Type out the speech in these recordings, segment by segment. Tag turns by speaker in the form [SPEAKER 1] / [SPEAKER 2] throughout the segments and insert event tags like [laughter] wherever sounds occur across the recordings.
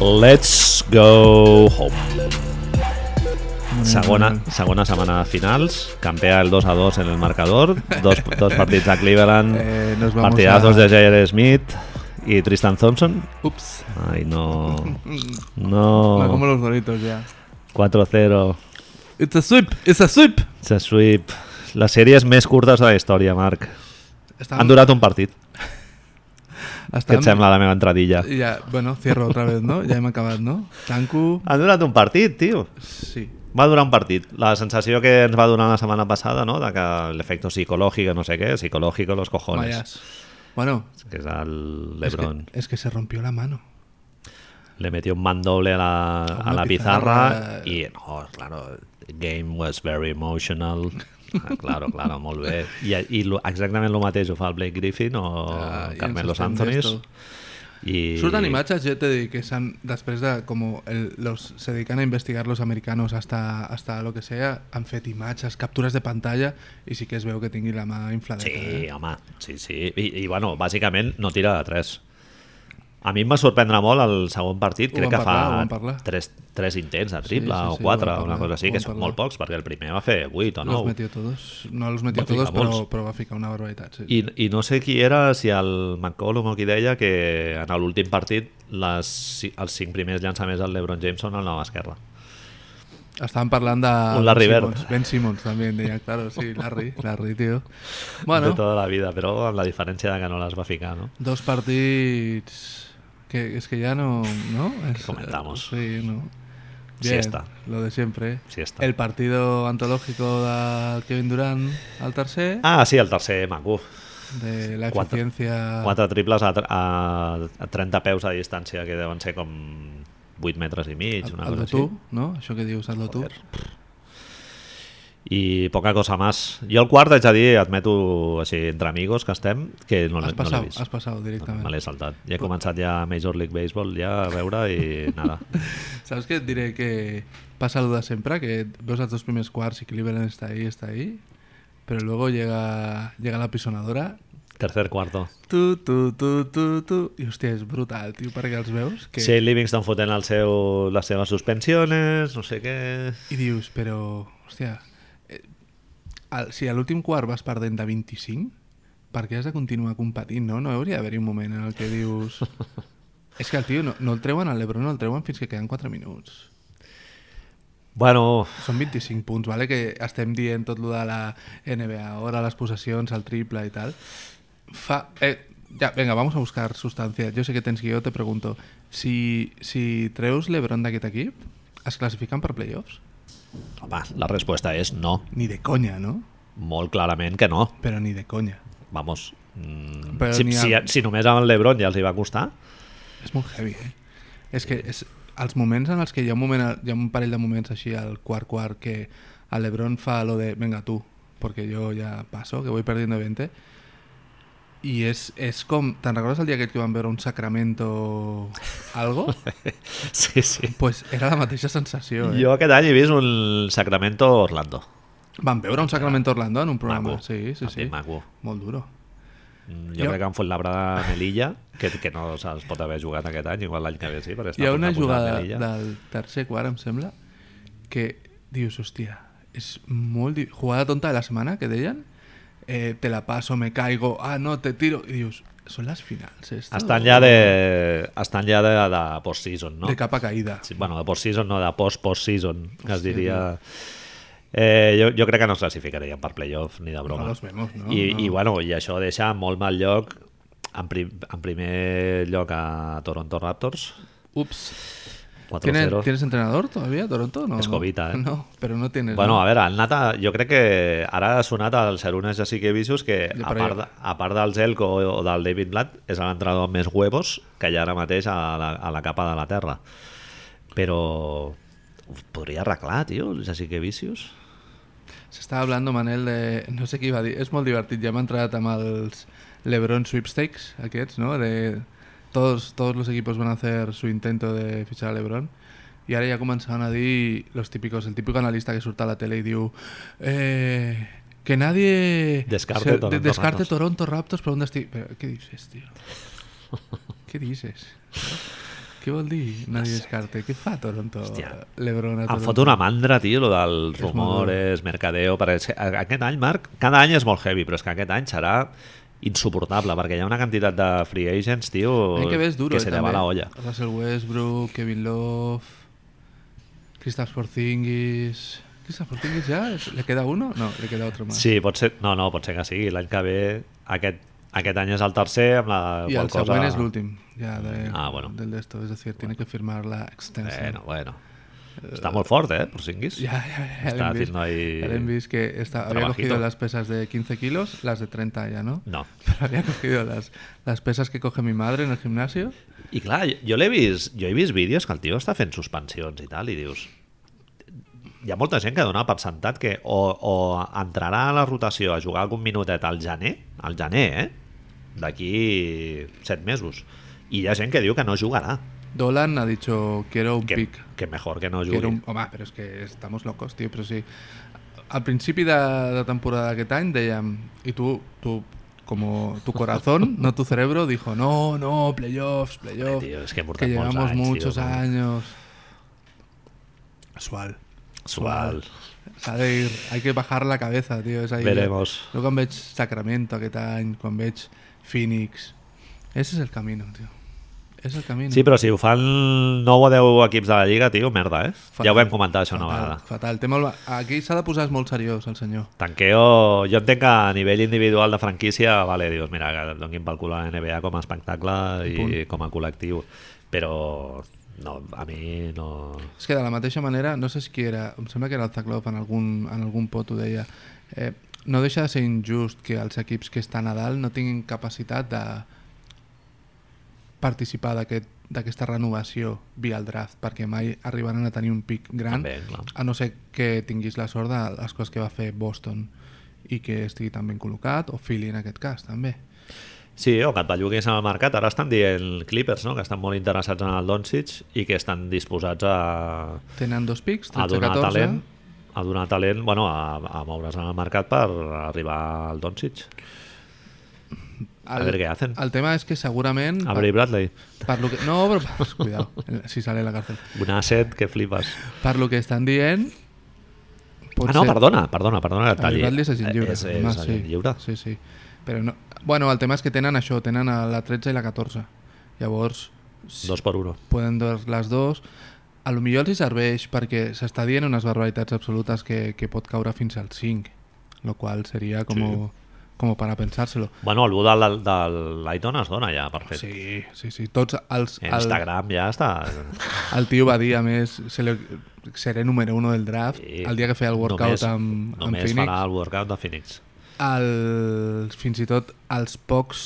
[SPEAKER 1] Let's Go Home.
[SPEAKER 2] Mm.
[SPEAKER 1] Segona, segona setmana de finals, campea el 2 a 2 en el marcador,
[SPEAKER 2] [laughs]
[SPEAKER 1] dos, dos partits de Cleveland,
[SPEAKER 2] Eh, nos vamos
[SPEAKER 1] partidazos
[SPEAKER 2] a-
[SPEAKER 1] de J.R. Smith y Tristan Thompson.
[SPEAKER 2] Ups.
[SPEAKER 1] Ay, no.
[SPEAKER 2] Me como
[SPEAKER 1] No.
[SPEAKER 2] los doritos ya.
[SPEAKER 1] 4-0.
[SPEAKER 2] It's a sweep, it's a sweep.
[SPEAKER 1] It's a sweep. Les sèries més curtes de la història, Marc. Han durat un partit. Què
[SPEAKER 2] Estan...
[SPEAKER 1] et sembla la meva entradilla?
[SPEAKER 2] Ja, bueno, cierro otra vez, ¿no? Ja hem acabat, no?
[SPEAKER 1] [laughs]
[SPEAKER 2] Tanco...
[SPEAKER 1] Han durat un partit, tio.
[SPEAKER 2] Sí.
[SPEAKER 1] Va durar un partit. La sensació que ens va donar la setmana passada, no? De que l'efecte psicològic, no sé què, psicològic, los cojones.
[SPEAKER 2] Mayas. Bueno,
[SPEAKER 1] Que és el
[SPEAKER 2] es
[SPEAKER 1] Lebron.
[SPEAKER 2] que, es que se rompió la mano.
[SPEAKER 1] Le metió un mandoble a la, a
[SPEAKER 2] una
[SPEAKER 1] la
[SPEAKER 2] pizarra.
[SPEAKER 1] pizarra y, no, claro, the game was very emotional. Ah, claro, claro, molt bé. I, i lo- exactament el mateix ho fa el Blake Griffin o
[SPEAKER 2] Ah, i ens
[SPEAKER 1] Carmelo
[SPEAKER 2] estem
[SPEAKER 1] Anthonys.
[SPEAKER 2] d'esto.
[SPEAKER 1] I...
[SPEAKER 2] Surten imatges, yo te di que s'han- després de como el- los, se dedican a investigar los americanos hasta, hasta lo que sea, han fet imatges, capturas de pantalla y sí que es veu que tingui la mà infladeta.
[SPEAKER 1] Sí,
[SPEAKER 2] eh?
[SPEAKER 1] home, sí, sí. I, I, bueno, bàsicament no tira de 3. A mi em va sorprendre molt el segon partit,
[SPEAKER 2] Ho
[SPEAKER 1] crec
[SPEAKER 2] vam
[SPEAKER 1] que
[SPEAKER 2] parlar, ho vam
[SPEAKER 1] fa
[SPEAKER 2] parlar.
[SPEAKER 1] 3, 3 intents de triple
[SPEAKER 2] sí,
[SPEAKER 1] sí, sí,
[SPEAKER 2] sí,
[SPEAKER 1] sí, o
[SPEAKER 2] ho
[SPEAKER 1] 4
[SPEAKER 2] vam
[SPEAKER 1] o una
[SPEAKER 2] parlar,
[SPEAKER 1] cosa així,
[SPEAKER 2] ho
[SPEAKER 1] que
[SPEAKER 2] vam
[SPEAKER 1] són
[SPEAKER 2] parlar.
[SPEAKER 1] molt pocs, perquè el primer va fer 8 o
[SPEAKER 2] Los
[SPEAKER 1] 9.
[SPEAKER 2] metió todos. No los metió
[SPEAKER 1] Va ficar
[SPEAKER 2] todos, pero,
[SPEAKER 1] molts.
[SPEAKER 2] pero va ficar una barbaridad. Sí.
[SPEAKER 1] I, I no sé qui era, si el McCollum o qui deia, que en l'últim partit les, ci- els cinc primers llançaments del LeBron James són a la mà esquerra.
[SPEAKER 2] Estaban hablando de...
[SPEAKER 1] Un Larry
[SPEAKER 2] Ben
[SPEAKER 1] Bird.
[SPEAKER 2] Simmons. Ben Simmons también, deia, claro, sí,
[SPEAKER 1] [laughs]
[SPEAKER 2] Larry, Larry, tío.
[SPEAKER 1] De
[SPEAKER 2] Bueno,
[SPEAKER 1] tota la vida, però amb la diferència de que no les va ficar, no?
[SPEAKER 2] dos partidos que es que ya no... ¿No? Es-
[SPEAKER 1] comentamos?
[SPEAKER 2] Sí, no.
[SPEAKER 1] Siesta.
[SPEAKER 2] Lo de siempre.
[SPEAKER 1] Siesta.
[SPEAKER 2] El partido antológico de Kevin Durant al tercer,
[SPEAKER 1] Ah, sí, el tercer maco.
[SPEAKER 2] de la
[SPEAKER 1] Quatre.
[SPEAKER 2] eficiencia...
[SPEAKER 1] Quatre triples a, tr- a, a 30 peus de distància, que deuen ser com 8 metres i mig, una
[SPEAKER 2] al
[SPEAKER 1] cosa
[SPEAKER 2] tú,
[SPEAKER 1] així.
[SPEAKER 2] no? Això que dius, hazlo tú.
[SPEAKER 1] Joder. I poca cosa més. Jo el quart, haig de dir, admeto així, entre amigos que estem, que pues no, l'he-
[SPEAKER 2] Has
[SPEAKER 1] no l'he
[SPEAKER 2] pasado,
[SPEAKER 1] vist.
[SPEAKER 2] has pasado
[SPEAKER 1] No, Me
[SPEAKER 2] directamente.
[SPEAKER 1] l'he saltat. Ja he començat ja Major League Baseball ja a veure i
[SPEAKER 2] [laughs]
[SPEAKER 1] nada.
[SPEAKER 2] ¿Sabes qué? Diré que pasa lo de siempre, que veus los dos primeros quarts y Cleveland está ahí, está ahí, pero luego llega, llega la pisonadora,
[SPEAKER 1] Tercer cuarto.
[SPEAKER 2] tu, tu, tu, tu, tu, i hòstia, és brutal, tio, perquè els veus que...
[SPEAKER 1] Que... Shea Livingston fotent el seu, les seves suspensiones, no sé què...
[SPEAKER 2] i dius, però, hòstia, eh, al, si a l'últim quart vas perdent de 25, per què has de continuar competint, no? No hauria d'haver-hi un moment en el que dius... és que el tio no, no el treuen, el Lebron no el treuen fins que queden 4 minuts.
[SPEAKER 1] Bueno,
[SPEAKER 2] Són 25 punts, vale? que estem dient tot lo de la NBA, hora, les possessions, el triple i tal. Fa... Eh, ja, venga, vamos a buscar sustancia. Jo sé que tens guió, te pregunto. Si, si treus l'Ebron d'aquest equip, es classifiquen per playoffs?
[SPEAKER 1] home, la resposta és no.
[SPEAKER 2] Ni de conya, no?
[SPEAKER 1] Molt clarament que no.
[SPEAKER 2] Però ni de conya.
[SPEAKER 1] Vamos. Mm,
[SPEAKER 2] Però
[SPEAKER 1] si,
[SPEAKER 2] n'hi ha-
[SPEAKER 1] si, si només amb el Lebron ja els hi va costar,
[SPEAKER 2] És molt heavy, eh? És que és, els moments en els que hi ha un, moment, hi ha un parell de moments així al quart-quart que a l'Ebron fa lo de venga tu, perquè jo ja passo, que voy perdiendo 20, i és, és com... Te'n recordes el dia aquest que vam veure un Sacramento algo?
[SPEAKER 1] [laughs] sí, sí.
[SPEAKER 2] pues era la mateixa sensació, eh?
[SPEAKER 1] Jo aquest any he vist un Sacramento Orlando.
[SPEAKER 2] Vam veure un Sacramento Orlando en un programa.
[SPEAKER 1] Maco.
[SPEAKER 2] Sí, sí,
[SPEAKER 1] També
[SPEAKER 2] sí.
[SPEAKER 1] Maco.
[SPEAKER 2] Molt duro.
[SPEAKER 1] Mm, Jo,
[SPEAKER 2] Jo-
[SPEAKER 1] jo crec que han fot labrada a Melilla, que, que no se'ls pot haver jugat aquest any, igual l'any que ve sí, perquè està
[SPEAKER 2] Hi ha
[SPEAKER 1] Pues a punt
[SPEAKER 2] una
[SPEAKER 1] de posar
[SPEAKER 2] jugada
[SPEAKER 1] Melilla.
[SPEAKER 2] del tercer quart, em sembla, que dius, hòstia, és molt... di- Jugada tonta de la setmana, que deien, eh, te la paso, me caigo, ah, no, te tiro, i dius, són les finals, eh, esto?
[SPEAKER 1] Estan ja de, estan ja de, de post-season, no?
[SPEAKER 2] De capa caïda.
[SPEAKER 1] Sí, bueno, de post-season, no, de post-post-season, que es diria... Eh, jo, jo crec que no es classificarien per playoff ni de broma.
[SPEAKER 2] No los vemos, no?
[SPEAKER 1] I,
[SPEAKER 2] No.
[SPEAKER 1] I, bueno, I això deixa en molt mal lloc en, pri en primer lloc a Toronto Raptors,
[SPEAKER 2] Ups.
[SPEAKER 1] 4-0.
[SPEAKER 2] ¿Tiene- ¿Tienes entrenador todavía, Toronto? No,
[SPEAKER 1] Escobita,
[SPEAKER 2] no.
[SPEAKER 1] eh.
[SPEAKER 2] [laughs] No, pero no tienes...
[SPEAKER 1] Bueno,
[SPEAKER 2] ¿no?
[SPEAKER 1] a veure, han anat a, jo crec que ara ha sonat el Serunes ja sí que visos que
[SPEAKER 2] Ja,
[SPEAKER 1] a
[SPEAKER 2] però
[SPEAKER 1] part,
[SPEAKER 2] ja.
[SPEAKER 1] de, a part del Zelko o, o del David Blatt és l'entrenador amb més huevos que hi ha ara mateix a la, a la capa de la Terra. Però ho podria arreglar, tio, el ja sí que vicios.
[SPEAKER 2] Se estaba hablando, Manel, de... No sé qué iba a decir. Es muy divertido. Ya me han traído tamales LeBron Sweepstakes, aquests, ¿no? De... Todos, todos los equipos van a hacer su intento de fichar a LeBron. Y ahora ya comenzaban a decir los típicos, el típico analista que surta a la tele y diu eh, que nadie
[SPEAKER 1] Descarte
[SPEAKER 2] de-
[SPEAKER 1] Toronto
[SPEAKER 2] descarte
[SPEAKER 1] Raptors". [laughs]
[SPEAKER 2] Toronto Raptors por un destino. ¿Qué dices, tío? ¿Qué dices? Què vol dir nadie descarte? Què fa Toronto?
[SPEAKER 1] Hòstia.
[SPEAKER 2] Lebron a
[SPEAKER 1] Em
[SPEAKER 2] Toronto?
[SPEAKER 1] fot una mandra, tio, lo dels
[SPEAKER 2] És molt
[SPEAKER 1] rumores, mercadeo... Per... és que Aquest any, Marc, cada any és molt heavy, però és que aquest any serà insuportable, perquè hi ha una quantitat de free agents, tio,
[SPEAKER 2] L'any que ve és duro,
[SPEAKER 1] que
[SPEAKER 2] eh,
[SPEAKER 1] se te
[SPEAKER 2] també.
[SPEAKER 1] va la olla.
[SPEAKER 2] Russell Westbrook, Kevin Love, Kristaps Porzingis... Kristaps Porzingis ja? ¿Le queda uno? No, le queda otro más.
[SPEAKER 1] Sí, pot ser... No, no, pot ser que sigui. L'any que ve, aquest, aquest any és el tercer, amb la
[SPEAKER 2] Y
[SPEAKER 1] qual
[SPEAKER 2] el
[SPEAKER 1] cosa...
[SPEAKER 2] següent és l'últim, ja, de,
[SPEAKER 1] Ah, bueno.
[SPEAKER 2] del de esto. Es decir, tiene que firmar la extensión.
[SPEAKER 1] Bueno, bueno. Està molt fort, eh, Porzingis.
[SPEAKER 2] Ya, ya, ya.
[SPEAKER 1] Está
[SPEAKER 2] ya le han visto-
[SPEAKER 1] haciendo ahí
[SPEAKER 2] ya le han visto que está- había
[SPEAKER 1] trabajito.
[SPEAKER 2] cogido las pesas de 15 kilos, las de 30 ya, ¿no?
[SPEAKER 1] No.
[SPEAKER 2] [laughs] Pero había cogido las, las pesas que coge mi madre en el gimnasio.
[SPEAKER 1] I clar, jo- jo l'he vist, jo he vist vídeos que el tio està fent suspensions i tal, i dius... Hi ha molta gent que dona per sentat que o, o entrarà a la rotació a jugar algun minutet al gener, al gener, eh? D'aquí set mesos. I hi ha gent que diu que no jugarà.
[SPEAKER 2] Dolan ha dicho, quiero un
[SPEAKER 1] Que,
[SPEAKER 2] pick.
[SPEAKER 1] que mejor que no jugui.
[SPEAKER 2] Quiero un... Home, però és que estamos locos, tio, però sí. Al principi de, de temporada d'aquest any dèiem, i tu, tu, como
[SPEAKER 1] [laughs]
[SPEAKER 2] tu corazón, no tu cerebro, dijo, no, no, playoffs, playoffs,
[SPEAKER 1] Hombre, tio, és que hem portat
[SPEAKER 2] que
[SPEAKER 1] molts
[SPEAKER 2] llevamos
[SPEAKER 1] anys, tio,
[SPEAKER 2] muchos
[SPEAKER 1] no.
[SPEAKER 2] años. Sual.
[SPEAKER 1] Sual.
[SPEAKER 2] S'ha de ir, hay que bajar la cabeza, tio, és ahí.
[SPEAKER 1] Veremos.
[SPEAKER 2] Jo quan veig Sacramento aquest any, quan veig Phoenix, ese es el camino, tio. És el camino.
[SPEAKER 1] Sí, però si ho fan 9 o 10 equips de la Lliga, tio, merda, eh?
[SPEAKER 2] Fatal.
[SPEAKER 1] Ja ho vam comentar això una
[SPEAKER 2] fatal,
[SPEAKER 1] vegada.
[SPEAKER 2] Fatal. Té molt... Aquí s'ha de posar molt seriós, el senyor.
[SPEAKER 1] Tanqueo, jo entenc que a nivell individual de franquícia, vale, dius, mira, que donin pel cul a la NBA com a espectacle i
[SPEAKER 2] punt.
[SPEAKER 1] com a col·lectiu, però no, a mi no...
[SPEAKER 2] És que de la mateixa manera, no sé si qui era, em sembla que era el Zaglov en algun, en algun pot ho deia, eh, no deixa de ser injust que els equips que estan a dalt no tinguin capacitat de participar d'aquest- d'aquesta renovació via el draft, perquè mai arribaran a tenir un pic gran,
[SPEAKER 1] També, clar.
[SPEAKER 2] a no ser que tinguis la sort de les coses que va fer Boston i que estigui tan ben col·locat, o Philly en aquest cas, també.
[SPEAKER 1] Sí, o que et belluguis en el mercat. Ara estan dient Clippers, no?, que estan molt interessats en el Doncic i que estan disposats a,
[SPEAKER 2] Tenen dos pics,
[SPEAKER 1] a donar
[SPEAKER 2] 13-14.
[SPEAKER 1] talent a donar talent, bueno, a, a moure's en el mercat per arribar al Doncic. A veure què hacen.
[SPEAKER 2] El tema és que segurament...
[SPEAKER 1] Avery Bradley,
[SPEAKER 2] Per lo que... No, però... Cuidado, [laughs] si sale la cárcel.
[SPEAKER 1] un asset que flipes.
[SPEAKER 2] Per lo que estan dient... pot
[SPEAKER 1] Ah, no,
[SPEAKER 2] ser-
[SPEAKER 1] perdona, perdona, perdona que et
[SPEAKER 2] El
[SPEAKER 1] talli. Eh,
[SPEAKER 2] Bradley és agent lliure.
[SPEAKER 1] És,
[SPEAKER 2] home,
[SPEAKER 1] és agent lliure.
[SPEAKER 2] Sí, sí. Però no... Bueno, el tema és que tenen això, tenen a la 13 i la 14. Llavors,
[SPEAKER 1] Dos por uno.
[SPEAKER 2] poden dur les dues. A lo millor els hi serveix perquè s'està dient unes barbaritats absolutes que, que pot caure fins al 5, lo qual seria com, sí. com para pensárselo.
[SPEAKER 1] Bueno, el Buda del, del Lighton es dona ja, per fet. Sí,
[SPEAKER 2] Sí, sí, sí. Tots els...
[SPEAKER 1] el...
[SPEAKER 2] el-
[SPEAKER 1] Instagram ja està...
[SPEAKER 2] El tio va dir, a més, se li, seré número uno del draft
[SPEAKER 1] Sí.
[SPEAKER 2] el dia que feia el workout
[SPEAKER 1] només,
[SPEAKER 2] amb, amb
[SPEAKER 1] només
[SPEAKER 2] Phoenix.
[SPEAKER 1] farà el workout de Phoenix.
[SPEAKER 2] El, fins i tot els pocs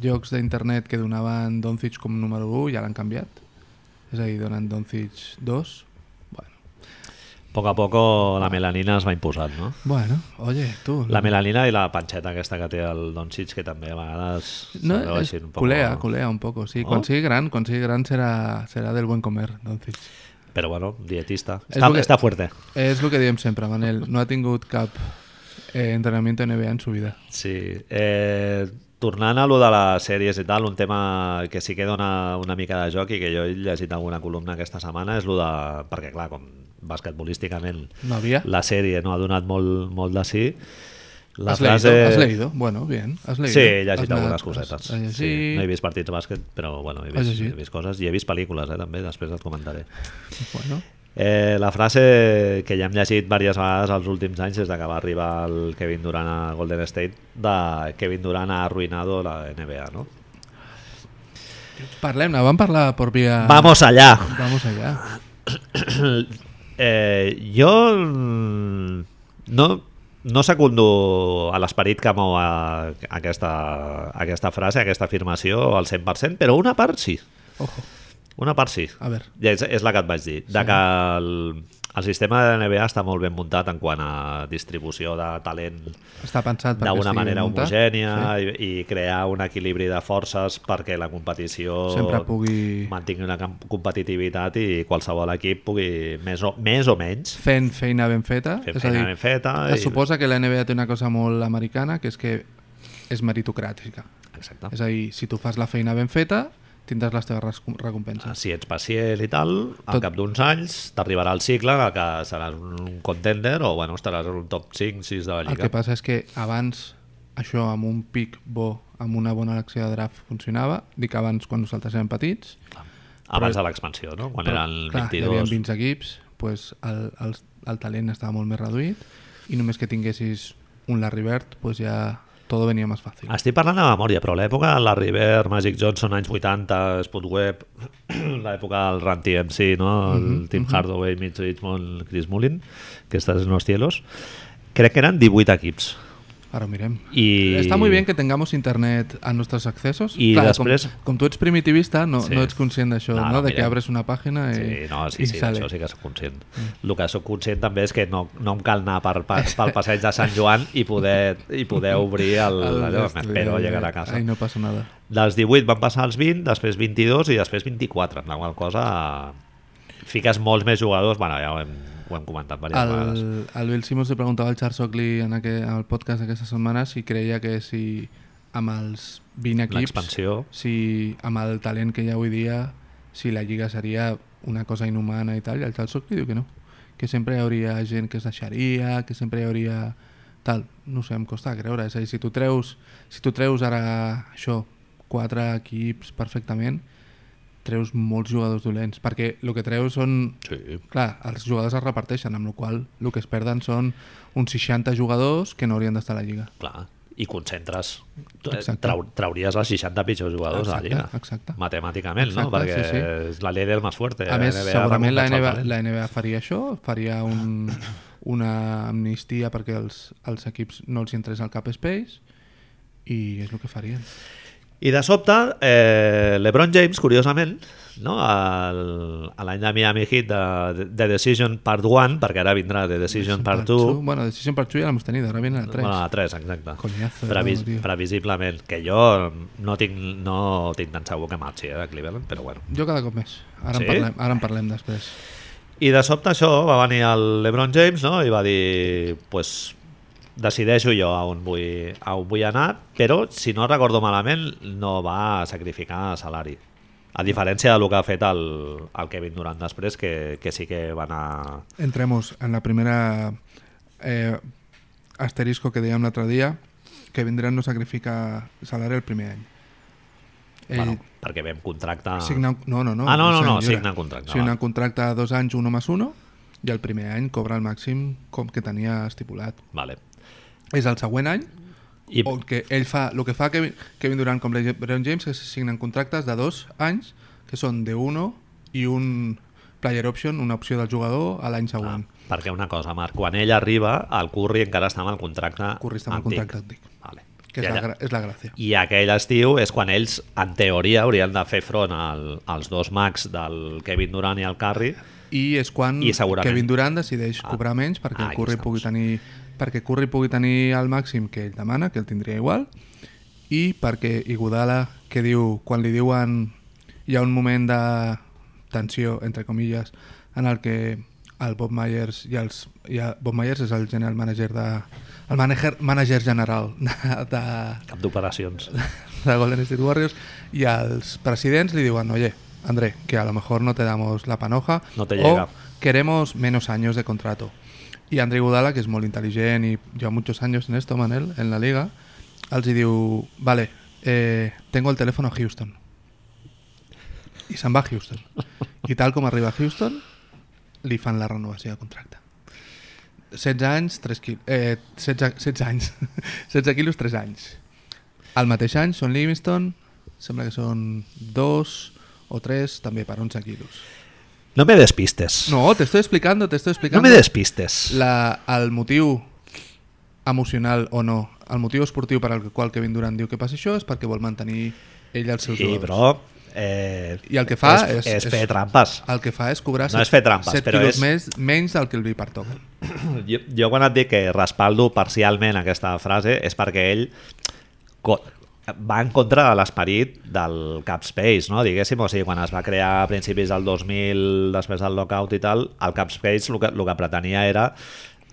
[SPEAKER 2] llocs d'internet que donaven Doncic com número 1 ja l'han canviat. És a dir, donen Doncic 2. Bueno,
[SPEAKER 1] A poc a poc oh, la melanina es va imposant, no?
[SPEAKER 2] bueno oye, tu...
[SPEAKER 1] La melanina i la panxeta aquesta que té el Doncic, que també a vegades... se'n
[SPEAKER 2] no,
[SPEAKER 1] veu
[SPEAKER 2] és,
[SPEAKER 1] així un poc- Oh.
[SPEAKER 2] culea, culea un poco, sí.
[SPEAKER 1] No?
[SPEAKER 2] Quan sigui gran, quan sigui gran serà, serà del buen comer, Doncic.
[SPEAKER 1] Però bueno, dietista.
[SPEAKER 2] És
[SPEAKER 1] Està,
[SPEAKER 2] lo que-
[SPEAKER 1] està fuerte.
[SPEAKER 2] És el que diem sempre, Manel. No ha tingut cap eh, entrenamiento NBA en su vida.
[SPEAKER 1] Sí. Eh, tornant a lo de les sèries i tal, un tema que sí que dona una mica de joc i que jo he llegit alguna columna aquesta setmana és lo de... Perquè clar, com basquetbolísticament
[SPEAKER 2] No havia.
[SPEAKER 1] la sèrie no ha donat molt, molt de sí. La
[SPEAKER 2] has
[SPEAKER 1] frase...
[SPEAKER 2] leído, has leído. Bueno, bien, has leído.
[SPEAKER 1] Sí, he
[SPEAKER 2] Has
[SPEAKER 1] llegit
[SPEAKER 2] anat-
[SPEAKER 1] algunes
[SPEAKER 2] has-
[SPEAKER 1] cosetes.
[SPEAKER 2] has llegit.
[SPEAKER 1] Sí, no he vist partits de bàsquet, però bueno, he
[SPEAKER 2] Has
[SPEAKER 1] vist,
[SPEAKER 2] llegit.
[SPEAKER 1] he vist coses i he vist pel·lícules, eh, també, després et comentaré.
[SPEAKER 2] Bueno,
[SPEAKER 1] Eh, la frase que ja hem llegit diverses vegades els últims anys des de que va arribar el Kevin Durant a Golden State de Kevin Durant ha arruinado la NBA, no?
[SPEAKER 2] parlem-ne, vam parlar per via...
[SPEAKER 1] Vamos allá! [clears throat]
[SPEAKER 2] Vamos allá.
[SPEAKER 1] eh, jo mm, no, no secundo a l'esperit que mou a, aquesta, aquesta frase, aquesta afirmació al 100%, però una part sí.
[SPEAKER 2] Ojo,
[SPEAKER 1] Una part sí.
[SPEAKER 2] a ver.
[SPEAKER 1] Ja és, és la que et vaig dir, de que el, el sistema de NBA està molt ben muntat en quant a distribució de talent
[SPEAKER 2] Està pensat perquè
[SPEAKER 1] d'una
[SPEAKER 2] estigui
[SPEAKER 1] manera
[SPEAKER 2] muntat.
[SPEAKER 1] homogènia i, i crear un equilibri de forces perquè la competició
[SPEAKER 2] Sempre pugui...
[SPEAKER 1] mantingui una camp- competitivitat i qualsevol equip pugui més o, més o menys
[SPEAKER 2] Fent feina ben feta.
[SPEAKER 1] fer
[SPEAKER 2] és a
[SPEAKER 1] feina
[SPEAKER 2] dir,
[SPEAKER 1] ben feta.
[SPEAKER 2] es suposa que la NBA té una cosa molt americana, que és que és meritocràtica.
[SPEAKER 1] Exacte.
[SPEAKER 2] És a dir, si tu fas la feina ben feta, tindràs les teves res- recompenses.
[SPEAKER 1] Ah, Si ets pacient i tal, al
[SPEAKER 2] Tot-
[SPEAKER 1] cap d'uns anys t'arribarà el cicle en el que seràs un contender o bueno, estaràs en un top 5, 6 de la
[SPEAKER 2] El que
[SPEAKER 1] lliga.
[SPEAKER 2] passa és que abans això amb un pic bo, amb una bona elecció de draft funcionava, dic abans quan nosaltres érem petits,
[SPEAKER 1] Abans de l'expansió, no? Quan
[SPEAKER 2] però,
[SPEAKER 1] eren
[SPEAKER 2] clar, hi havia
[SPEAKER 1] 22.
[SPEAKER 2] 20 equips, doncs el, el, el talent estava molt més reduït i només que tinguessis un Larry Bird doncs ja tot venia més fàcil.
[SPEAKER 1] Estic parlant de memòria, però l'època de la River, Magic Johnson, anys 80, Spot Webb, [clears throat] l'època del Run TMC, no? el
[SPEAKER 2] Mhm,
[SPEAKER 1] Tim Hardaway, Mitch Richmond, Chris Mullin, que estàs en els cielos, crec que eren 18 equips.
[SPEAKER 2] Ara ho mirem.
[SPEAKER 1] I...
[SPEAKER 2] Está muy bien que tengamos internet a nuestros accesos.
[SPEAKER 1] Y
[SPEAKER 2] Claro,
[SPEAKER 1] després-
[SPEAKER 2] com, com tu ets primitivista, no,
[SPEAKER 1] Sí.
[SPEAKER 2] no ets conscient d'això,
[SPEAKER 1] No,
[SPEAKER 2] no,
[SPEAKER 1] no,
[SPEAKER 2] de
[SPEAKER 1] mira.
[SPEAKER 2] que abres una pàgina i,
[SPEAKER 1] Sí, no, sí,
[SPEAKER 2] Eh, i
[SPEAKER 1] sí,
[SPEAKER 2] sale. Mm.
[SPEAKER 1] d'això sí que sóc conscient. El que sóc conscient també és que no, no em cal anar per, per, pel passeig de Sant Joan i poder, i poder obrir
[SPEAKER 2] [laughs]
[SPEAKER 1] el...
[SPEAKER 2] Al
[SPEAKER 1] allò,
[SPEAKER 2] resto,
[SPEAKER 1] M'espero
[SPEAKER 2] ja,
[SPEAKER 1] llegar
[SPEAKER 2] ja.
[SPEAKER 1] a casa.
[SPEAKER 2] Ahí no passa nada.
[SPEAKER 1] Dels 18 van passar als 20, després 22 i després 24, amb la qual cosa fiques molts més jugadors, bueno, ja ho hem, ho hem comentat diverses el... vegades.
[SPEAKER 2] El, el Bill Simmons li preguntava al Charles Oakley en, aqu en el podcast d'aquesta setmana si creia que si amb els 20 equips,
[SPEAKER 1] L'expansió,
[SPEAKER 2] si amb el talent que hi ha avui dia, si la lliga seria una cosa inhumana i tal, i el Charles Oakley diu que no, que sempre hi hauria gent que es deixaria, que sempre hi hauria tal, no ho sé, em costa de creure, és a dir, si tu treus, si tu treus ara això, quatre equips perfectament, treus molts jugadors dolents, perquè el que treus són
[SPEAKER 1] sí.
[SPEAKER 2] Clar, els jugadors es reparteixen, amb la qual cosa el que es perden són uns 60 jugadors que no haurien d'estar a la Lliga.
[SPEAKER 1] clar, i concentres, eh,
[SPEAKER 2] Exacte.
[SPEAKER 1] trau, trauries els 60 pitjors jugadors de la Lliga.
[SPEAKER 2] exacte.
[SPEAKER 1] Matemàticament, no?
[SPEAKER 2] Exacte,
[SPEAKER 1] Perquè
[SPEAKER 2] sí, sí.
[SPEAKER 1] és Eh, la llei del més fort.
[SPEAKER 2] A més, segurament la NBA, la
[SPEAKER 1] eh?
[SPEAKER 2] NBA faria això, faria un, [coughs] una amnistia perquè els, els equips no els hi entrés al cap space i és el que farien.
[SPEAKER 1] I de sobte, eh, LeBron James, curiosament, no? El- a l'any de Miami Heat de, de Decision Part 1, perquè ara vindrà The Decision Part 2,
[SPEAKER 2] Bueno, Decision Part 2 ja l'hem tenit, ara venen a 3.
[SPEAKER 1] Bueno, la 3, exacte.
[SPEAKER 2] Coñazo,
[SPEAKER 1] Previs
[SPEAKER 2] no, tio.
[SPEAKER 1] previsiblement, que jo no tinc, no tinc tan segur que marxi eh, de Cleveland, però bueno.
[SPEAKER 2] Jo cada cop més. Ara,
[SPEAKER 1] Sí?
[SPEAKER 2] en parlem, ara en parlem després.
[SPEAKER 1] I de sobte això va venir el LeBron James no? i va dir pues, decideixo jo a on, vull, a on vull anar, però si no recordo malament no va sacrificar salari. A diferència del que ha fet el, el Kevin Durant després, que, que sí que va anar...
[SPEAKER 2] Entremos en la primera eh, asterisco que dèiem l'altre dia, que vindran no sacrifica salari el primer any. Ell
[SPEAKER 1] Bueno, perquè vam contracte...
[SPEAKER 2] Eh, signa... un- No, no, no.
[SPEAKER 1] Ah, no,
[SPEAKER 2] un
[SPEAKER 1] no,
[SPEAKER 2] any
[SPEAKER 1] no,
[SPEAKER 2] lliure.
[SPEAKER 1] signa contracte.
[SPEAKER 2] Signa
[SPEAKER 1] va.
[SPEAKER 2] un contracte de dos anys, un més uno, i el primer any cobra el màxim com que tenia estipulat.
[SPEAKER 1] Vale.
[SPEAKER 2] És el següent any
[SPEAKER 1] I,
[SPEAKER 2] on que ell fa... El que fa Kevin, Kevin Durant com LeBron James és que signen contractes de dos anys, que són de uno i un player option, una opció del jugador a l'any
[SPEAKER 1] Ah,
[SPEAKER 2] següent.
[SPEAKER 1] perquè una cosa, Marc, quan ell arriba, el Curry encara està amb el contracte
[SPEAKER 2] Curry està amb el
[SPEAKER 1] Ah, antic.
[SPEAKER 2] contracte antic.
[SPEAKER 1] Vale.
[SPEAKER 2] Que
[SPEAKER 1] I,
[SPEAKER 2] és la,
[SPEAKER 1] allà-
[SPEAKER 2] gra- és la gràcia.
[SPEAKER 1] I aquell estiu és quan ells, en teoria, haurien de fer front al, als dos mags del Kevin Durant i el Curry.
[SPEAKER 2] I és quan
[SPEAKER 1] I segurament-
[SPEAKER 2] Kevin Durant decideix
[SPEAKER 1] Ah.
[SPEAKER 2] cobrar menys perquè
[SPEAKER 1] Ah,
[SPEAKER 2] el
[SPEAKER 1] aquí
[SPEAKER 2] Curry
[SPEAKER 1] estamos.
[SPEAKER 2] pugui tenir perquè Curry pugui tenir el màxim que ell demana, que el tindria igual, i perquè Iguodala, que diu, quan li diuen hi ha un moment de tensió, entre comilles, en el que el Bob Myers i els... I el Bob Myers és el general manager de... el manager, manager general [laughs] de, de,
[SPEAKER 1] Cap
[SPEAKER 2] [laughs]
[SPEAKER 1] d'operacions.
[SPEAKER 2] de Golden State Warriors y al presidente le digan, oye, André, que a lo mejor no te damos la panoja
[SPEAKER 1] No te
[SPEAKER 2] o
[SPEAKER 1] llega.
[SPEAKER 2] queremos menos años de contrato. Y André Gudala, que es muy inteligente y lleva muchos años en esto, Manel, en la liga, al diu, vale, eh, tengo el teléfono a Houston. Y se'n va a Houston. Y tal como arriba a Houston, li fan la renovació de contracte. 16 anys, 3 quilos... Eh, 16, 16 anys. [laughs] 16 quilos, 3 anys. Al mateix any són Livingston, sembla que són 2 o 3, també per 11 quilos.
[SPEAKER 1] No me despistes.
[SPEAKER 2] No, te estoy explicando, te estoy
[SPEAKER 1] no
[SPEAKER 2] explicando.
[SPEAKER 1] me despistes.
[SPEAKER 2] La, el motiu emocional o no, el motiu esportiu per al qual Kevin Durant diu que passi això és perquè vol mantenir ell els seus
[SPEAKER 1] Sí,
[SPEAKER 2] jugadors.
[SPEAKER 1] però... Eh,
[SPEAKER 2] I el que fa
[SPEAKER 1] és,
[SPEAKER 2] és-
[SPEAKER 1] és, fer
[SPEAKER 2] és-
[SPEAKER 1] trampes.
[SPEAKER 2] El que fa és cobrar
[SPEAKER 1] No és fer trampes,
[SPEAKER 2] 7
[SPEAKER 1] però
[SPEAKER 2] quilos
[SPEAKER 1] és-
[SPEAKER 2] més, menys del que li pertoca.
[SPEAKER 1] Jo, jo quan et dic que respaldo parcialment aquesta frase és perquè ell co- va en contra de l'esperit del cap space, no? diguéssim, o sigui, quan es va crear a principis del 2000, després del lockout i tal, el cap space el que, el que pretenia era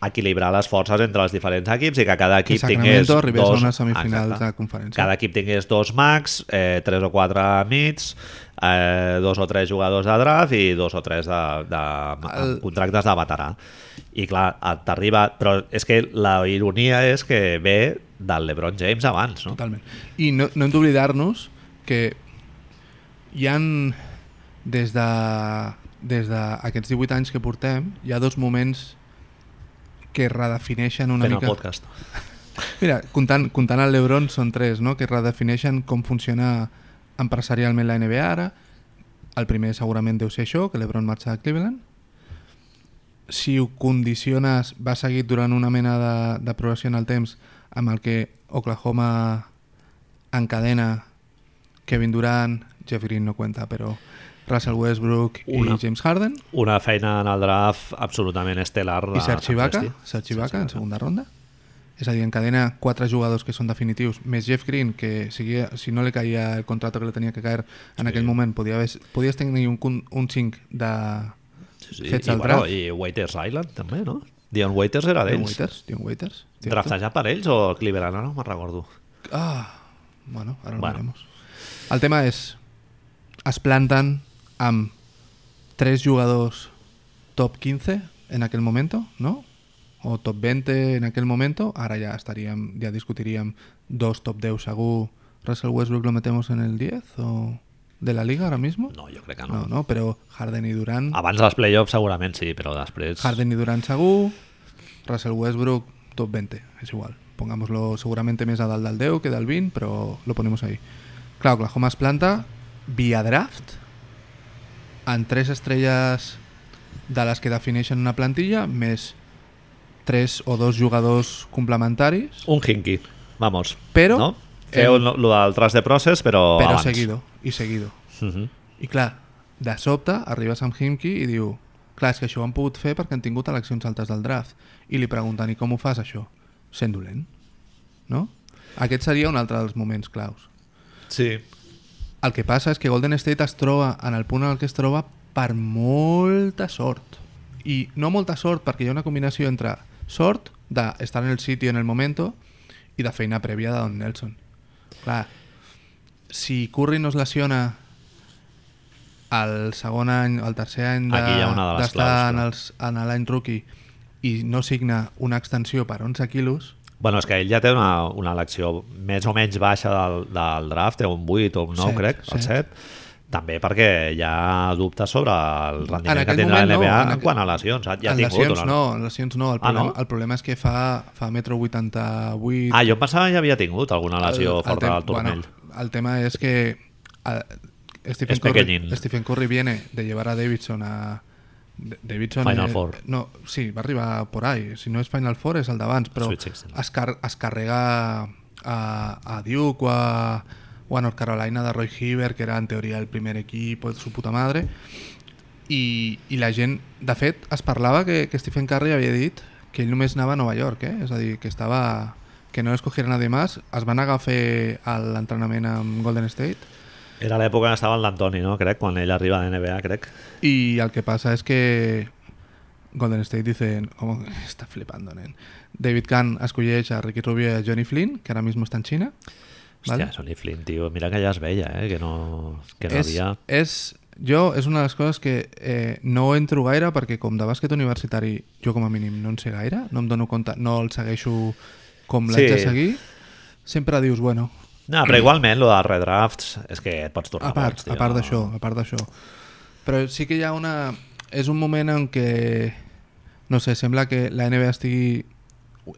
[SPEAKER 1] equilibrar les forces entre els diferents equips i que cada
[SPEAKER 2] I
[SPEAKER 1] equip tingués
[SPEAKER 2] Sacramento arribés a
[SPEAKER 1] dos...
[SPEAKER 2] unes semifinals
[SPEAKER 1] Exacte.
[SPEAKER 2] de conferència.
[SPEAKER 1] Cada equip tingués dos mags, eh, tres o quatre mids, eh, dos o tres jugadors de draft i dos o tres de, de
[SPEAKER 2] El-
[SPEAKER 1] amb contractes de veterà. I clar, et- t'arriba... Però és que la ironia és que ve del LeBron James abans, no?
[SPEAKER 2] Totalment. I no, no hem d'oblidar-nos que hi han des de des d'aquests 18 anys que portem, hi ha dos moments que redefineixen una
[SPEAKER 1] Fent el
[SPEAKER 2] mica...
[SPEAKER 1] podcast.
[SPEAKER 2] Mira, comptant, comptant el Lebron són tres, no? que redefineixen com funciona empresarialment la NBA ara. El primer segurament deu ser això, que Lebron marxa de Cleveland. Si ho condiciones, va seguir durant una mena de, de progressió en el temps amb el que Oklahoma encadena Kevin Durant, Jeff Green no cuenta, però Russell Westbrook
[SPEAKER 1] Una.
[SPEAKER 2] i James Harden
[SPEAKER 1] Una feina en el draft absolutament estel·lar. de
[SPEAKER 2] i Sergi Vaca,
[SPEAKER 1] Sacresti.
[SPEAKER 2] Sergi
[SPEAKER 1] Serge
[SPEAKER 2] Vaca en
[SPEAKER 1] Ibaka.
[SPEAKER 2] segunda ronda. És a dir, encadena quatre jugadors que són definitius, més Jeff Green, que sigui, si no li caia el contrato que li tenia que caer en aquell moment, podia haver, podies tenir un, cun- un 5 de...
[SPEAKER 1] Sí, sí.
[SPEAKER 2] fets
[SPEAKER 1] I,
[SPEAKER 2] al
[SPEAKER 1] bueno,
[SPEAKER 2] draft.
[SPEAKER 1] I Waiters Island, també, no? Dion Waiters era
[SPEAKER 2] Dion
[SPEAKER 1] d'ells.
[SPEAKER 2] Waiters, Dion Waiters. ¿cierto?
[SPEAKER 1] Draftejat per ells o Cleveland? Ara No me'n recordo.
[SPEAKER 2] Ah, bueno, ara ho
[SPEAKER 1] Bueno.
[SPEAKER 2] veremos. El tema és, es planten amb tres jugadors top 15 en aquell moment, no? O top 20 en aquell moment, ara ja estaríem, ja discutiríem dos top 10 segur. Russell Westbrook lo metemos en el 10 o de la liga ahora mismo?
[SPEAKER 1] No, jo crec que no.
[SPEAKER 2] no, no però Harden i Durant,
[SPEAKER 1] Mm. Abans dels playoffs segurament sí, però després...
[SPEAKER 2] Harden i Durant segur, Russell Westbrook top 20, es igual. Pongámoslo seguramente més a dalt del 10 que del 20, però lo ponemos ahí. Clar, Oklahoma es planta via draft en tres estrelles de les que defineixen una plantilla més tres o dos jugadors complementaris
[SPEAKER 1] Un hinky, vamos.
[SPEAKER 2] Però-
[SPEAKER 1] No? Feu
[SPEAKER 2] em-
[SPEAKER 1] el, lo del tras de process, però,
[SPEAKER 2] però
[SPEAKER 1] abans.
[SPEAKER 2] seguido i seguido
[SPEAKER 1] Uh -huh.
[SPEAKER 2] I clar, de sobte arriba Sam Himki i diu clar, és que això ho han pogut fer perquè han tingut eleccions altes del draft. I li pregunten, i com ho fas això? Sent dolent, no? Aquest seria un altre dels moments claus.
[SPEAKER 1] Sí.
[SPEAKER 2] El que passa és que Golden State es troba en el punt en el que es troba per molta sort. I no molta sort perquè hi ha una combinació entre sort d'estar en el sitio en el momento i de feina prèvia de Don Nelson. Clar, si Curry no es lesiona al segon any, al tercer any de-
[SPEAKER 1] Aquí hi ha una de les
[SPEAKER 2] d'estar
[SPEAKER 1] claus,
[SPEAKER 2] en
[SPEAKER 1] però.
[SPEAKER 2] els- en l'any rookie i no signa una extensió per 11 quilos,
[SPEAKER 1] Bueno, és que ell ja té una, una elecció més o menys baixa del, del draft, té un 8 o un 9,
[SPEAKER 2] Set,
[SPEAKER 1] crec, el
[SPEAKER 2] set.
[SPEAKER 1] 7. També perquè hi ha dubtes sobre el rendiment que
[SPEAKER 2] aquell
[SPEAKER 1] tindrà
[SPEAKER 2] moment no,
[SPEAKER 1] l'NBA
[SPEAKER 2] en
[SPEAKER 1] no, en
[SPEAKER 2] aqu-
[SPEAKER 1] quant a lesions. Ah, Ja ha
[SPEAKER 2] en
[SPEAKER 1] tingut
[SPEAKER 2] lesions
[SPEAKER 1] una-
[SPEAKER 2] no, en lesions no. El
[SPEAKER 1] Ah,
[SPEAKER 2] problema,
[SPEAKER 1] no?
[SPEAKER 2] el problema és que fa, fa metro 88,
[SPEAKER 1] Ah, jo em pensava que ja havia tingut alguna lesió forta
[SPEAKER 2] tem-
[SPEAKER 1] del turmell.
[SPEAKER 2] Bueno, el tema es que a- Stephen,
[SPEAKER 1] Es
[SPEAKER 2] Curry,
[SPEAKER 1] pequeñín.
[SPEAKER 2] Stephen Curry viene de llevar a Davidson a... D- Davidson
[SPEAKER 1] Final
[SPEAKER 2] eh,
[SPEAKER 1] Four.
[SPEAKER 2] No, sí, va arribar por ahí. Si no és Final Four és el d'abans, però
[SPEAKER 1] Sweet Sixteen.
[SPEAKER 2] es, car es carrega a, a Duke o a, o a North Carolina de Roy Hibbert, que era en teoria el primer equip de su puta madre. I, i la gent, de fet, es parlava que, que Stephen Curry havia dit que ell només anava a Nova York, eh? és a dir, que estava que no escogiera nadie más, es van negar a fer a l'entrenament amb Golden State
[SPEAKER 1] Era l'època que estava el d'Antoni, no? Crec, quan ell arriba a NBA, crec.
[SPEAKER 2] i el que passa és que Golden State dicen, com [laughs] està flipando, nen. David Kahn escolleix a Ricky Rubio i a Johnny Flynn, que ara mismo està en Xina.
[SPEAKER 1] Hòstia, vale. Sonny Flynn, tio, mira que ja es veia, eh? Que no, que no
[SPEAKER 2] és,
[SPEAKER 1] havia...
[SPEAKER 2] és, jo, és una de les coses que eh, no entro gaire perquè com de bàsquet universitari jo com a mínim no en sé gaire, no em dono compte, no el segueixo com l'haig
[SPEAKER 1] Sí.
[SPEAKER 2] de seguir, sempre dius, bueno,
[SPEAKER 1] No, però igualment, lo dels redrafts és que et pots tornar
[SPEAKER 2] a part,
[SPEAKER 1] boig, tio.
[SPEAKER 2] a part d'això, a part d'això. Però sí que hi ha una... És un moment en què, no sé, sembla que la NBA estigui...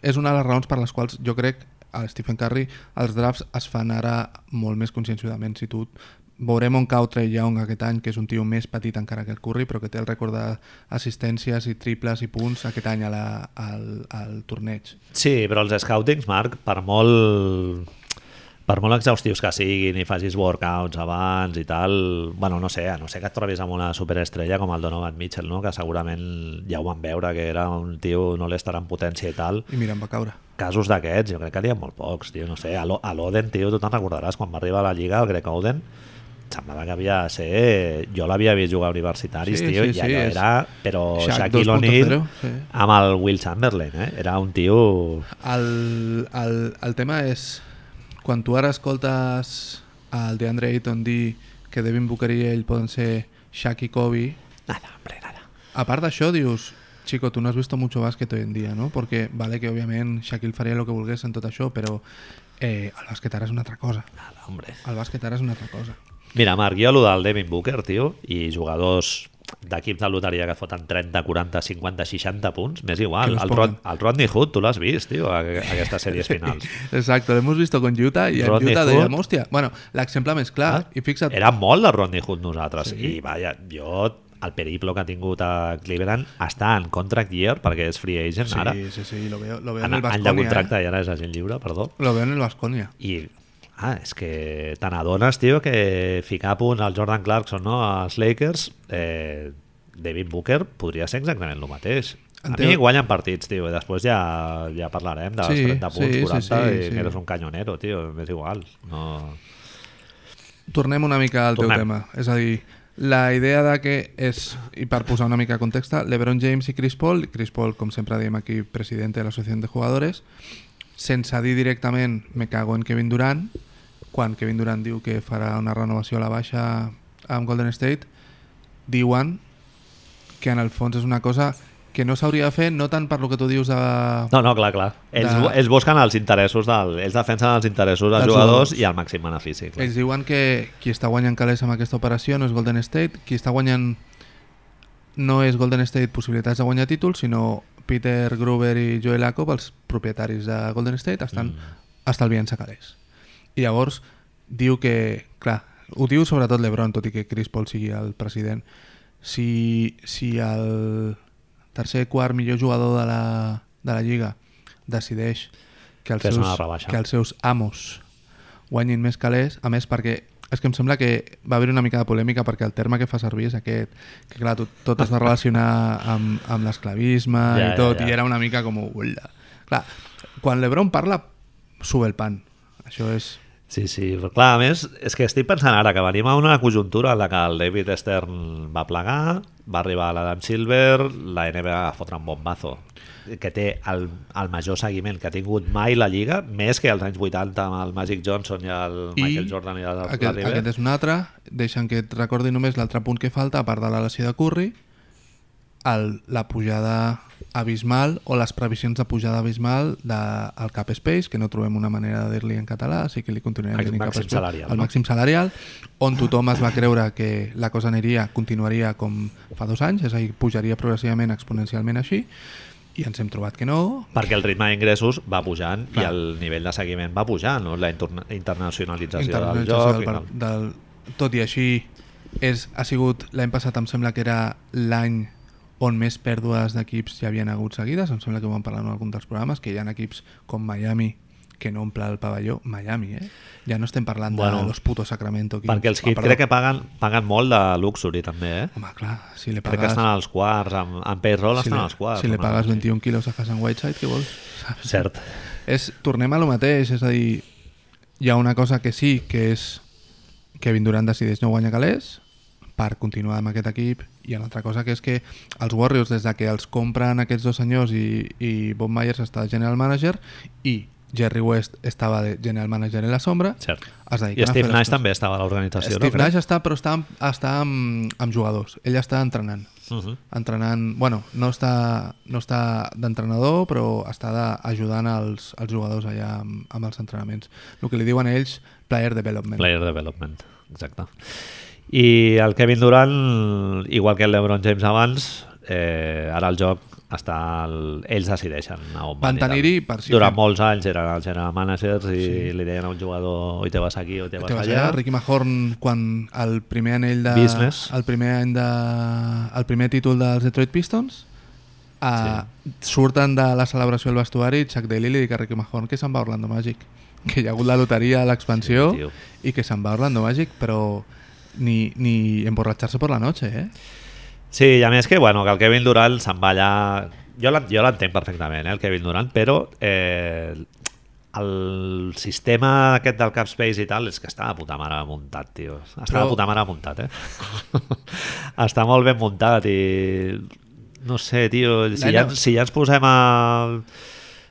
[SPEAKER 2] És una de les raons per les quals jo crec a Stephen Curry els drafts es fan ara molt més conscienciadament. Si tu veurem on cau Trey Young aquest any, que és un tio més petit encara que el Curry, però que té el rècord d'assistències i triples i punts aquest any a la, al, al torneig.
[SPEAKER 1] Sí, però els scoutings, Marc, per molt per molt exhaustius que siguin i facis workouts abans i tal, bueno, no sé, a no sé que et trobis amb una superestrella com el Donovan Mitchell, no? que segurament ja ho van veure, que era un tio no l'estarà en potència i tal.
[SPEAKER 2] I mira, em va caure.
[SPEAKER 1] Casos d'aquests, jo crec que n'hi ha molt pocs, tio, no sé, a l'O- a l'Oden, tio, tu te'n recordaràs quan va arribar a la Lliga, el Greg Oden, semblava que havia de ser... Jo l'havia vist jugar a universitaris,
[SPEAKER 2] Sí,
[SPEAKER 1] tio, i
[SPEAKER 2] sí, sí,
[SPEAKER 1] allò
[SPEAKER 2] és-
[SPEAKER 1] era... Però
[SPEAKER 2] Shaq
[SPEAKER 1] Shaquille
[SPEAKER 2] 2.0,
[SPEAKER 1] O'Neal
[SPEAKER 2] sí.
[SPEAKER 1] amb el Will Chamberlain, eh? Era un tio...
[SPEAKER 2] El, el, el tema és quan tu ara escoltes el DeAndre Ayton dir que Devin Booker i ell poden ser Shaq i Kobe
[SPEAKER 1] Nada, hombre, nada.
[SPEAKER 2] a part d'això dius chico, tu no has visto mucho básquet hoy en día ¿no? perquè vale que òbviament Shaquille faria el que volgués en tot això però eh, el bàsquet ara és una altra cosa
[SPEAKER 1] Nada, hombre.
[SPEAKER 2] el bàsquet ara és una altra cosa
[SPEAKER 1] Mira, Marc, jo allò del Devin Booker, tio, i jugadors d'equips de loteria que foten 30, 40, 50, 60 punts, m'és
[SPEAKER 2] Que
[SPEAKER 1] igual.
[SPEAKER 2] los
[SPEAKER 1] El, Rod, el Rodney Hood, tu l'has vist, tio, a, a aquestes sèries finals.
[SPEAKER 2] Exacto, lo hemos visto con Utah y en
[SPEAKER 1] Rodney
[SPEAKER 2] Utah de
[SPEAKER 1] Hood. Ah,
[SPEAKER 2] la hostia. Bueno, l'exemple més clar, i fixa't,
[SPEAKER 1] Era molt de Rodney Hood nosaltres.
[SPEAKER 2] Sí.
[SPEAKER 1] Sí. I, vaja, jo el periplo que ha tingut a Cleveland està en contract year perquè és free agent
[SPEAKER 2] Sí,
[SPEAKER 1] ara.
[SPEAKER 2] sí, sí, lo veo, lo veo en,
[SPEAKER 1] En
[SPEAKER 2] el
[SPEAKER 1] any de
[SPEAKER 2] Vasconia. ¿eh?
[SPEAKER 1] contracte i ara és agent lliure, perdó.
[SPEAKER 2] Lo veo en el Vasconia.
[SPEAKER 1] I ah, és que te n'adones, tio, que ficar a punt al Jordan Clarkson no, als Lakers, eh, David Booker podria ser exactament el mateix.
[SPEAKER 2] En
[SPEAKER 1] A
[SPEAKER 2] teo-
[SPEAKER 1] mi guanyen partits, tio, i després ja, ja parlarem dels
[SPEAKER 2] Sí,
[SPEAKER 1] 30 punts,
[SPEAKER 2] sí, sí,
[SPEAKER 1] 40,
[SPEAKER 2] sí,
[SPEAKER 1] i
[SPEAKER 2] sí.
[SPEAKER 1] que eres un canyonero, tio, m'és igual. No...
[SPEAKER 2] Tornem una mica al teu
[SPEAKER 1] Tornem.
[SPEAKER 2] tema. És a dir, la idea de que és, i per posar una mica de context, LeBron James i Chris Paul, Chris Paul, com sempre diem aquí, president de l'Associació de Jugadores, sense dir directament me cago en Kevin Durant, quan Kevin Durant diu que farà una renovació a la baixa amb Golden State, diuen que en el fons és una cosa que no s'hauria de fer, no tant per lo que tu dius de...
[SPEAKER 1] No, no, clar, clar. Ells,
[SPEAKER 2] De-
[SPEAKER 1] de... ells busquen els interessos, del, ells defensen els interessos dels
[SPEAKER 2] Dels
[SPEAKER 1] jugadors
[SPEAKER 2] jugadors.
[SPEAKER 1] i el màxim benefici. Clar.
[SPEAKER 2] Ells diuen que qui està guanyant calés amb aquesta operació no és Golden State, qui està guanyant no és Golden State possibilitats de guanyar títols, sinó Peter Gruber i Joel Lacob, els propietaris de Golden State, estan mm. estalviant-se calés. I llavors diu que, clar, ho diu sobretot l'Ebron, tot i que Chris Paul sigui el president, si, si el tercer, quart millor jugador de la, de la lliga decideix que els,
[SPEAKER 1] Fes una
[SPEAKER 2] seus,
[SPEAKER 1] rebaixa.
[SPEAKER 2] que els seus amos guanyin més calés, a més perquè és que em sembla que va haver una mica de polèmica perquè el terme que fa servir és aquest que clar, tot, tot es va relacionar amb, amb l'esclavisme
[SPEAKER 1] Ja,
[SPEAKER 2] i tot,
[SPEAKER 1] ja, ja.
[SPEAKER 2] i era una mica com "Ulla". clar, quan l'Ebron parla sube el pan, això és
[SPEAKER 1] Sí, sí, però clar, a més, és que estic pensant ara que venim a una conjuntura en la que el David Stern va plegar, va arribar l'Adam Silver, la NBA va fotre un bombazo, que té el, el major seguiment que ha tingut mai la Lliga, més que els anys 80 amb el Magic Johnson i el
[SPEAKER 2] I
[SPEAKER 1] Michael Jordan i el
[SPEAKER 2] aquest,
[SPEAKER 1] Larry
[SPEAKER 2] aquest
[SPEAKER 1] Bird.
[SPEAKER 2] és un altre, deixen que et recordi només l'altre punt que falta, a part de la lesió de Curry, el, la pujada abismal o les previsions de pujada abismal del de, el cap space, que no trobem una manera de dir-li en català, així que li continuarem
[SPEAKER 1] El
[SPEAKER 2] tenint cap
[SPEAKER 1] màxim
[SPEAKER 2] space,
[SPEAKER 1] salarial,
[SPEAKER 2] el
[SPEAKER 1] no?
[SPEAKER 2] màxim salarial, on tothom es va creure que la cosa aniria, continuaria com fa dos anys, és a dir, pujaria progressivament, exponencialment així, i ens hem trobat que no,
[SPEAKER 1] Perquè el ritme d'ingressos va pujant
[SPEAKER 2] Clar.
[SPEAKER 1] i el nivell de seguiment va pujant, no? la interna- internacionalització del
[SPEAKER 2] Internacionalització
[SPEAKER 1] joc. i tal.
[SPEAKER 2] del, del, tot i així és, ha sigut l'any passat em sembla que era l'any on més pèrdues d'equips hi havien hagut seguides em sembla que ho vam parlar en algun dels programes que hi ha equips com Miami que no omple el pavelló, Miami, eh? Ja no estem parlant bueno,
[SPEAKER 1] Bueno,
[SPEAKER 2] de los putos Sacramento Kings.
[SPEAKER 1] Perquè els
[SPEAKER 2] Ah,
[SPEAKER 1] Heat
[SPEAKER 2] perdó.
[SPEAKER 1] crec que paguen, paguen molt de luxury també, eh?
[SPEAKER 2] Home, clar, si li
[SPEAKER 1] Crec que
[SPEAKER 2] pagues...
[SPEAKER 1] estan als quarts, amb, amb payroll
[SPEAKER 2] si
[SPEAKER 1] estan
[SPEAKER 2] li-
[SPEAKER 1] als quarts.
[SPEAKER 2] Si li
[SPEAKER 1] no?
[SPEAKER 2] pagues 21 quilos a Hassan Whiteside, què vols?
[SPEAKER 1] Cert.
[SPEAKER 2] És, tornem a lo mateix, és a dir, hi ha una cosa que sí, que és Kevin Durant decideix no guanyar calés per continuar amb aquest equip i una altra cosa que és que els Warriors des de que els compren aquests dos senyors i, i Bob Myers està de general manager i Jerry West estava de general manager en la sombra
[SPEAKER 1] Cert.
[SPEAKER 2] es
[SPEAKER 1] I
[SPEAKER 2] dediquen a fer
[SPEAKER 1] Steve
[SPEAKER 2] les
[SPEAKER 1] Nash
[SPEAKER 2] coses.
[SPEAKER 1] també estava a l'organització, no?
[SPEAKER 2] Steve Nash està, però està, amb- està amb, amb jugadors ell està entrenant
[SPEAKER 1] Uh -huh.
[SPEAKER 2] entrenant, bueno, no està, no està d'entrenador, però està de, ajudant els, els jugadors allà amb, amb els entrenaments. El que li diuen ells, player development.
[SPEAKER 1] Player Development, exacte. I el Kevin Durant, igual que el LeBron James abans, eh, ara el joc està... El... Ells decideixen a on
[SPEAKER 2] Van
[SPEAKER 1] i tal.
[SPEAKER 2] tenir-hi per si
[SPEAKER 1] Durant
[SPEAKER 2] fem-
[SPEAKER 1] molts anys eren els general managers i li deien a un jugador oi te vas aquí, oi te vas,
[SPEAKER 2] Te vas
[SPEAKER 1] allà.
[SPEAKER 2] allà, Ricky Mahorn, quan el primer anell de...
[SPEAKER 1] Business.
[SPEAKER 2] El primer, any de, el primer títol dels Detroit Pistons, a, surten de la celebració del vestuari, Chuck Daly li diu a Ricky Mahorn que se'n va a Orlando Magic, que hi ha hagut la loteria a l'expansió
[SPEAKER 1] Sí, tio.
[SPEAKER 2] i que se'n va a Orlando Magic, però ni, ni emborratxar-se per la noche, eh?
[SPEAKER 1] Sí, i a més que, bueno, que el Kevin Durant se'n va allà... Jo l'en- jo l'entenc perfectament, eh, el Kevin Durant, però eh, el sistema aquest del Capspace i tal és que està de puta mare muntat, tio. Està Però... de puta mare muntat, eh? [laughs] està molt ben muntat i... No sé, tio, si ja,
[SPEAKER 2] L'any-
[SPEAKER 1] si ja ens posem a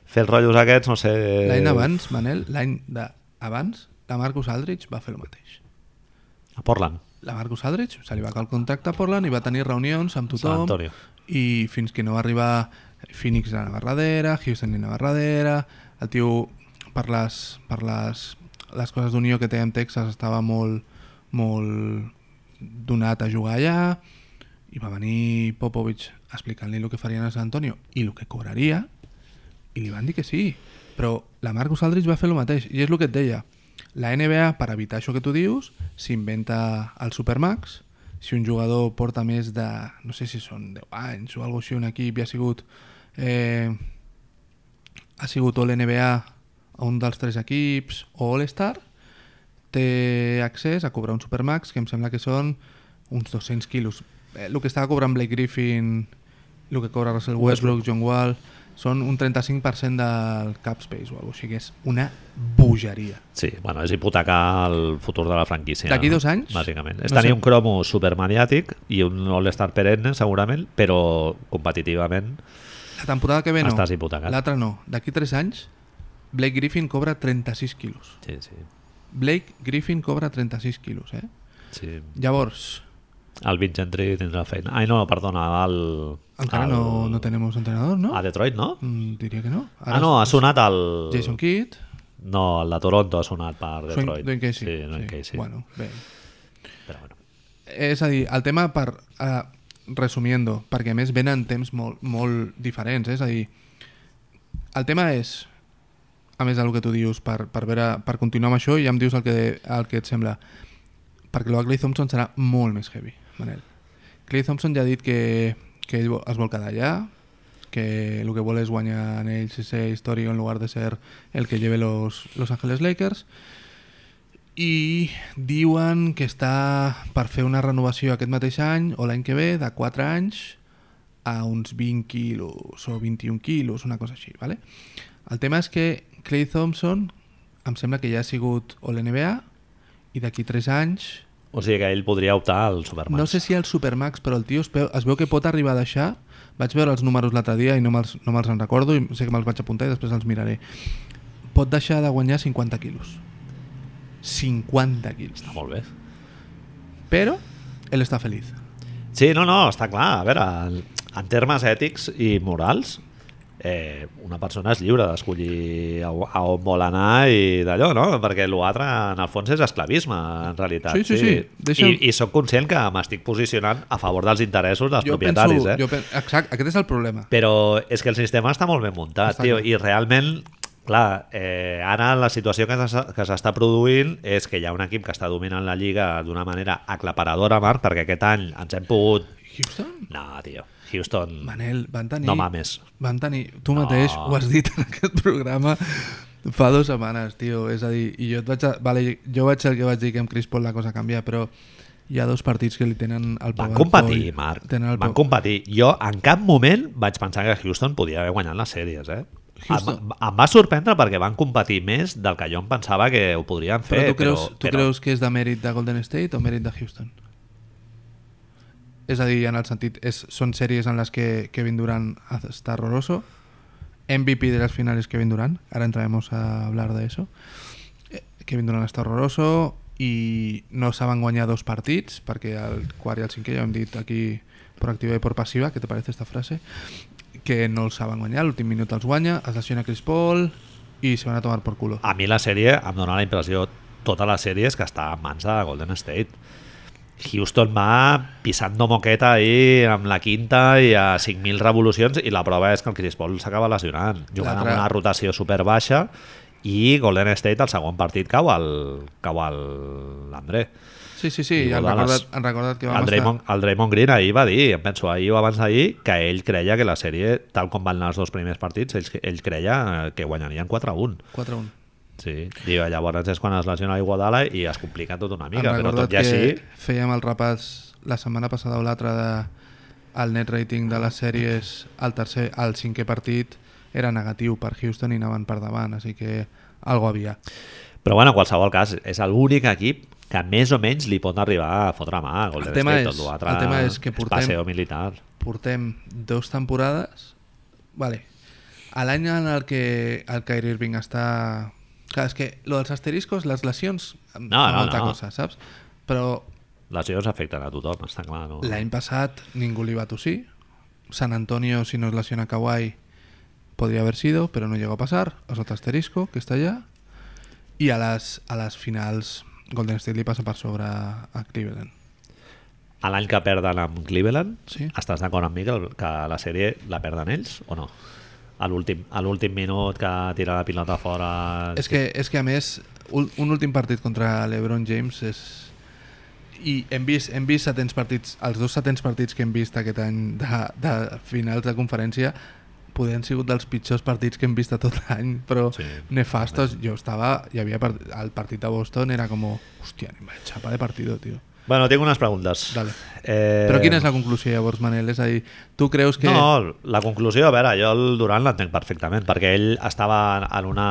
[SPEAKER 1] fer els rotllos aquests, no sé...
[SPEAKER 2] L'any abans, Manel, l'any de- abans, la Marcus Aldrich va fer el mateix.
[SPEAKER 1] A Portland.
[SPEAKER 2] La Marcus Aldrich se li va acabar el contacte a Portland i va tenir reunions
[SPEAKER 1] San
[SPEAKER 2] amb tothom
[SPEAKER 1] Antonio.
[SPEAKER 2] i fins que no va arribar Phoenix a la barradera, Houston a la barradera, el tio per les, per les, les coses d'unió que té amb Texas estava molt, molt donat a jugar allà i va venir Popovich explicant-li el que farien a San Antonio i el que cobraria i li van dir que sí, però la Marcus Aldridge va fer el mateix, i és el que et deia. La NBA, per evitar això que tu dius, s'inventa el Supermax. Si un jugador porta més de, no sé si són 10 anys o alguna així, un equip i ha sigut... Eh, ha sigut o l'NBA a un dels tres equips o All-Star, té accés a cobrar un Supermax, que em sembla que són uns 200 quilos. El que estava cobrant Blake Griffin, el que cobra Russell Westbrook, John Wall, són un 35% del cap space o alguna cosa, així, que és una bogeria.
[SPEAKER 1] Sí, bueno, és hipotecar el futur de la franquícia.
[SPEAKER 2] D'aquí dos anys?
[SPEAKER 1] Bàsicament. És
[SPEAKER 2] No
[SPEAKER 1] tenir
[SPEAKER 2] sé.
[SPEAKER 1] un cromo supermaniàtic i un all-star perenne, segurament, però competitivament
[SPEAKER 2] La temporada que ve no,
[SPEAKER 1] Estàs hipotecat.
[SPEAKER 2] l'altra no. D'aquí 3 anys, Blake Griffin cobra 36 quilos.
[SPEAKER 1] Sí, sí.
[SPEAKER 2] Blake Griffin cobra 36 quilos, eh?
[SPEAKER 1] sí.
[SPEAKER 2] Llavors,
[SPEAKER 1] El Vincent Gentry tindrà feina. Ai, no, perdona, el...
[SPEAKER 2] encara
[SPEAKER 1] el...
[SPEAKER 2] no, no tenemos entrenador, no?
[SPEAKER 1] A Detroit, no?
[SPEAKER 2] Mm, diria que no.
[SPEAKER 1] ah, no, ha sonat el...
[SPEAKER 2] Jason Kidd,
[SPEAKER 1] No, el de Toronto ha sonat per Detroit.
[SPEAKER 2] Swing- Dwayne Casey.
[SPEAKER 1] Sí, Dwayne Casey.
[SPEAKER 2] Bueno, bé.
[SPEAKER 1] Però bueno.
[SPEAKER 2] És a dir, el tema per... Eh, resumiendo, perquè a més venen temps molt, molt diferents, eh? és a dir, el tema és, a més del que tu dius, per, per, veure, per continuar amb això, ja em dius el que, el que et sembla, perquè l'Oakley Thompson serà molt més heavy, Manel. Clay Thompson ja ha dit que, que ell vo- es vol quedar allà, que el que vol és guanyar en el sisè històric en lugar de ser el que lleve los, los Angeles Lakers i diuen que està per fer una renovació aquest mateix any o l'any que ve de 4 anys a uns 20 quilos o 21 quilos, una cosa així, ¿vale? El tema és que Clay Thompson em sembla que ja ha sigut o l'NBA i d'aquí 3 anys
[SPEAKER 1] O sigui que ell podria optar al Superman.
[SPEAKER 2] no sé si el Supermax, però el tio es, veu, es veu que pot arribar a deixar... Vaig veure els números l'altre dia i no me'ls no me en recordo i sé que me'ls vaig apuntar i després els miraré. Pot deixar de guanyar 50 quilos. 50 quilos.
[SPEAKER 1] Està Ah, molt bé.
[SPEAKER 2] Però ell està feliç.
[SPEAKER 1] Sí, no, no, està clar. A veure, en- en termes ètics i morals, eh, una persona és lliure d'escollir a, a on vol anar i d'allò, no? Perquè l'altre, en el fons, és esclavisme, en realitat.
[SPEAKER 2] Sí, sí, sí. Deixa'm-
[SPEAKER 1] I, I sóc conscient que m'estic posicionant a favor dels interessos dels
[SPEAKER 2] penso,
[SPEAKER 1] propietaris, eh?
[SPEAKER 2] jo pen... Exacte, aquest és el problema.
[SPEAKER 1] Però és que el sistema està molt ben muntat,
[SPEAKER 2] Està
[SPEAKER 1] tio,
[SPEAKER 2] clar.
[SPEAKER 1] i realment, clar, eh, ara la situació que s'ha- que s'està produint és que hi ha un equip que està dominant la Lliga d'una manera aclaparadora, Marc, perquè aquest any ens hem pogut...
[SPEAKER 2] Houston?
[SPEAKER 1] No, tio, Houston...
[SPEAKER 2] Manel, van tenir...
[SPEAKER 1] No mames.
[SPEAKER 2] Van tenir... Tu mateix ho has dit en aquest programa fa dues setmanes, tio. És a dir, i jo, et vaig a... vale, jo vaig ser el que vaig dir que amb Chris Paul la cosa canvia, però hi ha dos partits que li tenen el
[SPEAKER 1] Van
[SPEAKER 2] al
[SPEAKER 1] competir,
[SPEAKER 2] coll.
[SPEAKER 1] Marc.
[SPEAKER 2] Tenen el
[SPEAKER 1] Van
[SPEAKER 2] peu-
[SPEAKER 1] competir. Jo en cap moment vaig pensar que Houston podia haver guanyat les sèries, eh?
[SPEAKER 2] Houston.
[SPEAKER 1] Em, em va sorprendre perquè van competir més del que jo em pensava que ho podrien fer.
[SPEAKER 2] Però tu creus,
[SPEAKER 1] però,
[SPEAKER 2] tu
[SPEAKER 1] però-
[SPEAKER 2] creus que és de mèrit de Golden State o mèrit de Houston? És a dir, en el sentit, és, són sèries en les que Kevin Durant està horroroso, MVP de les finales Kevin Durant, ahora entraremos a hablar de eso. Eh, Kevin Durant està horroroso i no saben guanyar dos partits, perquè el quart i el cinquè ja ho hem dit aquí per activa i per passiva, què te parece esta frase? Que no els saben guanyar, l'últim minut els guanya, es lesiona Chris Paul i se van a tomar por culo.
[SPEAKER 1] a mi la sèrie em dóna la impressió tota la sèrie és que està en mans de Golden State Houston va pisando moqueta ahí amb la quinta i a 5.000 revolucions i la prova és que el Chris Paul s'acaba lesionant jugant amb
[SPEAKER 2] L'altre-
[SPEAKER 1] una rotació super baixa i Golden State al segon partit cau al, cau al l'André
[SPEAKER 2] Sí, sí,
[SPEAKER 1] I
[SPEAKER 2] sí, han
[SPEAKER 1] Dallas.
[SPEAKER 2] recordat, han recordat que vam
[SPEAKER 1] el Draymond,
[SPEAKER 2] estar...
[SPEAKER 1] el Draymond Green ahir va dir, em penso ahir o abans d'ahir que ell creia que la sèrie, tal com van anar els dos primers partits, ell, ell creia que guanyarien 4-1
[SPEAKER 2] 4-1.
[SPEAKER 1] Sí, diu, llavors és quan es lesiona Iguadala i es complica tot una
[SPEAKER 2] Han
[SPEAKER 1] mica, però
[SPEAKER 2] recordat
[SPEAKER 1] tot i
[SPEAKER 2] que
[SPEAKER 1] així...
[SPEAKER 2] fèiem el repàs la setmana passada o l'altra de el net rating de les sèries al tercer, al cinquè partit era negatiu per Houston i anaven per davant, així que algo havia.
[SPEAKER 1] Però bueno, en qualsevol cas, és l'únic equip que més o menys li pot arribar a fotre mà a Golden
[SPEAKER 2] El tema
[SPEAKER 1] State,
[SPEAKER 2] és-
[SPEAKER 1] tot l'altre
[SPEAKER 2] el tema és que portem-
[SPEAKER 1] paseo militar.
[SPEAKER 2] Portem dos temporades... Vale. A l'any en el que el Kyrie Irving està... Clar, és que lo dels asteriscos, les lesions, em
[SPEAKER 1] No,
[SPEAKER 2] fa
[SPEAKER 1] no,
[SPEAKER 2] molta
[SPEAKER 1] no.
[SPEAKER 2] cosa, saps? Però
[SPEAKER 1] Les lesions afecten a tothom, està clar. No?
[SPEAKER 2] L'any passat ningú li va tossir. San Antonio, si no es lesiona Kawhi, podría haber sido, pero no llegó a pasar. Es otro asterisco que está allá. Y a las, a las finals Golden State le pasa por sobre a Cleveland.
[SPEAKER 1] A l'any que perden amb Cleveland,
[SPEAKER 2] Sí.
[SPEAKER 1] estàs d'acord amb mi que, el- que la sèrie la perden ells o no? A l'últim a l'últim minut que tira la pilota fora...
[SPEAKER 2] És que, és que a més, ul- un últim partit contra l'Ebron James és... I hem vist, hem vist setents partits, els dos setents partits que hem vist aquest any de, de finals de conferència poder han sigut dels pitjors partits que hem vist de tot l'any, però
[SPEAKER 1] Sí.
[SPEAKER 2] sí, nefastos. Jo estava... Hi havia part, el partit de Boston era com... Hòstia, anem a xapa de partido, tio.
[SPEAKER 1] Bueno, tinc unes preguntes.
[SPEAKER 2] Dale.
[SPEAKER 1] Eh...
[SPEAKER 2] Però quina és la conclusió llavors, Manel? És a dir, tu creus que...
[SPEAKER 1] No, la conclusió, a veure, jo el Durant l'entenc perfectament, perquè ell estava en una,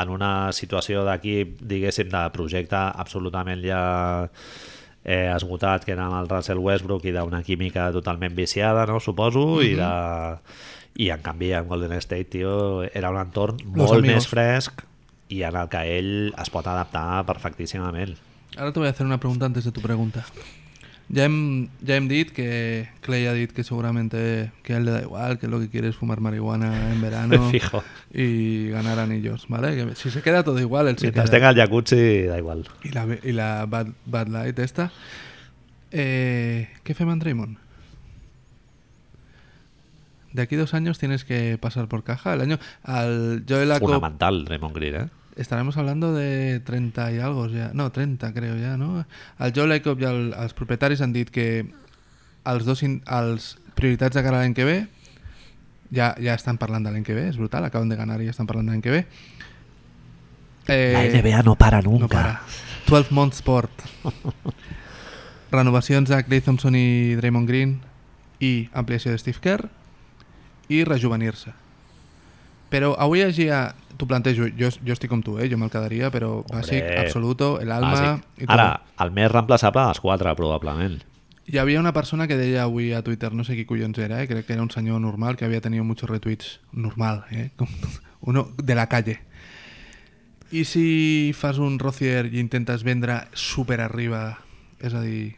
[SPEAKER 1] en una situació d'equip, diguéssim, de projecte absolutament ja eh, esgotat, que era amb el Russell Westbrook i d'una química totalment viciada, no, suposo, mm -hmm.
[SPEAKER 2] Mhm.
[SPEAKER 1] i de... I en canvi, en Golden State, tio, era un entorn
[SPEAKER 2] Los
[SPEAKER 1] molt
[SPEAKER 2] amigos.
[SPEAKER 1] més fresc i en el que ell es pot adaptar perfectíssimament.
[SPEAKER 2] Ahora te voy a hacer una pregunta antes de tu pregunta. Ya hem, ya hem dit que Clay ha dit que seguramente que a él le da igual, que lo que quiere es fumar marihuana
[SPEAKER 1] [laughs]
[SPEAKER 2] en verano
[SPEAKER 1] Fijo.
[SPEAKER 2] y ganar anillos, ¿vale? Que si se queda todo igual, él se
[SPEAKER 1] Mientras
[SPEAKER 2] queda.
[SPEAKER 1] tenga el jacuzzi, da igual.
[SPEAKER 2] Y la, be- y la bad, bad Light esta. Eh, ¿Qué fue Draymond? De aquí dos años tienes que pasar por caja. El año al Joel Acop-
[SPEAKER 1] Fonamental, Raymond Green, eh?
[SPEAKER 2] Estaremos hablando de 30 y algo ya. No, 30 creo ya, no? El Joe Lycop i el, els propietaris han dit que els dos in, els prioritats de cara a l'any que ve ja, ja estan parlant de l'any que ve, és brutal, acaben de ganar i ja estan parlant de l'any que ve. Eh,
[SPEAKER 1] La NBA no para nunca.
[SPEAKER 2] no para. 12 Month Sport. Renovacions de Clay Thompson i Draymond Green i ampliació de Steve Kerr i rejuvenir-se. Però avui llegia... T'ho plantejo, jo, jo estic com tu, eh? jo me'l quedaria, però bàsic, absoluto, el alma...
[SPEAKER 1] Bàsic.
[SPEAKER 2] i tot.
[SPEAKER 1] Ah, Ara, el més reemplaçable a les 4, probablement.
[SPEAKER 2] Hi havia una persona que deia avui a Twitter, no sé qui collons era, eh? crec que era un senyor normal que havia tenido muchos retweets, normal, eh? Com [laughs] uno de la calle. I si fas un Rocier i intentes vendre super arriba, és a dir,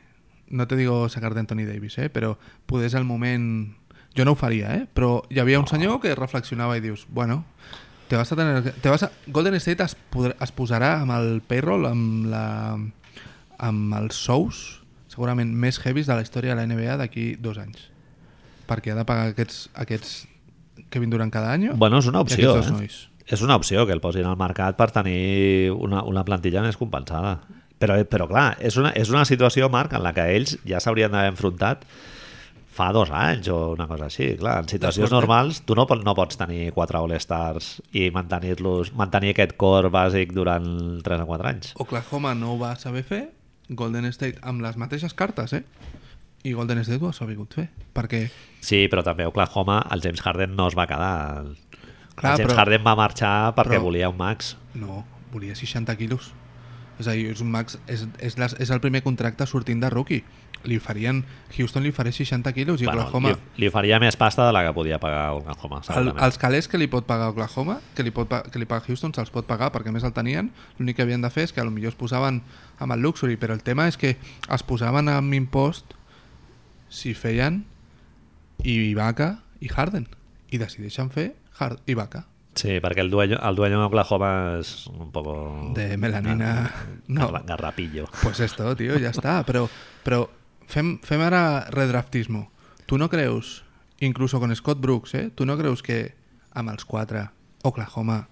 [SPEAKER 2] no te digo sacar d'Anthony Davis, eh? però podés al moment... Jo no ho faria, eh? però hi havia un senyor que reflexionava i dius, bueno, te vas a tener... Te vas a... Golden State es, podrà, es posarà amb el payroll, amb, la, amb els sous, segurament més heavies de la història de la NBA d'aquí dos anys. Perquè ha de pagar aquests, aquests Kevin Durant cada any.
[SPEAKER 1] Bueno, és una
[SPEAKER 2] i
[SPEAKER 1] opció,
[SPEAKER 2] aquests
[SPEAKER 1] eh?
[SPEAKER 2] dos nois.
[SPEAKER 1] És una opció que el posin al mercat per tenir una, una plantilla més compensada. Però, però clar, és una, és una situació, Marc, en la que ells ja s'haurien d'haver enfrontat fa dos anys o una cosa així. Clar, en situacions
[SPEAKER 2] D'acord, eh?
[SPEAKER 1] normals tu no, pot- no pots tenir quatre All-Stars i mantenir-los mantenir aquest cor bàsic durant 3 o 4 anys.
[SPEAKER 2] Oklahoma no ho va saber fer, Golden State amb les mateixes cartes, eh? I Golden State ho ha sabut fer, perquè...
[SPEAKER 1] Sí, però també a Oklahoma el James Harden no es va quedar. Clar, el
[SPEAKER 2] Clar,
[SPEAKER 1] James
[SPEAKER 2] però-
[SPEAKER 1] però, Harden va marxar perquè
[SPEAKER 2] però-
[SPEAKER 1] volia un max.
[SPEAKER 2] No, volia 60 quilos. És a dir, és un max, és, és, les, és el primer contracte sortint de rookie. Li farien, Houston li faré 60 quilos i
[SPEAKER 1] Bueno,
[SPEAKER 2] Oklahoma...
[SPEAKER 1] li, li faria més pasta de la que podia pagar Oklahoma,
[SPEAKER 2] El,
[SPEAKER 1] segurament.
[SPEAKER 2] els calés que li pot pagar Oklahoma, que li, pot, pa- que li paga Houston, se'ls pot pagar perquè a més el tenien. L'únic que havien de fer és que a lo millor es posaven amb el luxury, però el tema és que es posaven amb impost si feien Ibaka i Harden. I decideixen fer Hard Ibaka.
[SPEAKER 1] Sí, perquè el dueño, el dueño de Oklahoma és un poco...
[SPEAKER 2] De melanina.
[SPEAKER 1] No.
[SPEAKER 2] No.
[SPEAKER 1] Garrapillo.
[SPEAKER 2] Pues esto, tio, ja està. Però, però fem, fem ara redraftismo. Tu no creus, incluso con Scott Brooks, eh? tu no creus que amb els quatre Oklahoma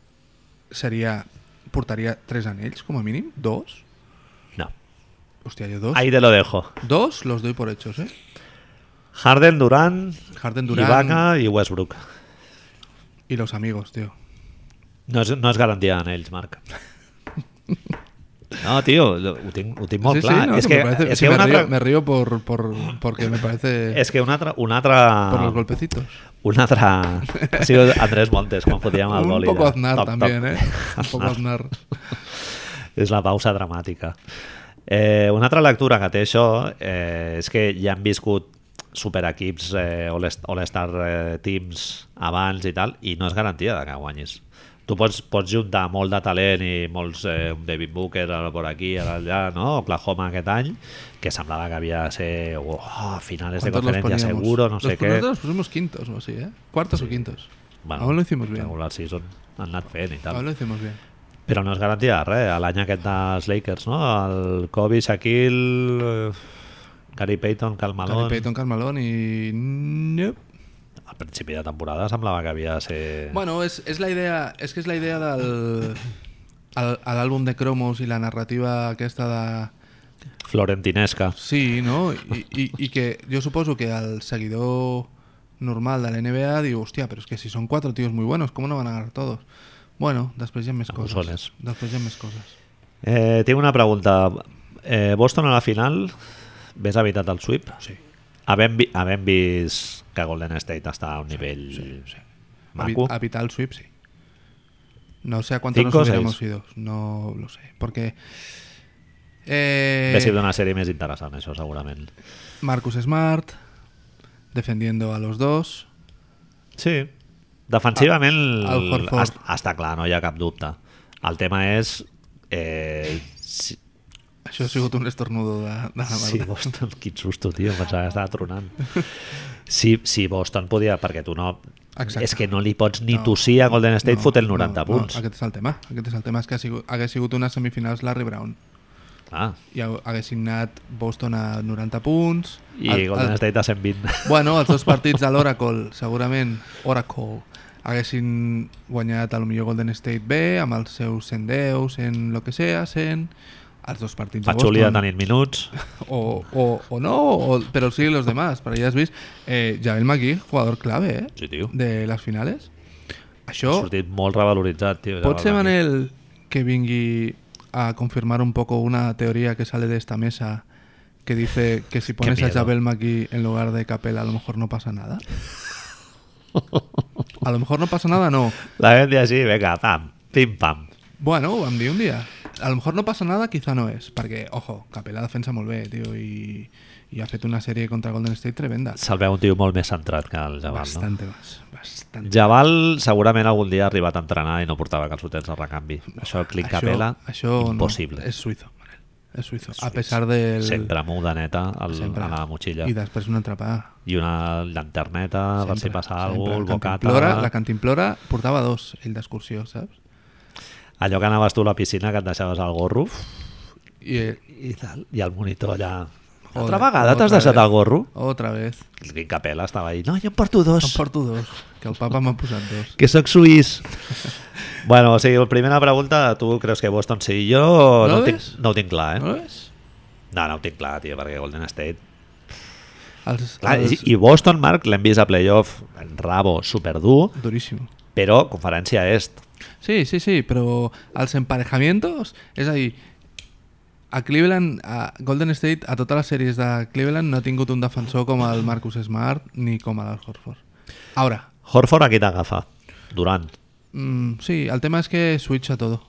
[SPEAKER 2] seria portaria tres anells, com a mínim? Dos?
[SPEAKER 1] No.
[SPEAKER 2] Hòstia, jo dos?
[SPEAKER 1] Ahí te lo dejo.
[SPEAKER 2] Dos los doy por hechos, eh?
[SPEAKER 1] Harden, Durant,
[SPEAKER 2] Harden, Durant
[SPEAKER 1] Ibaka i Westbrook.
[SPEAKER 2] y los amigos, tío. [laughs]
[SPEAKER 1] No és, no és garantia en ells, Marc. No, tío, lo, ho, tinc, ho tinc molt
[SPEAKER 2] sí,
[SPEAKER 1] clar.
[SPEAKER 2] sí, no,
[SPEAKER 1] és
[SPEAKER 2] que
[SPEAKER 1] que,
[SPEAKER 2] me parece-
[SPEAKER 1] és
[SPEAKER 2] sí,
[SPEAKER 1] que
[SPEAKER 2] me,
[SPEAKER 1] un altre...
[SPEAKER 2] río, me río por, por, porque me parece
[SPEAKER 1] És que un altre... Un altre...
[SPEAKER 2] por los golpecitos.
[SPEAKER 1] Un altre... Ha sigut Andrés Montes, quan fotíem el
[SPEAKER 2] Un
[SPEAKER 1] boli.
[SPEAKER 2] poco
[SPEAKER 1] de-
[SPEAKER 2] Aznar
[SPEAKER 1] toc, toc.
[SPEAKER 2] también, ¿eh? Un
[SPEAKER 1] [laughs]
[SPEAKER 2] poco Aznar.
[SPEAKER 1] És la pausa dramàtica. Eh, una altra lectura que té això eh, és que ja han viscut superequips, eh, All-Star All -Star, eh, teams abans i tal, i no és garantia de que guanyis. Tu pots, pots juntar molt de talent i molts, eh, un David Booker ara per aquí, ara allà, no? Oklahoma aquest any, que semblava que havia de ser oh, finales de
[SPEAKER 2] ¿Cuántos los
[SPEAKER 1] conferència
[SPEAKER 2] poníamos?
[SPEAKER 1] seguro, no
[SPEAKER 2] los,
[SPEAKER 1] sé què.
[SPEAKER 2] nosotros los pusimos quintos o así, ¿eh? Cuartos o quintos. Aún lo hicimos bien.
[SPEAKER 1] Regular season han anat fent i tal.
[SPEAKER 2] Aún lo hicimos bien.
[SPEAKER 1] Però no és garantia de res. L'any aquest dels Lakers, no? El Kobe, Shaquille, eh, Gary Payton, Karl
[SPEAKER 2] Gary
[SPEAKER 1] Malone...
[SPEAKER 2] Payton, Carmalón y... Nope.
[SPEAKER 1] Al principi de temporada semblava que havia de ser...
[SPEAKER 2] Bueno, es, es la idea, és que és la idea del al, a l'àlbum de cromos i la narrativa aquesta de...
[SPEAKER 1] Florentinesca.
[SPEAKER 2] Sí, no? I, i, i que jo suposo que el seguidor normal de la NBA diu, hòstia, però és que si són quatre tíos muy buenos, com no van a ganar todos? Bueno, després hi ha més coses.
[SPEAKER 1] Abusones.
[SPEAKER 2] Després hi ha més coses.
[SPEAKER 1] Eh, tinc una pregunta. Eh, Boston a la final, vés evitat el sweep?
[SPEAKER 2] Sí.
[SPEAKER 1] Havent, vi havent vist que Golden State està a un nivell maco?
[SPEAKER 2] A Vital Sweep, sí. No sé a cuántos
[SPEAKER 1] Cinco o
[SPEAKER 2] nos hubiéramos
[SPEAKER 1] seis.
[SPEAKER 2] ido. No lo sé. Porque... Eh,
[SPEAKER 1] Hauria sigut una sèrie més interessant, això, segurament.
[SPEAKER 2] Marcus Smart defendiendo a los dos.
[SPEAKER 1] Sí. Defensivament
[SPEAKER 2] El- el Horford.
[SPEAKER 1] es- està clar, no hi ha cap dubte. El tema és eh, si,
[SPEAKER 2] Això ha sigut un estornudo de, de la
[SPEAKER 1] si
[SPEAKER 2] Marta.
[SPEAKER 1] Boston... Quin susto, tio, em pensava que estava tronant. Si, si Boston podia... Perquè tu no...
[SPEAKER 2] Exacte.
[SPEAKER 1] És que no li pots ni tossir a Golden State no, fotent 90
[SPEAKER 2] no,
[SPEAKER 1] punts.
[SPEAKER 2] No, aquest és el tema. Aquest és el tema. És que ha sigut, hagués sigut unes semifinals Larry Brown.
[SPEAKER 1] Ah,
[SPEAKER 2] I hau- haguessin anat Boston a 90 punts.
[SPEAKER 1] I Golden State a 120.
[SPEAKER 2] Bueno, els dos partits de l'Oracle, segurament, Oracle, haguessin guanyat a lo millor Golden State B amb els seus 110, 100, lo que sea, 100, els dos partits
[SPEAKER 1] [laughs]
[SPEAKER 2] de
[SPEAKER 1] Patxuli ha
[SPEAKER 2] Boston.
[SPEAKER 1] tenint minuts.
[SPEAKER 2] O, o, o no, o- pero sí los demás. Pero ya has visto, eh, Javel McGee, jugador clave eh,
[SPEAKER 1] Sí, tio.
[SPEAKER 2] de las finales.
[SPEAKER 1] Ha
[SPEAKER 2] Això
[SPEAKER 1] sortit molt revaloritzat, tio.
[SPEAKER 2] pot ser, Manel, que vingui a confirmar un poco una teoría que sale de esta mesa que dice
[SPEAKER 1] [laughs]
[SPEAKER 2] que si pones a
[SPEAKER 1] miedo.
[SPEAKER 2] Javel McGee en lugar de Capela a lo mejor no pasa nada. A lo mejor no pasa nada, no.
[SPEAKER 1] La vam dir així, vinga, pam, pim-pam.
[SPEAKER 2] Bueno, ho vam dir un dia. A lo mejor no pasa nada, quizá no es, perquè, ojo, Capela defensa molt bé, tio, i, i ha fet una sèrie contra Golden State tremenda.
[SPEAKER 1] Se'l veu un tio molt més centrat que el Jabal, no?
[SPEAKER 2] Bastante más, bastante.
[SPEAKER 1] Jabal segurament algun dia ha arribat a entrenar i no portava calçotets de recanvi. Això, Clint Capela, impossible.
[SPEAKER 2] No, és suizo, Manel. És suizo. A pesar del...
[SPEAKER 1] Sempre amb una neta al,
[SPEAKER 2] Sempre.
[SPEAKER 1] a la motxilla. Ah,
[SPEAKER 2] I després una atrapada.
[SPEAKER 1] I una lanterneta, per si passa alguna cosa, el
[SPEAKER 2] Cantimplora,
[SPEAKER 1] bocata...
[SPEAKER 2] la cantimplora portava dos, ell d'excursió, saps?
[SPEAKER 1] Allò que anaves tu a la piscina, que et deixaves el gorro,
[SPEAKER 2] I, eh,
[SPEAKER 1] i, tal, i el monitor allà...
[SPEAKER 2] Joder,
[SPEAKER 1] Altra vegada t'has
[SPEAKER 2] otra
[SPEAKER 1] deixat
[SPEAKER 2] vez.
[SPEAKER 1] el gorro?
[SPEAKER 2] otra vez.
[SPEAKER 1] El Clint Capela estava ahí, no, jo en porto dos.
[SPEAKER 2] Em porto dos, que el papa m'ha posat dos.
[SPEAKER 1] que sóc suís. bueno, o sigui, primera pregunta, tu creus que Boston sí? Jo
[SPEAKER 2] No
[SPEAKER 1] no,
[SPEAKER 2] ho
[SPEAKER 1] ho, tinc,
[SPEAKER 2] ves?
[SPEAKER 1] no ho tinc clar, eh?
[SPEAKER 2] No és?
[SPEAKER 1] No, no ho tinc clar, tio, perquè Golden State...
[SPEAKER 2] Els,
[SPEAKER 1] Clar,
[SPEAKER 2] els...
[SPEAKER 1] i, Ah, I Boston, Marc, l'hem vist a playoff en rabo superdur,
[SPEAKER 2] Durísimo.
[SPEAKER 1] però conferència est.
[SPEAKER 2] Sí, sí, sí, pero a los emparejamientos es ahí. A Cleveland, a Golden State, a todas las series de Cleveland no ha tingut un defensor com el Marcus Smart ni com el Horford. Ahora,
[SPEAKER 1] Horford aquí t'agafa, Durant.
[SPEAKER 2] mm, sí, el tema es que switcha todo.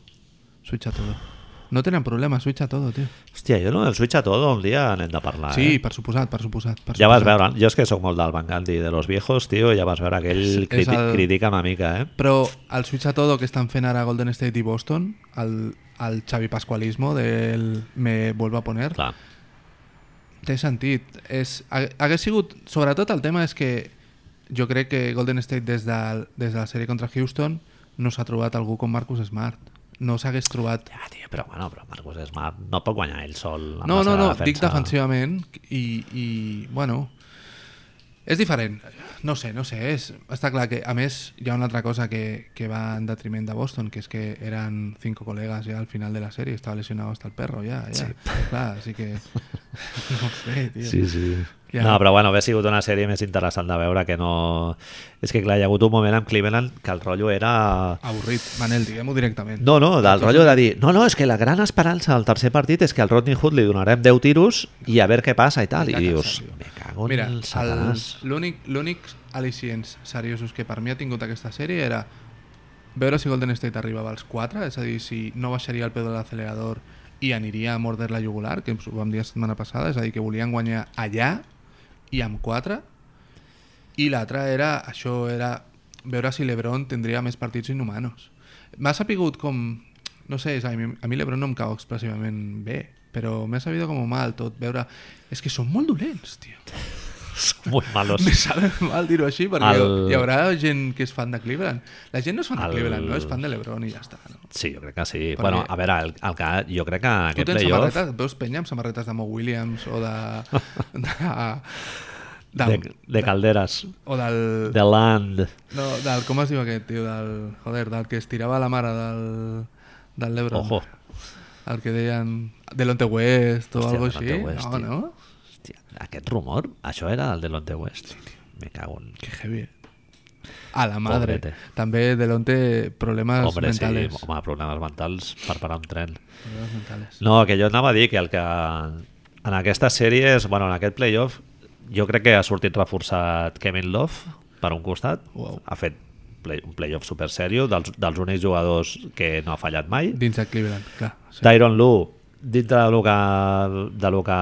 [SPEAKER 2] Switcha todo. No tenen problema, switcha todo, tío.
[SPEAKER 1] Hòstia, jo no el switch a todo un dia n'hem de parlar, eh?
[SPEAKER 2] sí, per suposat, per suposat. Per
[SPEAKER 1] Ja vas
[SPEAKER 2] suposat.
[SPEAKER 1] veure, jo és que sóc molt del Van Gandhi, de los viejos, tio, ja vas veure que ell
[SPEAKER 2] és
[SPEAKER 1] criti
[SPEAKER 2] el-
[SPEAKER 1] critica una mica, eh?
[SPEAKER 2] Però el switch a todo que estan fent ara Golden State i Boston, el, el Xavi Pascualismo del me vuelvo a poner,
[SPEAKER 1] Clar.
[SPEAKER 2] Té sentit. És, ha- hagués sigut... Sobretot el tema és que jo crec que Golden State des de, des de la sèrie contra Houston no s'ha trobat algú com Marcus Smart. No s'hagués trobat...
[SPEAKER 1] Ja, tio, però bueno, però Marcus Smart no pot guanyar ell sol. amb
[SPEAKER 2] No,
[SPEAKER 1] la
[SPEAKER 2] no,
[SPEAKER 1] seva
[SPEAKER 2] no,
[SPEAKER 1] defensa.
[SPEAKER 2] dic defensivament i, i bueno... És diferent. No ho sé, no ho sé. És, està clar que, a més, hi ha una altra cosa que, que va en detriment de Boston, que és que eren cinco col·legues ja al final de la sèrie, estava lesionado hasta el perro ja, ja.
[SPEAKER 1] Sí.
[SPEAKER 2] Clar, així que... [laughs] No ho sé, tio.
[SPEAKER 1] Sí, sí.
[SPEAKER 2] Ja.
[SPEAKER 1] No, però bueno, hauria sigut una sèrie més interessant de veure que no... És que clar, hi ha hagut un moment amb Cleveland que el rotllo era...
[SPEAKER 2] Avorrit, Manel, diguem-ho directament.
[SPEAKER 1] No, no, del rotllo de dir, no, no, és que la gran esperança del tercer partit és que al Rodney Hood li donarem 10 tiros i a veure què passa i tal. I
[SPEAKER 2] Me cago en
[SPEAKER 1] dius,
[SPEAKER 2] Satanàs.
[SPEAKER 1] me cago en
[SPEAKER 2] Mira,
[SPEAKER 1] el
[SPEAKER 2] el- [laughs]
[SPEAKER 1] satanàs.
[SPEAKER 2] l'únic l'únic al·licients seriosos que per mi ha tingut aquesta sèrie era veure si Golden State arribava als 4, és a dir, si no baixaria el peu de l'acelerador i aniria a morder la jugular, que ens ho vam dir la setmana passada, és a dir, que volien guanyar allà i amb 4. I l'altra era, això era veure si l'Ebron tindria més partits inhumanos. M'ha sapigut com... No sé, és a mi, a mi l'Ebron no em cau expressivament bé, però m'ha sabido com mal tot veure... És que són molt dolents, tio.
[SPEAKER 1] Són molt malos.
[SPEAKER 2] Me sabe mal dir-ho així, perquè
[SPEAKER 1] El-
[SPEAKER 2] hi haurà gent que és fan de Cleveland. La gent no és fan
[SPEAKER 1] El-
[SPEAKER 2] de Cleveland, no? És fan de l'Ebron i ja està, no?
[SPEAKER 1] Sí, jo crec que sí.
[SPEAKER 2] Per
[SPEAKER 1] bueno,
[SPEAKER 2] mi-
[SPEAKER 1] a veure, el, el que, jo crec que aquest
[SPEAKER 2] Tu tens
[SPEAKER 1] playoff...
[SPEAKER 2] samarretes, et veus penya amb samarretes de Mo Williams o
[SPEAKER 1] [laughs]
[SPEAKER 2] de... de, de,
[SPEAKER 1] De, de Calderas,
[SPEAKER 2] o del,
[SPEAKER 1] de Land...
[SPEAKER 2] no, del... Com es diu aquest, tio? Del, joder, del que es tirava la mare del, del l'Ebron.
[SPEAKER 1] Ojo.
[SPEAKER 2] El que deien... De l'Onte West o
[SPEAKER 1] Hòstia,
[SPEAKER 2] algo
[SPEAKER 1] Delonte
[SPEAKER 2] així.
[SPEAKER 1] West,
[SPEAKER 2] no,
[SPEAKER 1] tio.
[SPEAKER 2] no?
[SPEAKER 1] Hòstia, aquest rumor, això era el de Lonte West. Me cago en...
[SPEAKER 2] Que heavy. A la madre.
[SPEAKER 1] Pobrete.
[SPEAKER 2] També Delonte problemes
[SPEAKER 1] Hombre,
[SPEAKER 2] mentales.
[SPEAKER 1] sí, home, problemes mentals per parar un tren.
[SPEAKER 2] Problemes mentales.
[SPEAKER 1] No, que jo anava a dir que el que en aquestes sèries, bueno, en aquest playoff, jo crec que ha sortit reforçat Kevin Love per un costat.
[SPEAKER 2] Uau.
[SPEAKER 1] Ha fet play, un playoff super sèrio dels, dels únics jugadors que no ha fallat mai.
[SPEAKER 2] Dins de Cleveland, clar. Sí.
[SPEAKER 1] Tyron Lu, dintre de lo que, de lo que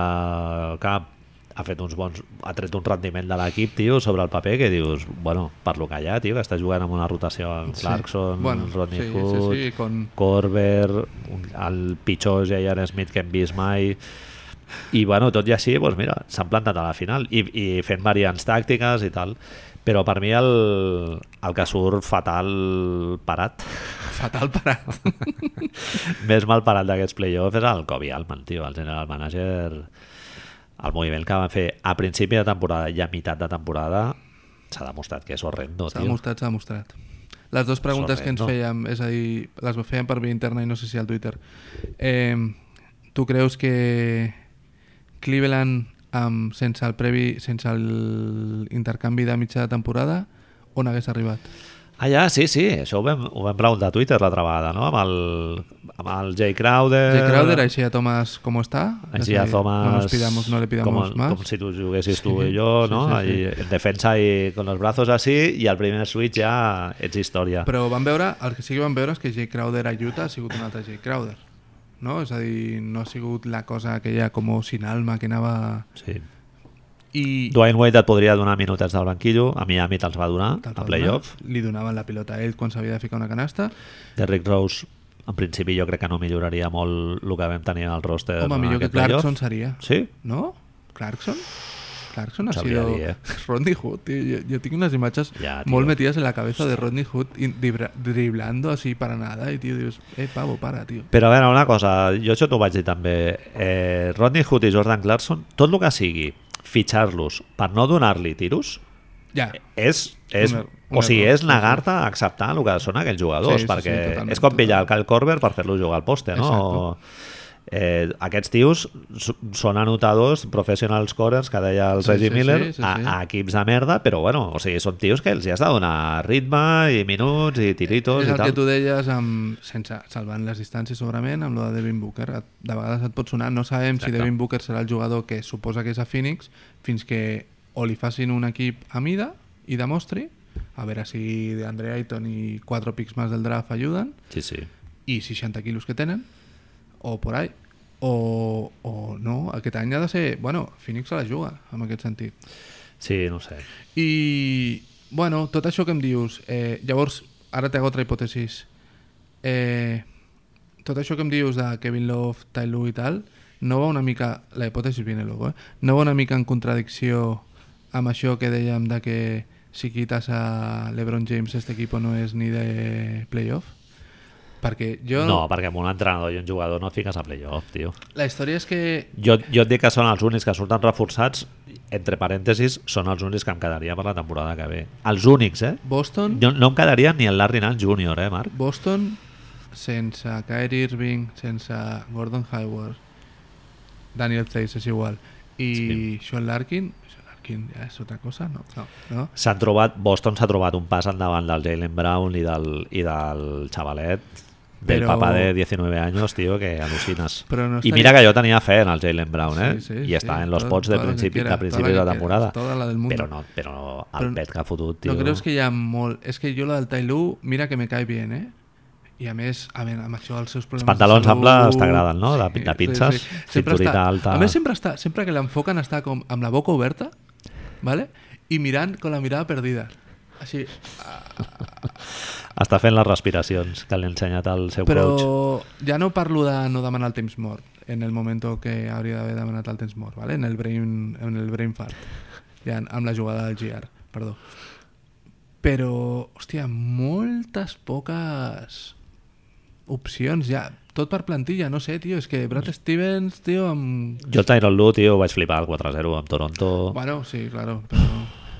[SPEAKER 1] cap ha fet uns bons, ha tret un rendiment de l'equip, tio, sobre el paper, que dius, bueno, per lo que hi ha, tio, que està jugant amb una rotació amb
[SPEAKER 2] Sí.
[SPEAKER 1] Clarkson,
[SPEAKER 2] Bueno,
[SPEAKER 1] Rodney
[SPEAKER 2] sí, sí,
[SPEAKER 1] Hood,
[SPEAKER 2] sí, con-
[SPEAKER 1] Corber, un- el pitjor J.R. Smith que hem vist mai, i bueno, tot i així, doncs mira, s'han plantat a la final i, i fent variants tàctiques i tal, però per mi el, el que surt fatal parat
[SPEAKER 2] Fatal parat.
[SPEAKER 1] més mal parat d'aquests playoff és el Kobe Altman, tio, el general manager el moviment que va fer a principi de temporada i a meitat de temporada s'ha demostrat que és horrendo,
[SPEAKER 2] S'ha
[SPEAKER 1] tio.
[SPEAKER 2] demostrat, s'ha demostrat. Les dues preguntes que ens
[SPEAKER 1] Sorprèn,
[SPEAKER 2] fèiem, és a dir, les fèiem per via interna i no sé si al Twitter. Eh, tu creus que Cleveland, amb, sense el previ, sense el intercanvi de mitja de temporada, on hagués arribat?
[SPEAKER 1] Ah, ja, sí, sí, això ho vam, ho vam preguntar a Twitter l'altra vegada, no? Amb el, amb el Jay Crowder...
[SPEAKER 2] Jay Crowder, Isaiah Thomas, com està?
[SPEAKER 1] Eh, Així a
[SPEAKER 2] És a dir,
[SPEAKER 1] Thomas...
[SPEAKER 2] No, nos pidamos, no le pidamos
[SPEAKER 1] com,
[SPEAKER 2] más.
[SPEAKER 1] Com si tu juguessis tu i jo,
[SPEAKER 2] sí,
[SPEAKER 1] no?
[SPEAKER 2] sí, sí.
[SPEAKER 1] Ahí, en defensa i con los brazos así, i al primer switch ja ets història.
[SPEAKER 2] Però van veure, el que sí que van veure és que Jay Crowder a Utah ha sigut un altre Jay Crowder. No? És a dir, no ha sigut la cosa aquella com sin alma que anava...
[SPEAKER 1] Sí.
[SPEAKER 2] I
[SPEAKER 1] Dwayne Wade et podria donar minutets del banquillo, a Miami te'ls va donar,
[SPEAKER 2] Te'ls va
[SPEAKER 1] a playoff. Eh,
[SPEAKER 2] donar, Li donaven la pilota a ell quan s'havia de ficar una canasta.
[SPEAKER 1] Derrick Rose, en principi jo crec que no milloraria molt el que vam tenir al roster.
[SPEAKER 2] Home,
[SPEAKER 1] en
[SPEAKER 2] millor que
[SPEAKER 1] aquest playoff.
[SPEAKER 2] Clarkson seria.
[SPEAKER 1] Sí?
[SPEAKER 2] ¿No? ¿Clarkson? Clarkson ha
[SPEAKER 1] Sabría
[SPEAKER 2] sido
[SPEAKER 1] bien.
[SPEAKER 2] Rodney Hood, tío. Yo, yo tengo unas imágenes
[SPEAKER 1] Ya, tío.
[SPEAKER 2] muy metidas en la cabeza de Rodney Hood y dribla- driblando así para nada. Y tío, Dios, eh, pavo, para, tío.
[SPEAKER 1] Però a veure, una cosa, jo això t'ho vaig dir també. Eh, Rodney Hood i Jordan Clarkson, tot el que sigui fitxar-los per no donar-li tiros,
[SPEAKER 2] Ya.
[SPEAKER 1] Eh, és, és,
[SPEAKER 2] Un er-
[SPEAKER 1] o
[SPEAKER 2] un
[SPEAKER 1] sigui,
[SPEAKER 2] error,
[SPEAKER 1] és negar-te a acceptar el que són aquells jugadors,
[SPEAKER 2] Sí, sí, sí,
[SPEAKER 1] perquè
[SPEAKER 2] totalment,
[SPEAKER 1] és com pillar el
[SPEAKER 2] totalment.
[SPEAKER 1] Kyle Korver per fer-lo jugar al poste, no?
[SPEAKER 2] Exacto.
[SPEAKER 1] Eh, aquests tios s- són anotadors, professional scorers, que deia el
[SPEAKER 2] Sí,
[SPEAKER 1] Reggie
[SPEAKER 2] sí,
[SPEAKER 1] Miller,
[SPEAKER 2] sí, sí,
[SPEAKER 1] a,
[SPEAKER 2] sí.
[SPEAKER 1] a equips de merda, però bueno, o sigui, són tios que els hi has de donar ritme i minuts i tiritos
[SPEAKER 2] És
[SPEAKER 1] i
[SPEAKER 2] el
[SPEAKER 1] tal.
[SPEAKER 2] que tu deies amb, sense, salvant les distàncies segurament amb lo de Devin Booker Et- de vegades et pot sonar, no sabem Exacte. si
[SPEAKER 1] Exacte.
[SPEAKER 2] Devin Booker serà el jugador que suposa que és a Phoenix fins que o li facin un equip a mida i demostri a veure si de Andre Ayton i 4 pics més del draft ajuden
[SPEAKER 1] Sí, sí.
[SPEAKER 2] i 60 quilos que tenen o por ahí o, o no, aquest any ha de ser bueno, Phoenix se la juga en aquest sentit
[SPEAKER 1] Sí, no ho sé.
[SPEAKER 2] i, bueno, tot això que em dius, eh, llavors, ara t'hago altra hipòtesis. Eh, tot això que em dius de Kevin Love, Ty Lue i tal, no va una mica, la hipòtesi viene luego, eh? no va una mica en contradicció amb això que dèiem de que si quitas a LeBron James este equipo no és ni de playoff? Perquè jo...
[SPEAKER 1] No, perquè amb un entrenador i un jugador no et fiques a playoff, tio.
[SPEAKER 2] La història és que
[SPEAKER 1] Jo, jo et dic que són els únics que surten reforçats entre parèntesis, són els únics que em quedaria per la temporada que ve. Els únics, eh?
[SPEAKER 2] Boston,
[SPEAKER 1] Jo, no em quedaria ni el Larry Nance Jr., eh, Marc?
[SPEAKER 2] Boston sense Kyrie Irving, sense Gordon Hayward, Daniel Theis és igual, i Sean Larkin, Sean Larkin ja és altra cosa, no? no, no?
[SPEAKER 1] S'han trobat, Boston s'ha trobat un pas endavant del Jalen Brown i del, i del xavalet del
[SPEAKER 2] Però-
[SPEAKER 1] papà de 19 anys, tio, que al·lucines.
[SPEAKER 2] Però no
[SPEAKER 1] I
[SPEAKER 2] estaria-
[SPEAKER 1] mira que jo tenia fe en el Jalen Brown, eh?
[SPEAKER 2] Sí, sí,
[SPEAKER 1] I
[SPEAKER 2] sí,
[SPEAKER 1] està en los
[SPEAKER 2] tot-
[SPEAKER 1] pots de,
[SPEAKER 2] toda la que
[SPEAKER 1] principi,
[SPEAKER 2] quieras,
[SPEAKER 1] de principis
[SPEAKER 2] toda
[SPEAKER 1] de
[SPEAKER 2] la que
[SPEAKER 1] temporada.
[SPEAKER 2] quieras, toda la del mundo.
[SPEAKER 1] Però no, però el
[SPEAKER 2] Però-
[SPEAKER 1] pet que ha fotut, tio...
[SPEAKER 2] No creus que hi ha molt... És que jo la del Tailú, mira que me cae bien, eh? I a més, a veure, amb això els seus problemes... de
[SPEAKER 1] pantalons
[SPEAKER 2] salut-
[SPEAKER 1] amples t'agraden, no? De- de pinces,
[SPEAKER 2] Sempre
[SPEAKER 1] cinturita
[SPEAKER 2] està,
[SPEAKER 1] alta.
[SPEAKER 2] A més, sempre, està, sempre que l'enfoquen està com amb la boca oberta, ¿vale? i mirant amb la mirada perdida. Així,
[SPEAKER 1] Està fent les respiracions que li ha ensenyat el seu
[SPEAKER 2] però
[SPEAKER 1] coach.
[SPEAKER 2] ja no parlo de no demanar el temps mort en el moment que hauria d'haver demanat el temps mort, ¿vale? en, el brain, en el brain fart, ja, amb la jugada del GR, perdó. Però, hòstia, moltes poques opcions ja, tot per plantilla, no sé, tio, és que Brad Stevens, tio, amb...
[SPEAKER 1] Jo el Tyron Lue, tio, vaig flipar el 4-0 amb Toronto.
[SPEAKER 2] Bueno, sí, claro, però...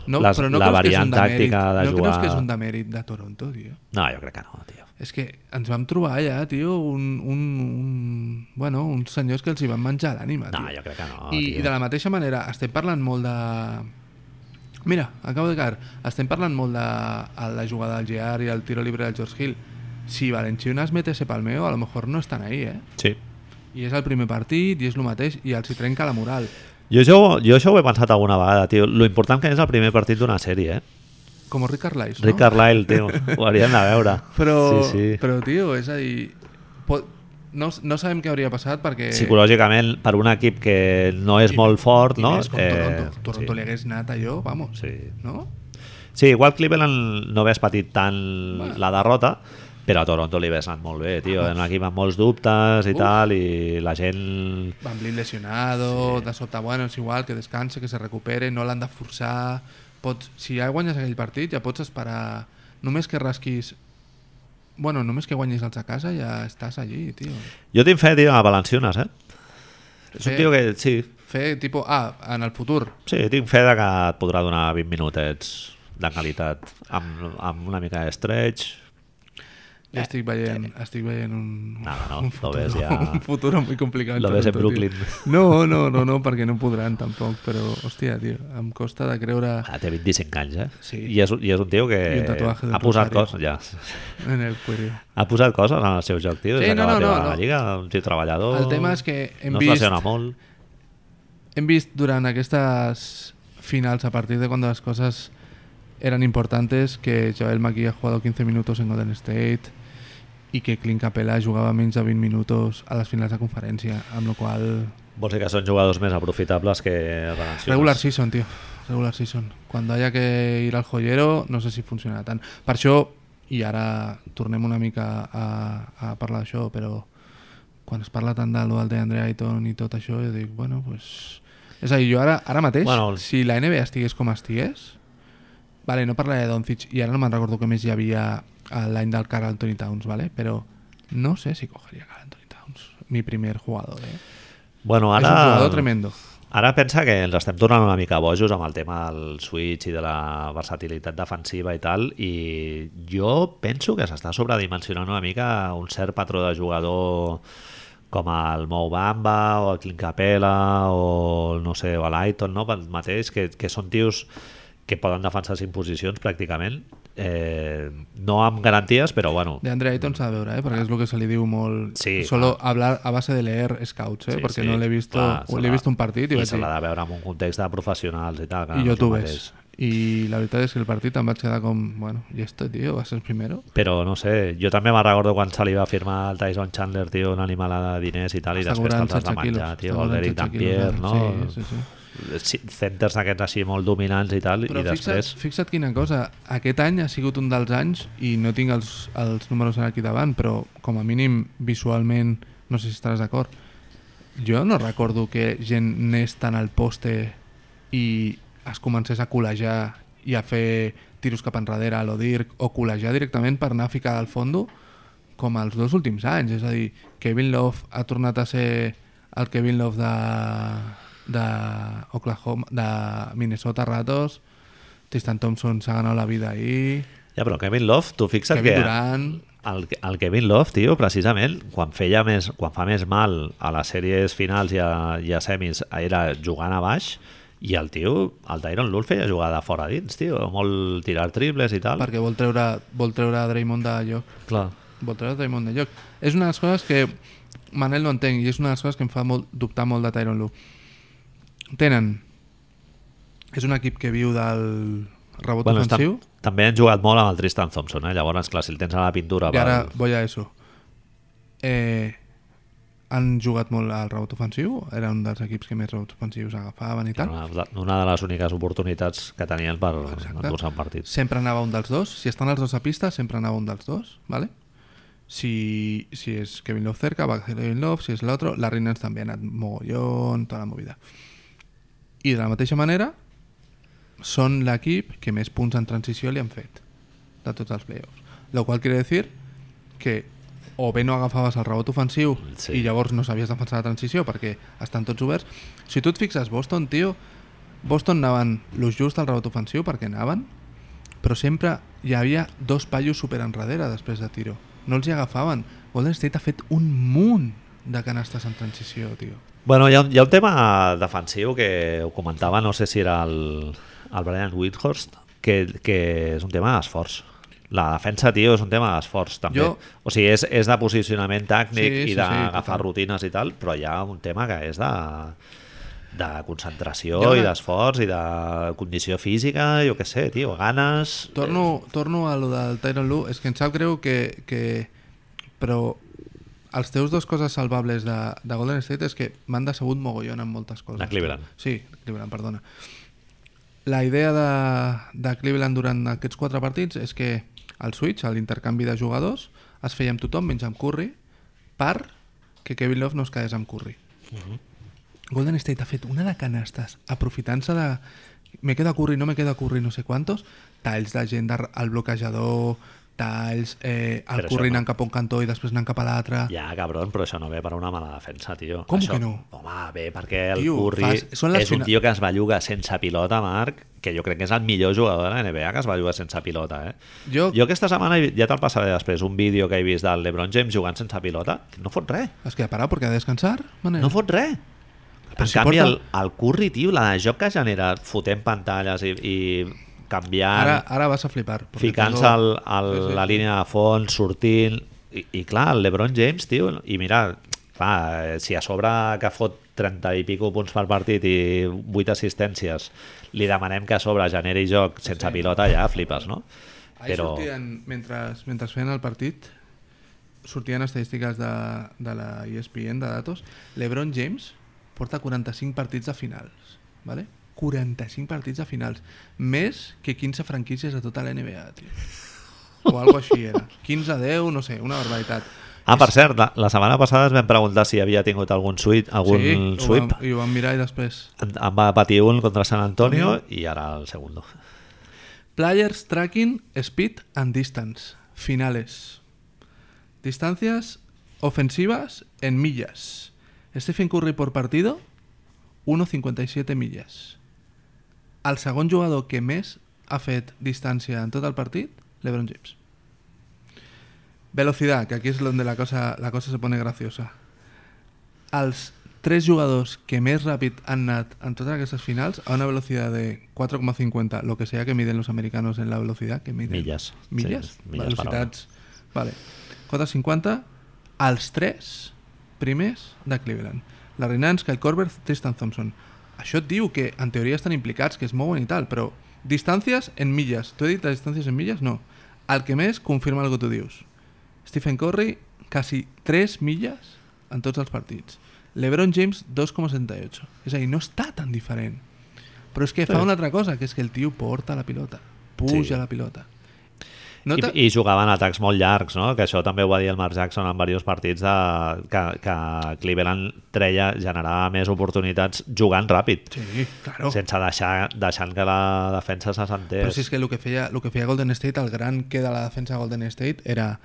[SPEAKER 2] No,
[SPEAKER 1] Les-
[SPEAKER 2] però no
[SPEAKER 1] la
[SPEAKER 2] creus que és
[SPEAKER 1] variant
[SPEAKER 2] un
[SPEAKER 1] tàctica
[SPEAKER 2] demèrit,
[SPEAKER 1] de
[SPEAKER 2] no creus
[SPEAKER 1] jugar-
[SPEAKER 2] que és un demèrit de Toronto, tio?
[SPEAKER 1] No, jo crec que no, tio.
[SPEAKER 2] És que ens vam trobar allà, tio, un, un, un, bueno, uns senyors que els hi van menjar l'ànima,
[SPEAKER 1] No,
[SPEAKER 2] tio.
[SPEAKER 1] jo crec que no,
[SPEAKER 2] I,
[SPEAKER 1] tio.
[SPEAKER 2] I de la mateixa manera, estem parlant molt de... Mira, acabo de caer. Estem parlant molt de a la jugada del GR i el tiro libre del George Hill. Si Valenciunas mete ese palmeo, a lo mejor no estan ahí, eh?
[SPEAKER 1] Sí.
[SPEAKER 2] I és el primer partit, i és el mateix, i els hi trenca la moral.
[SPEAKER 1] Jo això, jo això ho he pensat alguna vegada, tio. Lo important que és el primer partit d'una sèrie, eh?
[SPEAKER 2] Com Rick Carlisle, no?
[SPEAKER 1] Rick Carlisle, tio. [laughs] Ho hauríem de veure.
[SPEAKER 2] Però,
[SPEAKER 1] Sí, sí.
[SPEAKER 2] però tio, és a dir... Pot... No, no sabem què hauria passat perquè...
[SPEAKER 1] Psicològicament, per un equip que no és
[SPEAKER 2] I-
[SPEAKER 1] molt fort,
[SPEAKER 2] I
[SPEAKER 1] no? Eh,
[SPEAKER 2] més com Toronto. Toronto li
[SPEAKER 1] sí.
[SPEAKER 2] hagués anat allò, vamos.
[SPEAKER 1] Sí.
[SPEAKER 2] No?
[SPEAKER 1] sí, igual Cleveland no hagués patit tant la derrota, però a Toronto li hagués anat molt bé, tio. Era un equip amb molts dubtes i
[SPEAKER 2] Ah, doncs. Uf.
[SPEAKER 1] tal, i la gent...
[SPEAKER 2] Van Vliet lesionado, de sobte, bueno, és igual, que descanse, que se recupere, no l'han de forçar... Pots, si ja guanyes aquell partit, ja pots esperar... Només que rasquis... Bueno, només que guanyis els a casa ja estàs allí, tio.
[SPEAKER 1] Jo tinc fe, tio, a Valenciunas, eh? És un
[SPEAKER 2] Fe.
[SPEAKER 1] tio que, sí,
[SPEAKER 2] Fer, tipo, ah, en el futur,
[SPEAKER 1] sí, tinc fe de que et podrà donar 20 minutets de qualitat amb, amb una mica de stretch. Eh,
[SPEAKER 2] jo estic veient, estic veient un,
[SPEAKER 1] Nada, no, lo
[SPEAKER 2] un, futuro,
[SPEAKER 1] ves ja-
[SPEAKER 2] [laughs] un futuro muy complicado. en
[SPEAKER 1] Ah, lo ves en
[SPEAKER 2] Toronto, tio.
[SPEAKER 1] Brooklyn.
[SPEAKER 2] No, no, no, no, perquè no podran tampoc, però, hòstia, tio, em costa de creure...
[SPEAKER 1] Ah, té 25 anys, eh?
[SPEAKER 2] Sí.
[SPEAKER 1] I és, i és un tio que
[SPEAKER 2] I un tatuatge d'un
[SPEAKER 1] ha posat
[SPEAKER 2] rosario.
[SPEAKER 1] coses, ja.
[SPEAKER 2] En el cuello.
[SPEAKER 1] Ha posat coses en el seu joc, tio.
[SPEAKER 2] Sí,
[SPEAKER 1] Des que
[SPEAKER 2] no,
[SPEAKER 1] va
[SPEAKER 2] no,
[SPEAKER 1] arribar
[SPEAKER 2] no,
[SPEAKER 1] a la
[SPEAKER 2] no.
[SPEAKER 1] Lliga, un tio treballador.
[SPEAKER 2] El tema és que hem
[SPEAKER 1] no
[SPEAKER 2] vist-
[SPEAKER 1] es lesiona molt.
[SPEAKER 2] Hem vist durant aquestes finals, a partir de cuando las cosas eran importantes, que Joel McGee ha jugado 15 minutos en Golden State y que Clint Capella jugaba menos de 20 minutos a las finales de conferencia, amb lo cual...
[SPEAKER 1] Vols dir que són jugadors més aprofitables que Valenciunas.
[SPEAKER 2] Regular season, tío. Regular season. Cuando haya que ir al joyero, no sé si funcionarà tant. Per això, i ara tornem una mica a, a parlar d'això, però quan es parla tant de lo del Andrea Ayton i tot això, jo dic, bueno, pues... És a dir, jo ara, ara mateix,
[SPEAKER 1] Bueno,
[SPEAKER 2] bueno,
[SPEAKER 1] el-
[SPEAKER 2] si la NBA estigués com estigués, vale, no parlaré de Doncic, i ara no me'n recordo que més hi havia a l'any del Carl Anthony Towns, vale? però no sé si cogeria Carl Anthony Towns, mi primer jugador. Eh?
[SPEAKER 1] Bueno,
[SPEAKER 2] És
[SPEAKER 1] ara...
[SPEAKER 2] un jugador tremendo.
[SPEAKER 1] Ara pensa que ens estem tornant una mica bojos amb el tema del switch i de la versatilitat defensiva i tal, i jo penso que s'està sobredimensionant una mica un cert patró de jugador com el Mou Bamba o el Clint Capella o el, no sé, o l'Aiton, no? Pel mateix, que, que són tios que poden defensar cinc posicions pràcticament, eh, no amb garanties, però bueno,
[SPEAKER 2] De Andre Ayton s'ha de veure, eh? perquè és el que se li diu molt...
[SPEAKER 1] Mm. Sí,
[SPEAKER 2] Solo hablar a base de leer scouts, eh?
[SPEAKER 1] Sí,
[SPEAKER 2] perquè
[SPEAKER 1] sí,
[SPEAKER 2] no l'he vist...
[SPEAKER 1] clar, se
[SPEAKER 2] L'he
[SPEAKER 1] l'ha-
[SPEAKER 2] vist un partit i,
[SPEAKER 1] i
[SPEAKER 2] vaig
[SPEAKER 1] se
[SPEAKER 2] dir...
[SPEAKER 1] l'ha de veure en un context de professionals i tal. clar,
[SPEAKER 2] I
[SPEAKER 1] no
[SPEAKER 2] jo
[SPEAKER 1] és el
[SPEAKER 2] t'ho
[SPEAKER 1] mateix.
[SPEAKER 2] ves. I la veritat és que el partit em vaig quedar com... Bueno, i esto, tio, va ser el primero?
[SPEAKER 1] Però no sé, jo també me'n recordo quan se li va firmar al Tyson Chandler, tio, una animalada de diners i tal, i
[SPEAKER 2] Està
[SPEAKER 1] després
[SPEAKER 2] cobrant
[SPEAKER 1] te'ls has de
[SPEAKER 2] 16
[SPEAKER 1] menjar,
[SPEAKER 2] quilos,
[SPEAKER 1] tio,
[SPEAKER 2] està
[SPEAKER 1] el
[SPEAKER 2] cobrant
[SPEAKER 1] Derek
[SPEAKER 2] 16 quilos,
[SPEAKER 1] Dampier,
[SPEAKER 2] ara.
[SPEAKER 1] no?
[SPEAKER 2] Sí, sí, sí.
[SPEAKER 1] sí. Centers aquests així molt dominants i tal,
[SPEAKER 2] Però
[SPEAKER 1] i després...
[SPEAKER 2] fixa't, fixa't quina cosa, aquest any ha sigut un dels anys, i no tinc els, els números ara aquí davant, però com a mínim visualment, no sé si estaràs d'acord, jo no recordo que gent anés tan al poste i es comencés a col·lejar i a fer tiros cap enrere a l'Odirk o col·lejar directament per anar a ficar al fondo com els dos últims anys. És a dir, Kevin Love ha tornat a ser el Kevin Love de, de Oklahoma, de Minnesota ratos. Tristan Thompson se ha ganado la vida ahí.
[SPEAKER 1] Ja, però Kevin Love, tu fixa't
[SPEAKER 2] Kevin
[SPEAKER 1] que...
[SPEAKER 2] Durant.
[SPEAKER 1] El, el Kevin Love, tio, precisament, quan, feia més, quan fa més mal a les sèries finals i a, i a semis, era jugant a baix, i el tio, el Tyron Lue el feia jugar de fora a dins, tio, molt tirar triples i tal.
[SPEAKER 2] Perquè vol treure, vol treure Draymond de lloc.
[SPEAKER 1] Clar.
[SPEAKER 2] Vol treure Draymond de lloc. És una de les coses que Manel no entenc i és una de les coses que em fa molt, dubtar molt de Tyron Lue. Tenen... És un equip que viu del rebot
[SPEAKER 1] Bueno, estan,
[SPEAKER 2] ofensiu.
[SPEAKER 1] també han jugat molt amb el Tristan Thompson, eh? llavors, clar, si el tens a la pintura...
[SPEAKER 2] I ara
[SPEAKER 1] val.
[SPEAKER 2] voy a eso. Eh, han jugat molt al rebot ofensiu, era un dels equips que més rebots ofensius agafaven i tal.
[SPEAKER 1] Una, una de les úniques oportunitats que tenien per
[SPEAKER 2] Exacte.
[SPEAKER 1] endur-se un partit.
[SPEAKER 2] Sempre anava un dels dos, si estan els dos a pista, sempre anava un dels dos, ¿vale? Si, si és Kevin Love cerca, va Kevin Love, si és l'altre, la Rinnans també ha anat mogollon, tota la movida. I de la mateixa manera, són l'equip que més punts en transició li han fet de tots els playoffs. Lo qual quiere decir que o bé no agafaves el rebot ofensiu
[SPEAKER 1] Sí.
[SPEAKER 2] sí. i llavors no sabies defensar la transició perquè estan tots oberts. Si tu et fixes, Boston, tio, Boston anaven los just al rebot ofensiu perquè anaven, però sempre hi havia dos pallos super enrere després de tiro. No els hi agafaven. Golden State ha fet un munt de canastes en transició, tio.
[SPEAKER 1] Bueno, hi ha, un- hi ha un tema defensiu que ho comentava, no sé si era el, el Brian Whithorst, que, que és un tema d'esforç. La defensa, tio, és un tema d'esforç, també.
[SPEAKER 2] Jo-
[SPEAKER 1] O sigui, és, és de posicionament tècnic
[SPEAKER 2] Sí,
[SPEAKER 1] sí,
[SPEAKER 2] sí,
[SPEAKER 1] i
[SPEAKER 2] sí,
[SPEAKER 1] d'agafar
[SPEAKER 2] total.
[SPEAKER 1] sí, rutines i tal, però hi ha un tema que és de de concentració
[SPEAKER 2] Hi ha
[SPEAKER 1] una...
[SPEAKER 2] una-
[SPEAKER 1] i d'esforç i de condició física, jo què sé, tio, ganes...
[SPEAKER 2] Torno, torno a lo del Tyron Lue. És que em sap greu que... que... Però els teus dos coses salvables de, de Golden State és que m'han decebut mogollon en moltes coses.
[SPEAKER 1] De Cleveland.
[SPEAKER 2] Sí, Cleveland, perdona. La idea de, de Cleveland durant aquests quatre partits és que el switch, l'intercanvi de jugadors, es feia amb tothom menys amb Curry per que Kevin Love no es quedés amb Curry. Golden State ha fet una de canastes aprofitant-se de me quedo a Curry, no me quedo a Curry, no sé quantos talls de gent de- al bloquejador talls, eh, el
[SPEAKER 1] Però això
[SPEAKER 2] Curry
[SPEAKER 1] no.
[SPEAKER 2] anant cap a un cantó i després anant cap a l'altre
[SPEAKER 1] Ja, cabron, però això no ve per una mala defensa, tio.
[SPEAKER 2] Com
[SPEAKER 1] això,
[SPEAKER 2] que no?
[SPEAKER 1] Home, ve perquè el
[SPEAKER 2] Tio,
[SPEAKER 1] tio, Curry
[SPEAKER 2] fas- són les
[SPEAKER 1] és un
[SPEAKER 2] fina-
[SPEAKER 1] tio que es va llogar sense pilota, Marc, que jo crec que és el millor jugador de la NBA que es va llogar sense pilota, eh?
[SPEAKER 2] jo,
[SPEAKER 1] Jo aquesta setmana, he- ja te'l passaré després, un vídeo que he vist del LeBron James jugant sense pilota, no fot res,
[SPEAKER 2] es queda parat perquè ha de descansar Manel.
[SPEAKER 1] no fot res.
[SPEAKER 2] Però
[SPEAKER 1] en
[SPEAKER 2] si
[SPEAKER 1] canvi,
[SPEAKER 2] porta-
[SPEAKER 1] el, el Curry, tio, la de joc que genera, fotent pantalles i, i canviant...
[SPEAKER 2] ara, ara vas a flipar perquè
[SPEAKER 1] ficant-se
[SPEAKER 2] tengo-
[SPEAKER 1] al, al,
[SPEAKER 2] Sí, sí,
[SPEAKER 1] la
[SPEAKER 2] sí.
[SPEAKER 1] línia de fons, sortint... I, I clar, el LeBron James, tio, i mira, clar, eh, si a sobre que fot 30 i pico punts per partit i 8 assistències, li demanem que a sobre generi joc sense
[SPEAKER 2] Sí.
[SPEAKER 1] pilota, ja flipes, no?
[SPEAKER 2] Ahir
[SPEAKER 1] Però
[SPEAKER 2] sortien, mentre, mentre feien el partit, sortien estadístiques de, de la E ESPN, de datos, l'Ebron James porta 45 partits de finals, ¿vale? 45 partits de finals, més que 15 franquícies de tota la NBA, tio. O algo així
[SPEAKER 1] [laughs]
[SPEAKER 2] era. 15 10, no sé, una barbaritat.
[SPEAKER 1] Ah, per cert, la, la setmana passada ens vam preguntar si havia tingut algun sweep, algun sí,
[SPEAKER 2] ho
[SPEAKER 1] sweep.
[SPEAKER 2] vam- I ho vam mirar i després...
[SPEAKER 1] En, en va patir un contra San Antonio i ara el segundo.
[SPEAKER 2] Players Tracking Speed and Distance. Finales. Distancias ofensivas en millas. Stephen Curry por partido, 1,57 millas. El segon jugador que més ha fet distància en tot el partit, LeBron James. Velocidad, que aquí és on la cosa, la cosa se pone graciosa. Els tres jugadors que més ràpid han anat en totes aquestes finals a una velocitat de 4,50, lo que sea que miden los americanos en la velocitat, que miden...
[SPEAKER 1] Milles.
[SPEAKER 2] Milles?
[SPEAKER 1] Sí, milles per
[SPEAKER 2] Velocitats. Vale. 4,50 als tres primers de Cleveland. La Renans, Kyle Korver, Tristan Thompson. Això et diu que en teoria estan implicats, que es mouen i tal, però distàncies en milles. T'ho he dit, les distàncies en milles? No. El que més confirma el que tu dius. Stephen Curry, quasi 3 milles en tots els partits. LeBron James, 2,78. És a dir, no està tan diferent. Però és que fa
[SPEAKER 1] Sí.
[SPEAKER 2] una altra cosa, que és que el tio porta la pilota. Puja
[SPEAKER 1] Sí.
[SPEAKER 2] la pilota.
[SPEAKER 1] No
[SPEAKER 2] No te...
[SPEAKER 1] I, I jugaven atacs molt llargs, no? que això també ho va dir el Mark Jackson en diversos partits de, que, que Cleveland treia, generava més oportunitats jugant ràpid,
[SPEAKER 2] Sí, claro.
[SPEAKER 1] sense deixar, deixant que la defensa se sentés.
[SPEAKER 2] Però si és que el que feia, el que feia Golden State, el gran que de la defensa de Golden State era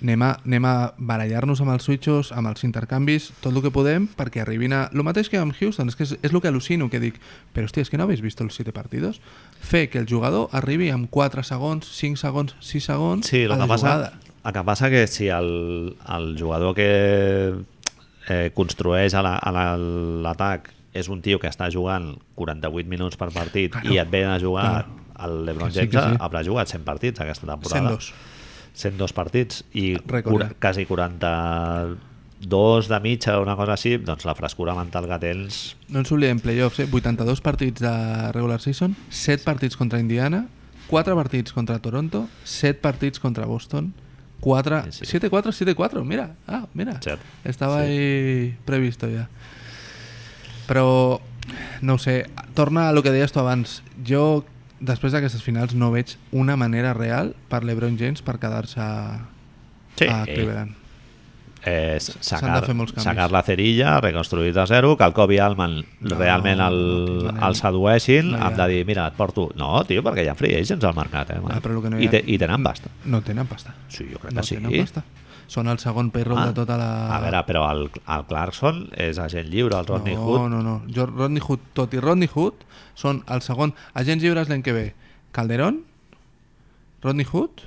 [SPEAKER 2] anem a, anem a barallar-nos amb els switchos, amb els intercanvis, tot el que podem perquè arribin a... El mateix que amb Houston, és que és, és el que al·lucino, que dic, però hòstia, és que no habéis vist els 7 partidos? Fer que el jugador arribi amb 4 segons, 5 segons, 6 segons
[SPEAKER 1] Sí, el
[SPEAKER 2] a
[SPEAKER 1] que
[SPEAKER 2] la
[SPEAKER 1] passa,
[SPEAKER 2] jugada.
[SPEAKER 1] el que passa que si el, el jugador que eh, construeix a la- a la- l'atac és un tio que està jugant 48 minuts per partit
[SPEAKER 2] Claro.
[SPEAKER 1] i et ven a jugar
[SPEAKER 2] Claro.
[SPEAKER 1] el LeBron
[SPEAKER 2] Que sí,
[SPEAKER 1] James
[SPEAKER 2] que sí.
[SPEAKER 1] haurà jugat 100 partits aquesta temporada
[SPEAKER 2] 102.
[SPEAKER 1] 102 partits i
[SPEAKER 2] Rècord,
[SPEAKER 1] cura,
[SPEAKER 2] eh?
[SPEAKER 1] quasi 42 de mitja o una cosa així doncs la frescura mental que tens
[SPEAKER 2] No ens oblidem playoffs, eh? 82 partits de regular season, 7 partits contra Indiana, 4 partits contra Toronto, 7 partits contra Boston, 4...
[SPEAKER 1] Sí, sí.
[SPEAKER 2] 7-4, 7-4, mira, ah, mira.
[SPEAKER 1] Cert.
[SPEAKER 2] Estava
[SPEAKER 1] Sí.
[SPEAKER 2] ahí previsto ja. Però, no ho sé, torna a lo que deies tu abans. Jo, després d'aquestes finals, no veig una manera real per l'Ebron James per quedar-se
[SPEAKER 1] Sí.
[SPEAKER 2] a Cleveland.
[SPEAKER 1] eh, s- sacar,
[SPEAKER 2] de fer molts canvis.
[SPEAKER 1] sacar la cerilla, reconstruir de zero, que el Kobe Alman
[SPEAKER 2] No,
[SPEAKER 1] realment el,
[SPEAKER 2] no tinc manera.
[SPEAKER 1] el sedueixin,
[SPEAKER 2] No hi ha.
[SPEAKER 1] hem de dir, mira, et porto... No, tio, perquè hi ha free agents al mercat, eh? man.
[SPEAKER 2] Ah, però el que no hi
[SPEAKER 1] I,
[SPEAKER 2] ha-
[SPEAKER 1] te, I tenen pasta.
[SPEAKER 2] No tenen pasta.
[SPEAKER 1] Sí, jo crec
[SPEAKER 2] No
[SPEAKER 1] que sí. Ah.
[SPEAKER 2] tenen pasta. Són el segon payroll de tota la...
[SPEAKER 1] A veure, però el, el Clarkson és agent lliure, el Rodney
[SPEAKER 2] no,
[SPEAKER 1] Hood...
[SPEAKER 2] No, no, jo, Rodney Hood, tot i Rodney Hood, són el segon agents lliures l'any que ve. Calderón, Rodney Hood,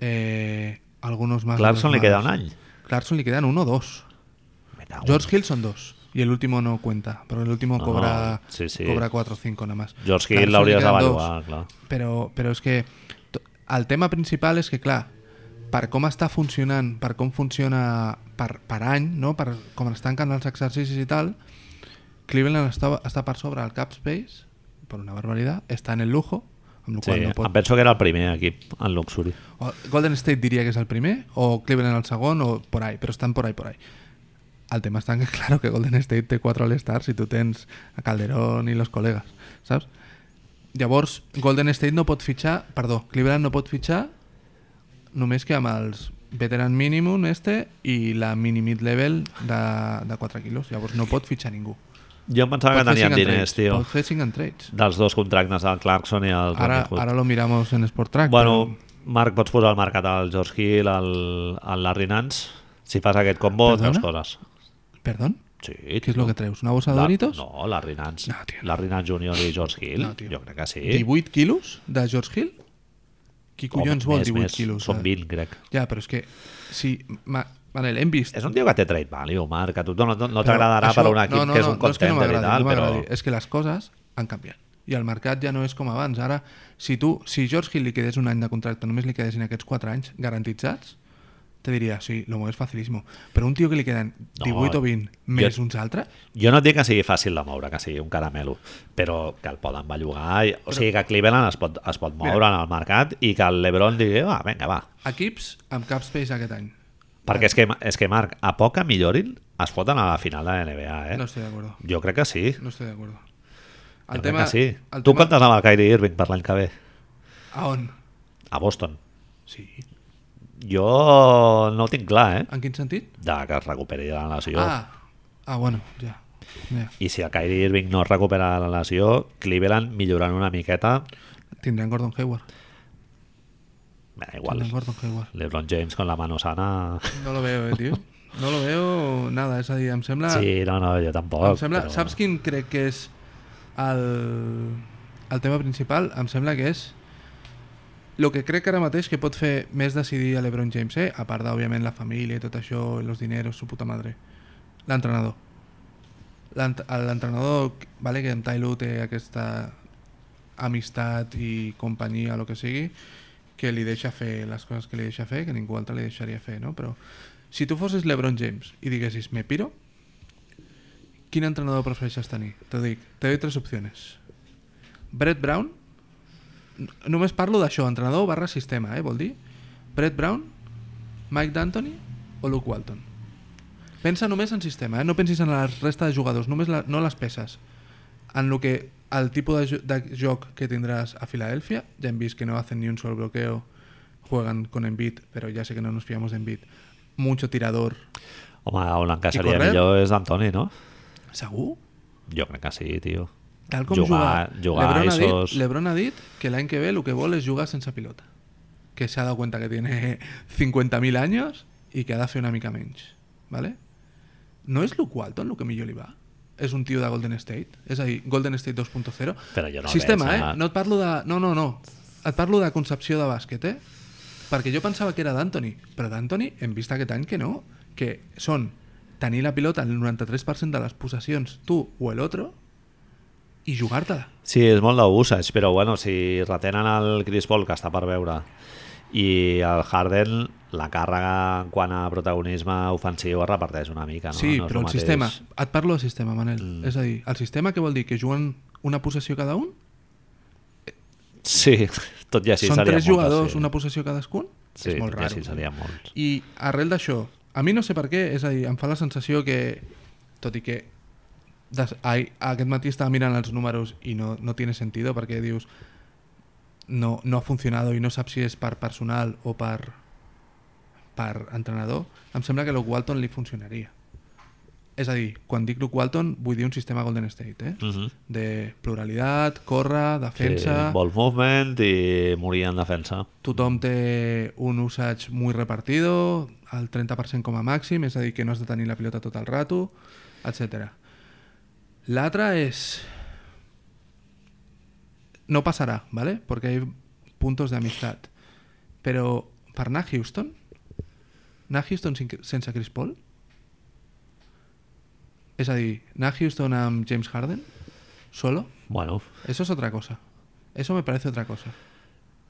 [SPEAKER 2] eh, algunos más.
[SPEAKER 1] Clarkson li
[SPEAKER 2] algunos
[SPEAKER 1] queda
[SPEAKER 2] más.
[SPEAKER 1] un any.
[SPEAKER 2] Clarkson li quedan uno o dos.
[SPEAKER 1] Mira,
[SPEAKER 2] George Hill son dos. Y el último no cuenta, pero el último
[SPEAKER 1] No,
[SPEAKER 2] cobra,
[SPEAKER 1] Ah, sí, sí.
[SPEAKER 2] cobra cuatro o cinco nada más.
[SPEAKER 1] George
[SPEAKER 2] Clarkson
[SPEAKER 1] Hill
[SPEAKER 2] li
[SPEAKER 1] l'hauries
[SPEAKER 2] quedan dos.
[SPEAKER 1] d'avaluar, clar.
[SPEAKER 2] però, però és que to- el tema principal és que, clar, per com està funcionant, per com funciona per, per any, no? per com es tanquen els exercicis i tal, Cleveland està, està per sobre el cap space, per una barbaritat, està en el lujo, amb la
[SPEAKER 1] Sí,
[SPEAKER 2] qual cosa no
[SPEAKER 1] em
[SPEAKER 2] pot...
[SPEAKER 1] penso que era el primer equip en luxuri.
[SPEAKER 2] O Golden State diria que és el primer, o Cleveland el segon, o por ahí, però estan por ahí, por ahí. El tema està en que, [laughs] claro, que Golden State té 4 All-Stars i tu tens a Calderón i los col·legues, saps? Llavors, Golden State no pot fitxar, perdó, Cleveland no pot fitxar només que amb els veteran minimum este i la mini mid level de, de 4 quilos. Llavors no pot fitxar ningú.
[SPEAKER 1] Jo em pensava
[SPEAKER 2] Pot
[SPEAKER 1] que
[SPEAKER 2] fer
[SPEAKER 1] tenien
[SPEAKER 2] cinc and
[SPEAKER 1] diners,
[SPEAKER 2] trades,
[SPEAKER 1] tio.
[SPEAKER 2] Pot fer 5 and trades.
[SPEAKER 1] Dels dos contractes, el Clarkson i el
[SPEAKER 2] Ara,
[SPEAKER 1] Rodney Hood.
[SPEAKER 2] ara lo miramos en Sport Track.
[SPEAKER 1] Bueno,
[SPEAKER 2] però-
[SPEAKER 1] Marc, pots posar al mercat el George Hill, el, el Larry Nance? Si fas aquest combo,
[SPEAKER 2] Perdona?
[SPEAKER 1] treus coses.
[SPEAKER 2] Perdón?
[SPEAKER 1] Sí,
[SPEAKER 2] Què és el que treus? Una bossa de Doritos?
[SPEAKER 1] No, Larry Nance.
[SPEAKER 2] No,
[SPEAKER 1] No,
[SPEAKER 2] tio.
[SPEAKER 1] Larry Nance Jr. i George Hill.
[SPEAKER 2] No,
[SPEAKER 1] No,
[SPEAKER 2] tio.
[SPEAKER 1] jo crec que sí.
[SPEAKER 2] 18 quilos de George Hill? Qui collons
[SPEAKER 1] Home,
[SPEAKER 2] vol
[SPEAKER 1] més,
[SPEAKER 2] 18
[SPEAKER 1] més.
[SPEAKER 2] quilos? eh?
[SPEAKER 1] Són
[SPEAKER 2] de-
[SPEAKER 1] 20, crec.
[SPEAKER 2] Ja, però és que... Si, ma, Manel, hem vist...
[SPEAKER 1] És un tio que té trade value, Marc. A tu no, no, no
[SPEAKER 2] però
[SPEAKER 1] t'agradarà
[SPEAKER 2] això-
[SPEAKER 1] per un equip
[SPEAKER 2] no, no,
[SPEAKER 1] que és
[SPEAKER 2] no,
[SPEAKER 1] un contender
[SPEAKER 2] no és que
[SPEAKER 1] i
[SPEAKER 2] no
[SPEAKER 1] tal,
[SPEAKER 2] m'agradi, no
[SPEAKER 1] però...
[SPEAKER 2] m'agradi. És que les coses han canviat. I el mercat ja no és com abans. Ara, si tu, si George Hill li quedés un any de contracte, només li quedessin aquests 4 anys garantitzats, te diria, sí, lo mueves facilísimo. Però un tio que li queden 18 o 20
[SPEAKER 1] jo-
[SPEAKER 2] més uns altres,
[SPEAKER 1] Jo no et dic que sigui fàcil de moure, que sigui un caramelo, però que el poden bellugar, i- o sigui que Cleveland es pot, es pot moure en el mercat i que el Lebron digui, va, vinga, va,
[SPEAKER 2] equips amb cap space aquest any.
[SPEAKER 1] Perquè és que, és que Marc, a poc que millorin, es foten a la final de la NBA, eh?
[SPEAKER 2] No estic d'acord.
[SPEAKER 1] Jo crec que sí.
[SPEAKER 2] No estic
[SPEAKER 1] jo
[SPEAKER 2] d'acord.
[SPEAKER 1] crec que sí. Tu
[SPEAKER 2] tema-
[SPEAKER 1] comptes amb el Kyrie Irving per l'any que ve,
[SPEAKER 2] A on?
[SPEAKER 1] a Boston.
[SPEAKER 2] Sí.
[SPEAKER 1] Jo no ho tinc clar, eh?
[SPEAKER 2] En quin sentit?
[SPEAKER 1] De que es recuperi la lesió.
[SPEAKER 2] Ah, ah bueno, ja. ja.
[SPEAKER 1] I si el Kyrie Irving no es recupera la lesió, Cleveland millorant una miqueta,
[SPEAKER 2] Tindran Gordon Hayward.
[SPEAKER 1] me da igual.
[SPEAKER 2] Tindran Gordon Hayward.
[SPEAKER 1] LeBron James con la mano sana...
[SPEAKER 2] No lo veo, eh, tio. No lo veo nada, és a dir, em sembla...
[SPEAKER 1] Sí, no, no, jo tampoc.
[SPEAKER 2] Ah. em sembla
[SPEAKER 1] però-
[SPEAKER 2] Saps quin crec que és el, el tema principal? Em sembla que és el que crec que ara mateix que pot fer més decidir a l'Ebron James, eh? a part d'òbviament la família i tot això, los dineros, su puta madre. L'entrenador. L'ent- L'entrenador, vale, que en Tyloo té aquesta amistat i companyia, el que sigui, que li deixa fer les coses que li deixa fer, que ningú altre li deixaria fer, no? Però si tu fossis l'Ebron James i diguessis, me piro, quin entrenador prefereixes tenir? T'ho dic, te doy tres opcions. Brett Brown, n- només parlo d'això, entrenador barra sistema, eh, vol dir? Brett Brown, Mike D'Antoni o Luke Walton. Pensa només en sistema, eh? no pensis en la resta de jugadors, només la, no les peces. En lo que el tipus de, jo- de joc que tindràs a Filadèlfia, ja hem vist que no hacen ni un sol bloqueo, juegan con Embiid, però ja sé que no nos fiamos de Embiid. Mucho tirador.
[SPEAKER 1] Home, on
[SPEAKER 2] I
[SPEAKER 1] encaixaria
[SPEAKER 2] Cornet?
[SPEAKER 1] millor és D'Antoni, no?
[SPEAKER 2] Segur?
[SPEAKER 1] Jo crec que sí, tio.
[SPEAKER 2] Tal com
[SPEAKER 1] Jugar-
[SPEAKER 2] jugar,
[SPEAKER 1] jugar
[SPEAKER 2] Lebron,
[SPEAKER 1] a
[SPEAKER 2] ha
[SPEAKER 1] esos-
[SPEAKER 2] dit, Lebron ha dit que l'any que ve el que vol és jugar sense pilota. que se ha dado cuenta que tiene [laughs] 50.000 años i que ha de fer una mica menys. ¿vale? No és Luke Walton el que millor li va? És un tio de Golden State? És a dir, Golden State 2.0?
[SPEAKER 1] Però jo no
[SPEAKER 2] Sistema,
[SPEAKER 1] veig,
[SPEAKER 2] eh?
[SPEAKER 1] eh?
[SPEAKER 2] No et parlo de... No, no, no. Et parlo de concepció de bàsquet, eh? Perquè jo pensava que era d'Anthony, però d'Anthony hem vist aquest any que no, que són tenir la pilota en el 93% de les possessions, tu o el otro, i jugar-te-la.
[SPEAKER 1] Sí, és molt d'usage, però bueno, si retenen el Chris Paul, que està per veure, i el Harden, la càrrega quant a protagonisme ofensiu es reparteix una mica. No?
[SPEAKER 2] Sí,
[SPEAKER 1] no és
[SPEAKER 2] però el
[SPEAKER 1] mateix. Mm.
[SPEAKER 2] sistema... Et parlo del sistema, Manel. És a dir, el sistema que vol dir? Que juguen una possessió cada un?
[SPEAKER 1] Sí, [laughs] tot i així
[SPEAKER 2] Són
[SPEAKER 1] seria
[SPEAKER 2] tres
[SPEAKER 1] molt,
[SPEAKER 2] jugadors,
[SPEAKER 1] sí.
[SPEAKER 2] una possessió cadascun?
[SPEAKER 1] Sí,
[SPEAKER 2] és molt
[SPEAKER 1] tot i
[SPEAKER 2] raro.
[SPEAKER 1] així
[SPEAKER 2] tio.
[SPEAKER 1] seria molt.
[SPEAKER 2] I arrel d'això, a mi no sé per què, és a dir, em fa la sensació que, tot i que des, ai, aquest matí estava mirant els números i no, no tiene sentido perquè dius no, no ha funcionat i no saps si és per personal o per, per entrenador, em sembla que Luke Walton li funcionaria. És a dir, quan dic Luke Walton vull dir un sistema Golden State, eh?
[SPEAKER 1] Mhm.
[SPEAKER 2] De pluralitat, córrer, defensa...
[SPEAKER 1] Sí, ball movement i morir en defensa.
[SPEAKER 2] tothom té un usage muy repartido, al 30% com a màxim, és a dir, que no has de tenir la pilota tot el rato, etc. L'altra és... No passarà, ¿vale? Porque hay puntos de amistad. Però per anar a Houston, anar a Houston sin- sense Chris Paul, és a dir, anar a Houston amb James Harden, solo,
[SPEAKER 1] Bueno,
[SPEAKER 2] eso es otra cosa. Eso me parece otra cosa.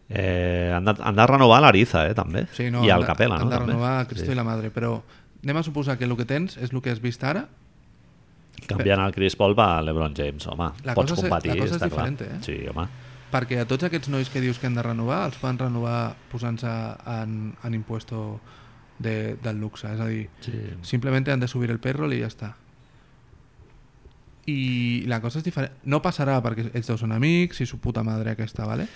[SPEAKER 1] eh, han, de, han de renovar l'Ariza, eh, també.
[SPEAKER 2] Sí, no,
[SPEAKER 1] I
[SPEAKER 2] han
[SPEAKER 1] el
[SPEAKER 2] de-
[SPEAKER 1] Capela,
[SPEAKER 2] han
[SPEAKER 1] no?
[SPEAKER 2] de
[SPEAKER 1] també.
[SPEAKER 2] renovar Cristo i la Madre, però anem a suposar que el que tens és el que has vist ara.
[SPEAKER 1] Canviant el Chris Paul per l'Ebron James, home.
[SPEAKER 2] La
[SPEAKER 1] Pots
[SPEAKER 2] cosa és-
[SPEAKER 1] competir,
[SPEAKER 2] la cosa és
[SPEAKER 1] està clar.
[SPEAKER 2] diferent, eh?
[SPEAKER 1] Sí, home.
[SPEAKER 2] Perquè a tots aquests nois que dius que han de renovar, els fan renovar posant-se en, en impuesto de, del luxe. És a dir,
[SPEAKER 1] Sí.
[SPEAKER 2] simplement han de subir el payroll i ja està. I la cosa és diferent. No passarà perquè ells dos són amics i su puta madre aquesta, ¿vale?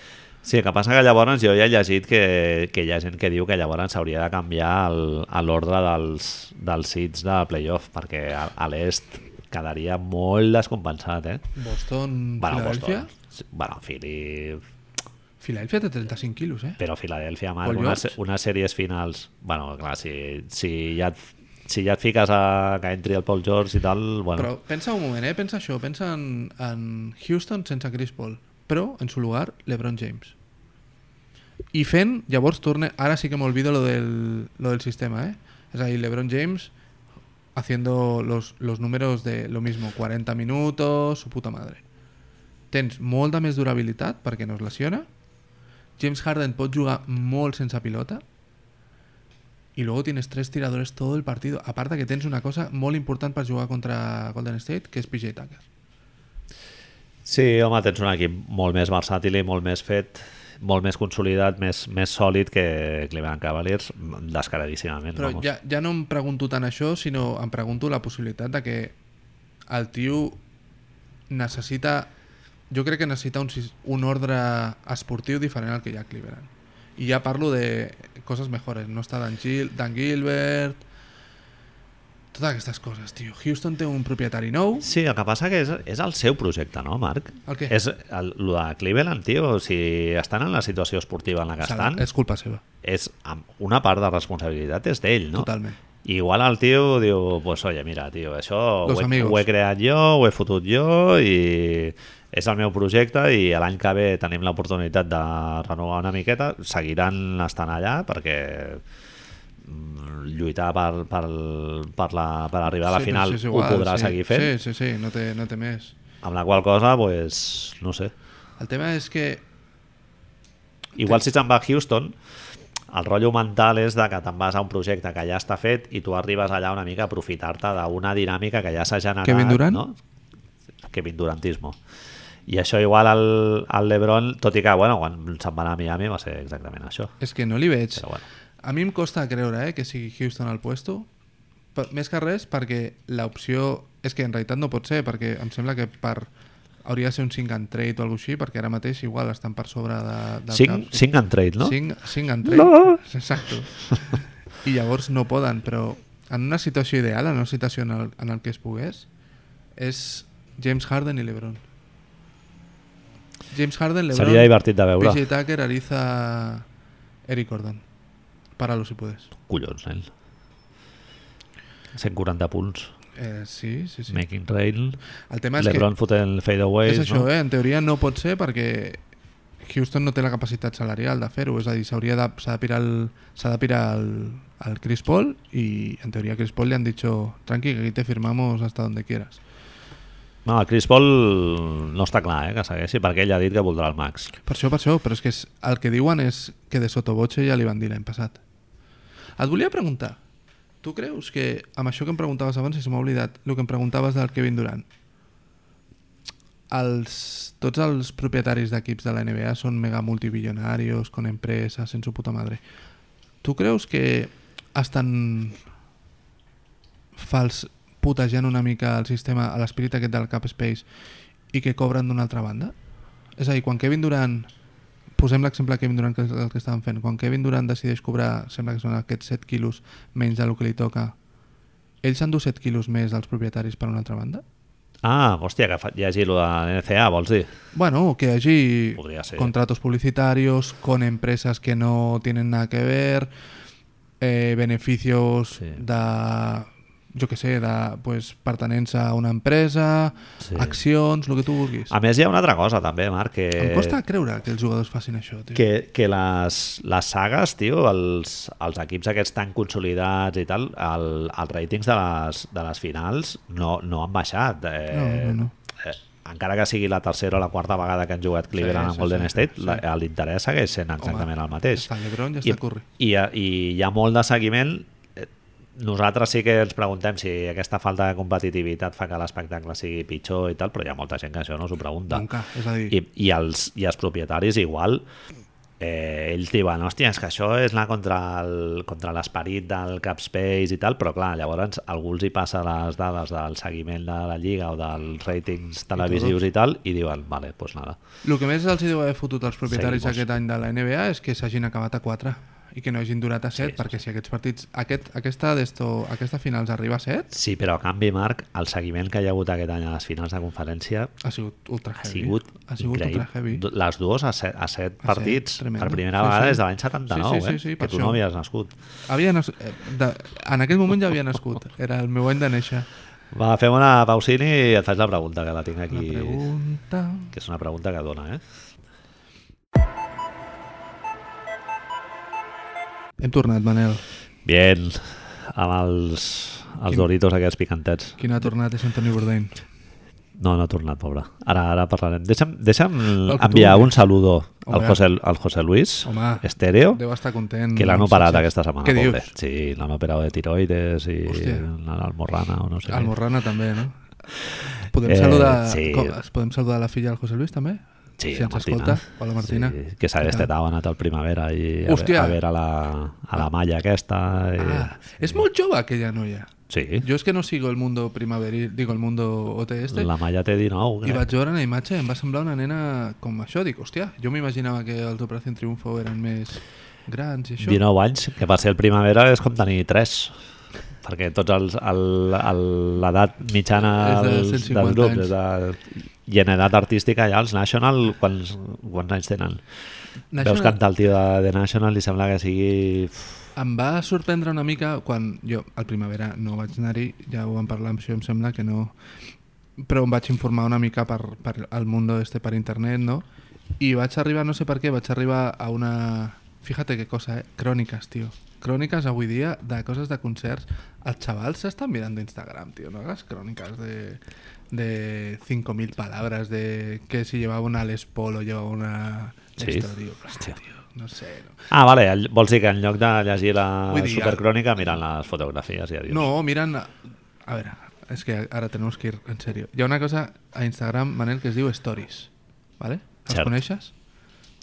[SPEAKER 1] Sí, el que passa que llavors jo ja he llegit que, que hi ha gent que diu que llavors s'hauria de canviar el- a l'ordre dels, dels seeds de playoff, perquè a, a l'est quedaria molt descompensat, eh?
[SPEAKER 2] Boston,
[SPEAKER 1] Bueno,
[SPEAKER 2] Filadèlfia...
[SPEAKER 1] Boston. Sí, Bueno, Philly...
[SPEAKER 2] Filadèlfia té 35 quilos, eh?
[SPEAKER 1] Però Filadèlfia, Marc,
[SPEAKER 2] Paul
[SPEAKER 1] unes,
[SPEAKER 2] George?
[SPEAKER 1] unes sèries finals... Bueno, clar, si, si, ja et, si ja et fiques a, que entri el Paul George i tal... Bueno,
[SPEAKER 2] Però pensa un moment, eh? Pensa això, pensa en, en Houston sense Chris Paul, però en su lugar LeBron James. I fent, llavors torne, ara sí que m'olvido lo del, lo del sistema, eh? És a dir, LeBron James haciendo los, los números de lo mismo, 40 minutos, su puta madre. Tens molta més durabilitat perquè no es lesiona, James Harden pot jugar molt sense pilota, Y luego tienes tres tiradores todo el partido. Aparte que tienes una cosa muy importante para jugar contra Golden State, que es PJ Tucker.
[SPEAKER 1] Sí, home, tens un equip molt més versàtil i molt més fet, molt més consolidat, més, més sòlid que Cleveland Cavaliers, descaradíssimament.
[SPEAKER 2] Però
[SPEAKER 1] vamos.
[SPEAKER 2] ja, ja no em pregunto tant això, sinó em pregunto la possibilitat de que el tio necessita... Jo crec que necessita un, sis- un ordre esportiu diferent al que hi ha a Cleveland. I ja parlo de coses mejores. No està Dan, Gil, Dan Gilbert... Totes aquestes coses, tio. Houston té un propietari nou.
[SPEAKER 1] Sí, el que passa que és, és el seu projecte, no, Marc?
[SPEAKER 2] El què?
[SPEAKER 1] És el, el de Cleveland, tio, si estan en la situació esportiva en la que estan,
[SPEAKER 2] És culpa seva,
[SPEAKER 1] és, amb una part de responsabilitat és d'ell, no?
[SPEAKER 2] totalment.
[SPEAKER 1] Igual el tio diu, pues oye, mira, tio, això ho
[SPEAKER 2] Los
[SPEAKER 1] he,
[SPEAKER 2] amigos.
[SPEAKER 1] ho he creat jo, ho he fotut jo i és el meu projecte i l'any que ve tenim l'oportunitat de renovar una miqueta, seguiran estant allà perquè mm, lluitar per, per, per, la, per arribar a la
[SPEAKER 2] Sí, però
[SPEAKER 1] final
[SPEAKER 2] això és igual,
[SPEAKER 1] ho podrà
[SPEAKER 2] sí.
[SPEAKER 1] seguir fent,
[SPEAKER 2] Sí, sí, sí, no té, no té més.
[SPEAKER 1] amb la qual cosa, pues, no sé.
[SPEAKER 2] El tema és que...
[SPEAKER 1] Igual si se'n va a Houston, el rotllo mental és de que te'n vas a un projecte que ja està fet i tu arribes allà una mica a aprofitar-te d'una dinàmica que ja s'ha generat.
[SPEAKER 2] Kevin Durant?
[SPEAKER 1] No? Kevin Durantismo. I això igual al, al Lebron, tot i que bueno, quan se'n va anar a Miami va ser exactament això.
[SPEAKER 2] És que no li veig...
[SPEAKER 1] Però bueno.
[SPEAKER 2] A mi em costa creure eh, que sigui Houston al puesto, per, més que res perquè l'opció... És que en realitat no pot ser, perquè em sembla que per hauria de ser un 5 and trade o alguna així, perquè ara mateix igual estan per sobre de, del
[SPEAKER 1] Cinc,
[SPEAKER 2] cap.
[SPEAKER 1] cinc and trade, no?
[SPEAKER 2] 5, 5 and 3. Exacto. I llavors no poden, però en una situació ideal, en una situació en el, en el que es pogués, és James Harden i LeBron. James Harden, LeBron,
[SPEAKER 1] Seria divertit de veure.
[SPEAKER 2] PJ Tucker, Ariza, Eric Gordon. Páralo si puedes.
[SPEAKER 1] Collons, nen. 140 punts.
[SPEAKER 2] Eh, sí, sí, sí.
[SPEAKER 1] Making trail.
[SPEAKER 2] El tema és
[SPEAKER 1] Lebron fotent el
[SPEAKER 2] que
[SPEAKER 1] fadeaway.
[SPEAKER 2] és això, eh? En teoria no pot ser perquè Houston no té la capacitat salarial de fer-ho, és a dir, s'hauria de, s'ha de pirar, el, s'ha de pirar el, el Chris Paul i en teoria a Chris Paul li han dicho tranqui, que aquí te firmamos hasta donde quieras.
[SPEAKER 1] No, el Chris Paul no està clar eh, que segueixi perquè ell ha dit que voldrà el Max.
[SPEAKER 2] Per això, per això, però és que és, el que diuen és que de sotobotxe ja li van dir l'any passat. Et volia preguntar, tu creus que amb això que em preguntaves abans, si se m'ha oblidat, el que em preguntaves del Kevin Durant, els, tots els propietaris d'equips de la NBA són mega multimillonarios, con empreses, sense puta madre. Tu creus que estan fals putejant una mica el sistema, a l'esperit aquest del cap space i que cobren d'una altra banda? És a dir, quan Kevin Durant posem l'exemple de Kevin Durant que és el que estaven fent quan Kevin Durant decideix cobrar sembla que són aquests 7 quilos menys del que li toca ell s'endú 7 quilos més dels propietaris per una altra banda?
[SPEAKER 1] Ah, hòstia, que fa, llegi lo de NCA, vols dir?
[SPEAKER 2] Bueno, o que allí
[SPEAKER 1] Podría ser.
[SPEAKER 2] contratos publicitarios con empresas que no tienen nada que ver, eh, beneficios
[SPEAKER 1] Sí.
[SPEAKER 2] de, yo qué sé, de pues, pertenencia a una empresa,
[SPEAKER 1] Sí.
[SPEAKER 2] acciones, lo que tú busques.
[SPEAKER 1] A més, hi ha una altra cosa, també, Marc, que...
[SPEAKER 2] Em costa creure que els jugadors facin això, tio.
[SPEAKER 1] que, que les, les sagues, tio, els, els equips aquests tan consolidats i tal, el, els ratings de les, de les finals no, no han baixat. Eh,
[SPEAKER 2] No, no, no.
[SPEAKER 1] Eh, encara que sigui la tercera o la quarta vegada que han jugat Cleveland
[SPEAKER 2] Sí,
[SPEAKER 1] amb
[SPEAKER 2] sí,
[SPEAKER 1] Golden
[SPEAKER 2] sí,
[SPEAKER 1] State,
[SPEAKER 2] sí.
[SPEAKER 1] la- l'interès segueix sent exactament el mateix.
[SPEAKER 2] Està LeBron i està Curry.
[SPEAKER 1] I, eh, I hi ha molt de seguiment. Eh, Nosaltres sí que ens preguntem si aquesta falta de competitivitat fa que l'espectacle sigui pitjor i tal, però hi ha molta gent que això no s'ho pregunta.
[SPEAKER 2] Nunca, és a dir,
[SPEAKER 1] I, i, els, i els propietaris igual eh, ells diuen, hòstia, és que això és anar contra el- contra l'esperit del cap space i tal, però clar, llavors algú els hi passa les dades del seguiment de la lliga o dels ratings televisius i, tal, i diuen, vale, doncs pues nada.
[SPEAKER 2] el que més els hi deu haver fotut als propietaris
[SPEAKER 1] Seguimos.
[SPEAKER 2] aquest any de la NBA és que s'hagin acabat a 4 i que no hagin durat a 7, perquè si aquests partits... Aquest, aquesta, d'esto, aquesta final arriba a 7,
[SPEAKER 1] Sí, però a canvi, Marc, el seguiment que hi ha hagut aquest any a les finals de conferència
[SPEAKER 2] ha sigut ultra
[SPEAKER 1] ha
[SPEAKER 2] heavy.
[SPEAKER 1] sigut,
[SPEAKER 2] ha sigut
[SPEAKER 1] increïble.
[SPEAKER 2] ultra heavy.
[SPEAKER 1] Do- Les dues a set, a set
[SPEAKER 2] set,
[SPEAKER 1] partits,
[SPEAKER 2] tremendo.
[SPEAKER 1] per primera
[SPEAKER 2] Sí,
[SPEAKER 1] vegada
[SPEAKER 2] sí.
[SPEAKER 1] des de l'any 79,
[SPEAKER 2] Sí, sí, sí, sí,
[SPEAKER 1] eh?
[SPEAKER 2] per
[SPEAKER 1] que tu
[SPEAKER 2] això.
[SPEAKER 1] no havies nascut.
[SPEAKER 2] Havia nas... eh, de... En aquell moment ja havia nascut. Era el meu any de néixer.
[SPEAKER 1] Va, fem una pausini i et faig la pregunta, que la tinc
[SPEAKER 2] La
[SPEAKER 1] aquí.
[SPEAKER 2] pregunta...
[SPEAKER 1] Que és una pregunta que dona, eh?
[SPEAKER 2] Hem tornat, Manel.
[SPEAKER 1] Bien, amb els, els doritos aquests picantets.
[SPEAKER 2] Qui no ha tornat és Anthony Bourdain.
[SPEAKER 1] No, no ha tornat, pobre. Ara, ara parlarem. Deixa'm, deixa'm
[SPEAKER 2] El que tu
[SPEAKER 1] enviar
[SPEAKER 2] vulguis.
[SPEAKER 1] un saludo al
[SPEAKER 2] Home.
[SPEAKER 1] José, al José Luis,
[SPEAKER 2] Home.
[SPEAKER 1] estèreo,
[SPEAKER 2] Deu estar content.
[SPEAKER 1] que l'han
[SPEAKER 2] amb
[SPEAKER 1] operat
[SPEAKER 2] Sánchez.
[SPEAKER 1] aquesta setmana,
[SPEAKER 2] Què
[SPEAKER 1] pobre.
[SPEAKER 2] dius?
[SPEAKER 1] Sí, l'han operat de tiroides i
[SPEAKER 2] Hòstia.
[SPEAKER 1] l'almorrana o no sé què.
[SPEAKER 2] Almorrana també, no? Podem
[SPEAKER 1] Eh,
[SPEAKER 2] saludar,
[SPEAKER 1] sí.
[SPEAKER 2] com, es- podem saludar la filla del José Luis també?
[SPEAKER 1] Sí,
[SPEAKER 2] si
[SPEAKER 1] la
[SPEAKER 2] ens
[SPEAKER 1] Martina.
[SPEAKER 2] escolta. Hola Martina.
[SPEAKER 1] Sí, que s'ha
[SPEAKER 2] Què tal?
[SPEAKER 1] destetau, ha anat al primavera i a, ve-
[SPEAKER 2] Hòstia.
[SPEAKER 1] a veure la, a la malla aquesta. I...
[SPEAKER 2] Ah, és molt jove aquella noia.
[SPEAKER 1] Sí,
[SPEAKER 2] Jo és que no sigo el mundo primaveril, digo el mundo OT este,
[SPEAKER 1] la malla té eh, 19.
[SPEAKER 2] I
[SPEAKER 1] crec.
[SPEAKER 2] vaig veure una imatge, em va semblar una nena com això, dic, hòstia, jo m'imaginava que els Operació Triunfo eren més grans i això.
[SPEAKER 1] 19 anys, que per ser el primavera és com tenir 3 perquè tots els el, el, l'edat mitjana
[SPEAKER 2] És de
[SPEAKER 1] dels,
[SPEAKER 2] 150
[SPEAKER 1] dels grups és
[SPEAKER 2] anys.
[SPEAKER 1] de, i en edat artística ja els National quants, quants anys tenen? National. Veus cantar el tio de, de National i sembla que sigui
[SPEAKER 2] Em va sorprendre una mica quan jo al Primavera no vaig anar-hi, ja ho vam parlar amb això, em sembla que no... Però em vaig informar una mica per, per el mundo este, per internet, no? I vaig arribar, no sé per què, vaig arribar a una... Fíjate qué cosa, eh? Cròniques, tio. Cròniques avui dia de coses de concerts. Els xavals s'estan mirant d'Instagram, tio. No hagas cròniques de, de 5.000 palabras, de que si llevava una Les Paul o llevava una...
[SPEAKER 1] Sí.
[SPEAKER 2] Esto, tio.
[SPEAKER 1] Hòstia.
[SPEAKER 2] Tio, no sé, no.
[SPEAKER 1] Ah, vale, el- vols dir que en lloc de llegir la
[SPEAKER 2] Vull dir,
[SPEAKER 1] supercrònica miren les fotografies i adiós.
[SPEAKER 2] No, miran... A a ver, es que ahora tenemos que ir en serio. Hi ha una cosa a Instagram, Manel, que es diu Stories. ¿Vale? Els
[SPEAKER 1] Cert.
[SPEAKER 2] coneixes?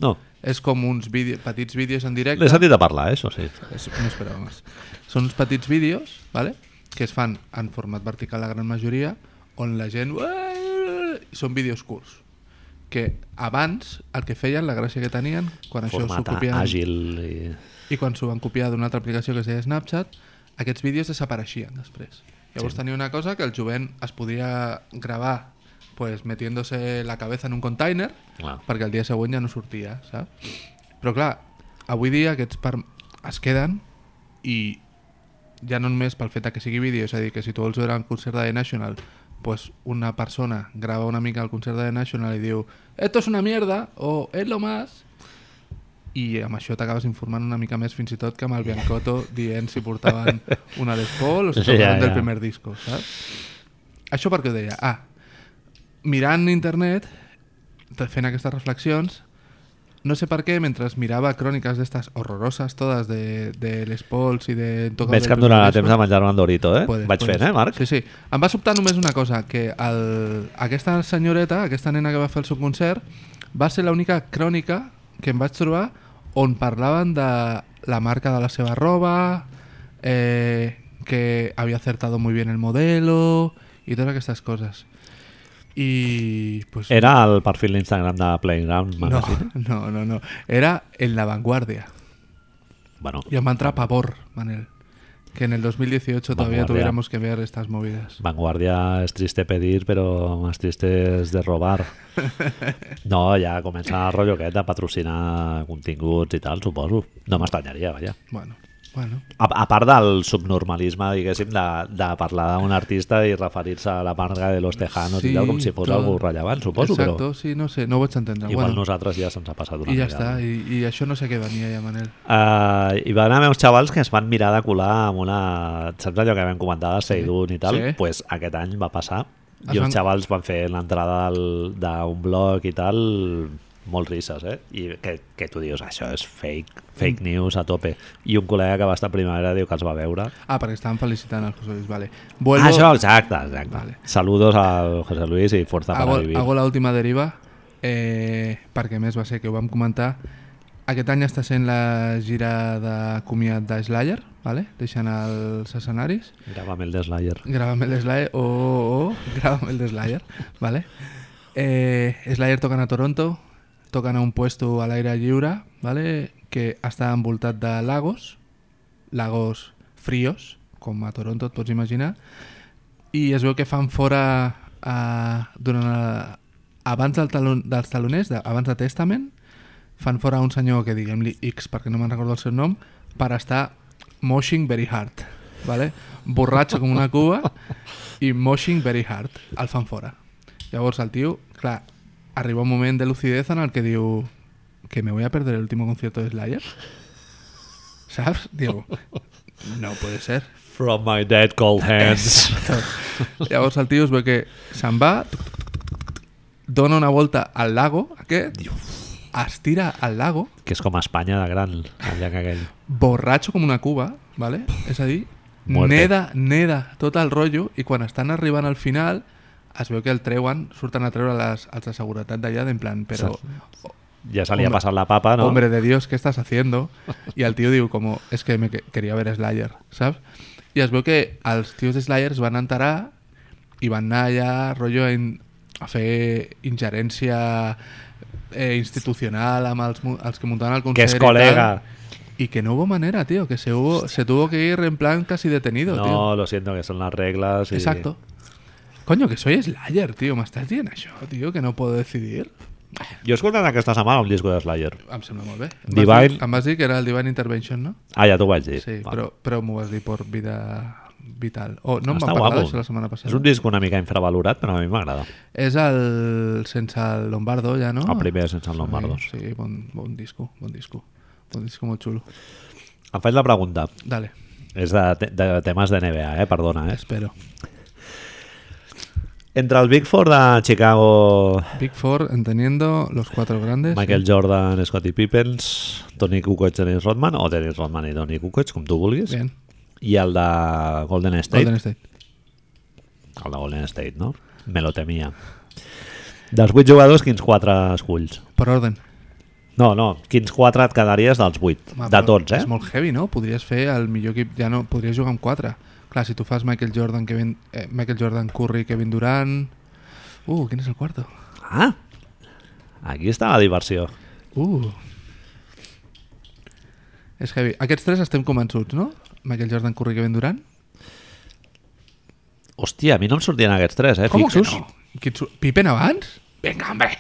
[SPEAKER 1] no.
[SPEAKER 2] És com uns vídeo, petits vídeos en directe.
[SPEAKER 1] L'he sentit a parlar, eh, això sí.
[SPEAKER 2] És, no esperava més. Són uns petits vídeos, ¿vale? que es fan en format vertical la gran majoria, on la gent... i Són vídeos curts. Que abans, el que feien, la gràcia que tenien, quan això s'ho
[SPEAKER 1] Format
[SPEAKER 2] copien...
[SPEAKER 1] àgil i...
[SPEAKER 2] I quan s'ho van copiar d'una altra aplicació que es deia Snapchat, aquests vídeos desapareixien després. Llavors tenia una cosa que el jovent es podia gravar pues, metiéndose la cabeza en un container
[SPEAKER 1] Clar.
[SPEAKER 2] perquè el dia següent ja no sortia, saps? Però clar, avui dia aquests par... es queden i ja no només pel fet de que sigui vídeo, és a dir, que si tu vols veure un concert de The National, pues una persona grava una mica el concert de The National i diu «Esto es una mierda» o «Es lo más», i amb això t'acabes informant una mica més fins i tot que amb el Biancotto dient si
[SPEAKER 1] [laughs]
[SPEAKER 2] portaven una Les Paul o si
[SPEAKER 1] Sí, ja,
[SPEAKER 2] tocaven del
[SPEAKER 1] ja.
[SPEAKER 2] primer disco, saps? Això per què ho deia? Ah, mirant internet, fent aquestes reflexions, no sé per què, mentre mirava cròniques d'estes horroroses totes de, de les Pauls i de... Toca
[SPEAKER 1] Veig
[SPEAKER 2] del
[SPEAKER 1] que em donarà
[SPEAKER 2] Primer
[SPEAKER 1] temps
[SPEAKER 2] Disco.
[SPEAKER 1] de menjar-me el Dorito, eh?
[SPEAKER 2] Puedes,
[SPEAKER 1] Vaig
[SPEAKER 2] puedes.
[SPEAKER 1] fent, eh, Marc?
[SPEAKER 2] Sí, sí. Em va sobtar només una cosa, que el, aquesta senyoreta, aquesta nena que va fer el seu concert, va ser l'única crònica que em vaig trobar on parlaven de la marca de la seva roba, eh, que havia acertado muy bien el modelo i totes aquestes coses. I... Pues,
[SPEAKER 1] Era eh? el perfil d'Instagram de Playground
[SPEAKER 2] no,
[SPEAKER 1] Magazine?
[SPEAKER 2] no, no, no. Era en la vanguardia.
[SPEAKER 1] Bueno,
[SPEAKER 2] Y me entra pavor, Manel. Que en el 2018 todavía
[SPEAKER 1] Vanguardia.
[SPEAKER 2] tuviéramos que ver estas movidas.
[SPEAKER 1] Vanguardia es triste pedir, però más triste es de
[SPEAKER 2] [laughs]
[SPEAKER 1] robar. No, ja comença el rotllo aquest de patrocinar continguts i tal, suposo. No m'estranyaria, vaja.
[SPEAKER 2] Bueno, bueno.
[SPEAKER 1] A, a part del subnormalisme, diguéssim, de, de parlar d'un artista i referir-se a la marca de los tejanos sí, i tal, com si fos
[SPEAKER 2] tot.
[SPEAKER 1] algú rellevant, suposo,
[SPEAKER 2] Exacto,
[SPEAKER 1] però
[SPEAKER 2] sí, no sé, no ho vaig entendre.
[SPEAKER 1] igual
[SPEAKER 2] bueno,
[SPEAKER 1] nosaltres ja se'ns ha passat una
[SPEAKER 2] I ja
[SPEAKER 1] mica.
[SPEAKER 2] està, i, i això no sé què venia ja, Manel.
[SPEAKER 1] Uh, hi van haver uns xavals que es van mirar de colar amb una... Saps allò que vam comentar de Seidun i tal?
[SPEAKER 2] sí.
[SPEAKER 1] Doncs pues aquest any va passar.
[SPEAKER 2] Es
[SPEAKER 1] I
[SPEAKER 2] van-
[SPEAKER 1] uns xavals van fer l'entrada del- d'un blog i tal molt risses, eh? I que, que tu dius, això és fake,
[SPEAKER 2] Mm.
[SPEAKER 1] fake news a tope. I un col·lega que va estar a primavera diu que els va veure.
[SPEAKER 2] Ah, perquè estaven felicitant el José Luis, vale.
[SPEAKER 1] Vuelvo...
[SPEAKER 2] Vuelvo,
[SPEAKER 1] Ah, això, exacte, exacte.
[SPEAKER 2] Vale.
[SPEAKER 1] Vale. Saludos al José Luis i força per
[SPEAKER 2] hago,
[SPEAKER 1] a vivir.
[SPEAKER 2] hago la última deriva, eh, perquè a més va ser que ho vam comentar. Aquest any està sent la gira de comiat de Slayer, vale? deixant els escenaris.
[SPEAKER 1] Grava'm el de Slayer.
[SPEAKER 2] Grava'm el Slayer, oh, oh, oh, grava'm el de Slayer, ¿vale? Eh, Slayer tocan a Toronto, tocan a un puesto al aire lliure, ¿vale? Que està envoltat de lagos, lagos fríos, com a Toronto et pots imaginar, i es veu que fan fora eh, durant el, abans del talon, dels taloners, de, abans de Testament, fan fora un senyor que diguem-li X perquè no me'n recordo el seu nom per estar moshing very hard ¿vale? borratxo com una cuba i moshing very hard el fan fora llavors el tio, clar, arriba un moment de lucidez en el que diu que me voy a perder el último concierto de Slayer ¿saps? diu no puede ser
[SPEAKER 1] From my dead cold
[SPEAKER 2] [laughs]
[SPEAKER 1] hands.
[SPEAKER 2] llavors el tio es veu que se'n va tuc, tuc, tuc, tuc, tuc, dona una volta al lago aquest estira al lago
[SPEAKER 1] que és com Espanya de gran, el llac aquell.
[SPEAKER 2] borratxo com una cuba, ¿vale? és a dir,
[SPEAKER 1] [laughs] Muerte.
[SPEAKER 2] neda, neda tot el rotllo i quan estan arribant al final es veu que el treuen, surten a treure les, els de seguretat d'allà d'en plan, però
[SPEAKER 1] Ja se li ha
[SPEAKER 2] Hombre-
[SPEAKER 1] passat la papa, no?
[SPEAKER 2] hombre de Dios, què estàs haciendo? I el tio diu com, és es que me que quería ver Slayer, saps? I es veu que els tios de Slayer es van enterar i van anar allà, rotllo, a, in, a fer ingerència eh, institucional amb els, mu- els que muntaven el
[SPEAKER 1] que és
[SPEAKER 2] concert i tal.
[SPEAKER 1] col·lega.
[SPEAKER 2] Y que no hubo manera, tío, que se hubo, se tuvo que ir en plan casi detenido,
[SPEAKER 1] No,
[SPEAKER 2] tío.
[SPEAKER 1] lo siento, que son las reglas. y-
[SPEAKER 2] Exacto. Coño, que soy Slayer, tío. Me estás bien yo, tío, que no puedo decidir.
[SPEAKER 1] Jo he escoltat aquesta setmana un disco de Slayer.
[SPEAKER 2] Em sembla molt bé. Em
[SPEAKER 1] Divine-
[SPEAKER 2] vas dir- Em vas dir que era el Divine Intervention, no?
[SPEAKER 1] Ah, ja t'ho vaig dir.
[SPEAKER 2] Sí,
[SPEAKER 1] Va.
[SPEAKER 2] però, però m'ho vas dir per vida vital. Oh, no em
[SPEAKER 1] Està
[SPEAKER 2] van parlar
[SPEAKER 1] Ah, guapo.
[SPEAKER 2] d'això la setmana passada.
[SPEAKER 1] És un disc una mica infravalorat, però a mi m'agrada.
[SPEAKER 2] És el sense el Lombardo, ja, no?
[SPEAKER 1] El primer sense el Lombardo.
[SPEAKER 2] Ah, Sí, sí bon, bon disco, bon disco. Bon disco molt xulo.
[SPEAKER 1] Em faig la pregunta.
[SPEAKER 2] Dale,
[SPEAKER 1] És de, te- de temes de NBA, eh? Perdona, eh?
[SPEAKER 2] espero.
[SPEAKER 1] Entre el Big Four de Chicago,
[SPEAKER 2] Big Four, entendiendo los cuatro grandes.
[SPEAKER 1] Michael Jordan, Scottie Pippens, Tony Kukoc, Dennis Rodman, o Dennis Rodman i Tony Kukoc, com tu vulguis,
[SPEAKER 2] Bien.
[SPEAKER 1] i el de Golden State.
[SPEAKER 2] Golden State.
[SPEAKER 1] El de Golden State, no? Me lo temia. Dels 8 jugadors, quins 4 esculls?
[SPEAKER 2] Per orden.
[SPEAKER 1] No, no, quins 4 et quedaries dels 8?
[SPEAKER 2] Home,
[SPEAKER 1] de
[SPEAKER 2] però
[SPEAKER 1] tots, eh?
[SPEAKER 2] És molt heavy, no? Podries fer el millor equip... Ja no, podries jugar amb 4. Clar, si tu fas Michael Jordan, Kevin, eh, Michael Jordan Curry, Kevin Durant... Uh, quin és el quarto?
[SPEAKER 1] Ah, aquí està la diversió.
[SPEAKER 2] Uh... És heavy. Aquests tres estem convençuts, no? Michael Jordan, Curry, Kevin Durant?
[SPEAKER 1] Hòstia, a mi no em sortien aquests 3, eh?
[SPEAKER 2] Com que
[SPEAKER 1] Fixos. [laughs]
[SPEAKER 2] no? Qui et surt- Pippen abans? Vinga, hombre!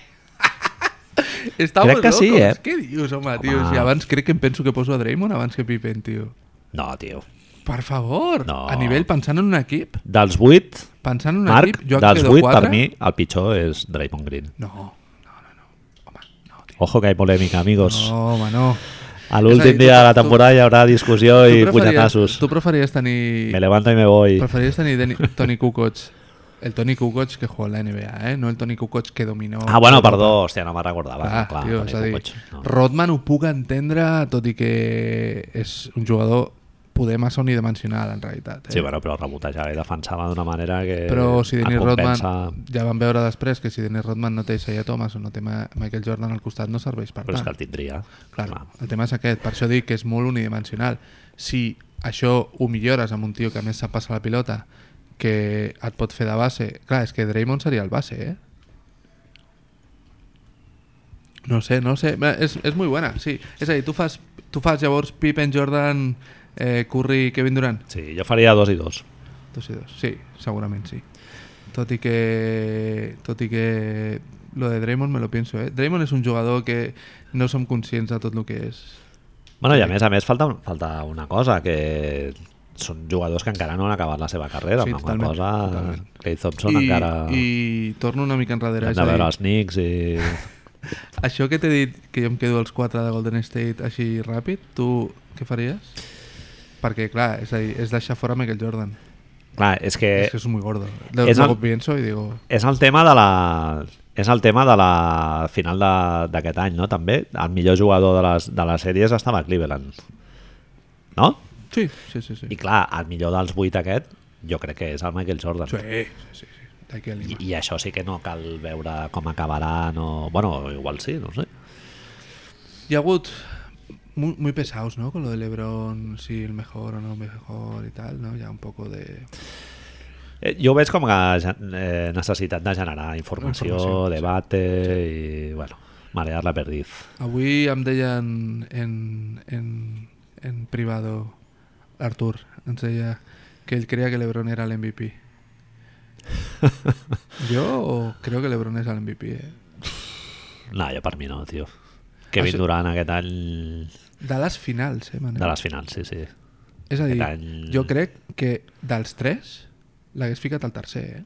[SPEAKER 2] Estamos
[SPEAKER 1] Crec que sí,
[SPEAKER 2] locos.
[SPEAKER 1] eh?
[SPEAKER 2] Què dius, home, tio?
[SPEAKER 1] Home.
[SPEAKER 2] Si abans crec que em penso que poso a Draymond abans que Pippen, tio.
[SPEAKER 1] No, tio.
[SPEAKER 2] Per favor,
[SPEAKER 1] No.
[SPEAKER 2] a nivell pensant en un equip,
[SPEAKER 1] Dels 8,
[SPEAKER 2] pensant en un
[SPEAKER 1] Marc,
[SPEAKER 2] equip, jo
[SPEAKER 1] dels
[SPEAKER 2] quedo
[SPEAKER 1] 8,
[SPEAKER 2] 4.
[SPEAKER 1] per mi, el pitjor és Draymond Green.
[SPEAKER 2] No, no, no, no. Home, no, tio.
[SPEAKER 1] Ojo que hay polémica, amigos.
[SPEAKER 2] No, home, no.
[SPEAKER 1] A
[SPEAKER 2] És a
[SPEAKER 1] l'últim
[SPEAKER 2] dir,
[SPEAKER 1] dia de la
[SPEAKER 2] tu-
[SPEAKER 1] temporada hi haurà discussió i
[SPEAKER 2] preferies-
[SPEAKER 1] puñetazos.
[SPEAKER 2] Tu preferiries tenir...
[SPEAKER 1] Me levanto y me voy.
[SPEAKER 2] Preferirías tener Deni- Tony Kukoc. El Tony Kukoc que jugó en la NBA, ¿eh? No el Tony Kukoc que dominó...
[SPEAKER 1] Ah, bueno,
[SPEAKER 2] Europa.
[SPEAKER 1] perdó, hòstia, no me'n recordava. Clar,
[SPEAKER 2] Clar,
[SPEAKER 1] clar,
[SPEAKER 2] Ah, tio,
[SPEAKER 1] Toni
[SPEAKER 2] és a dir,
[SPEAKER 1] Kukoc, no.
[SPEAKER 2] Rodman ho puc entendre, tot i que és un jugador poder massa unidimensional, en realitat. Eh?
[SPEAKER 1] Sí, bueno, però rebotejava i defensava d'una manera que
[SPEAKER 2] Però si
[SPEAKER 1] et
[SPEAKER 2] Dennis
[SPEAKER 1] compensa...
[SPEAKER 2] Rodman... Ja vam veure després que si Dennis Rodman no té Isaiah Thomas o no té Ma- Michael Jordan al costat no serveix per
[SPEAKER 1] Però és
[SPEAKER 2] tant.
[SPEAKER 1] que el tindria.
[SPEAKER 2] Clar, el tema és aquest, per això dic que és molt unidimensional. Si això ho millores amb un tio que a més se passa la pilota, que et pot fer de base... Clar, és que Draymond seria el base, eh? No sé, no sé. Bé, És, és molt bona, sí. És a dir, tu fas, tu fas llavors Pippen, Jordan, eh, Curry, Kevin Durant?
[SPEAKER 1] Sí, jo faria dos i dos.
[SPEAKER 2] Dos i dos, sí, segurament sí. Tot i que... Tot i que... Lo de Draymond me lo pienso, eh? Draymond és un jugador que no som conscients de tot el que és.
[SPEAKER 1] Bueno, i a més, a més, falta, falta una cosa, que són jugadors que encara no han acabat la seva carrera.
[SPEAKER 2] Sí,
[SPEAKER 1] amb la qual
[SPEAKER 2] totalment,
[SPEAKER 1] cosa,
[SPEAKER 2] totalment.
[SPEAKER 1] Clay Thompson encara...
[SPEAKER 2] I torno una mica enrere.
[SPEAKER 1] Hem
[SPEAKER 2] És
[SPEAKER 1] de
[SPEAKER 2] a
[SPEAKER 1] veure
[SPEAKER 2] dir,
[SPEAKER 1] els Knicks i...
[SPEAKER 2] això que t'he dit, que jo em quedo els quatre de Golden State així ràpid, tu què faries? Perquè, clar, és, a dir, és deixar fora Michael Jordan.
[SPEAKER 1] Clar, és que
[SPEAKER 2] és que és muy gordo. Lo,
[SPEAKER 1] Eh, és
[SPEAKER 2] luego
[SPEAKER 1] el-
[SPEAKER 2] pienso y digo...
[SPEAKER 1] és el tema de la... És el tema de la final de- d'aquest any, no? També el millor jugador de les, de les sèries estava a Cleveland. No?
[SPEAKER 2] Sí, sí, sí. sí.
[SPEAKER 1] I clar, el millor dels vuit aquest, jo crec que és el Michael Jordan.
[SPEAKER 2] Sí, sí, sí. sí. D'aquí a
[SPEAKER 1] I,
[SPEAKER 2] Lima.
[SPEAKER 1] I això sí que no cal veure com acabarà, no... Bueno, igual sí, no ho sé.
[SPEAKER 2] Hi ha hagut muy, muy pesados, ¿no? Con lo de LeBron, si el mejor o no el mejor y tal, ¿no? Ya un poco de...
[SPEAKER 1] Eh, Jo ho veig com a gen- eh, necessitat de generar informació,
[SPEAKER 2] Informació, sí.
[SPEAKER 1] debate i, bueno, marear la perdiz.
[SPEAKER 2] Avui em deien en, en, en privado Artur, ens deia que ell creia que l'Ebron era
[SPEAKER 1] [laughs]
[SPEAKER 2] l'MVP. Jo creo que l'Ebron és l'MVP, eh?
[SPEAKER 1] No, jo per mi no, tio. Kevin
[SPEAKER 2] Això-
[SPEAKER 1] això... Durant aquest any
[SPEAKER 2] De les finals, eh, Manel?
[SPEAKER 1] de les finals, sí, sí.
[SPEAKER 2] És a dir,
[SPEAKER 1] aquest any-
[SPEAKER 2] jo crec que dels tres l'hagués ficat al tercer, eh?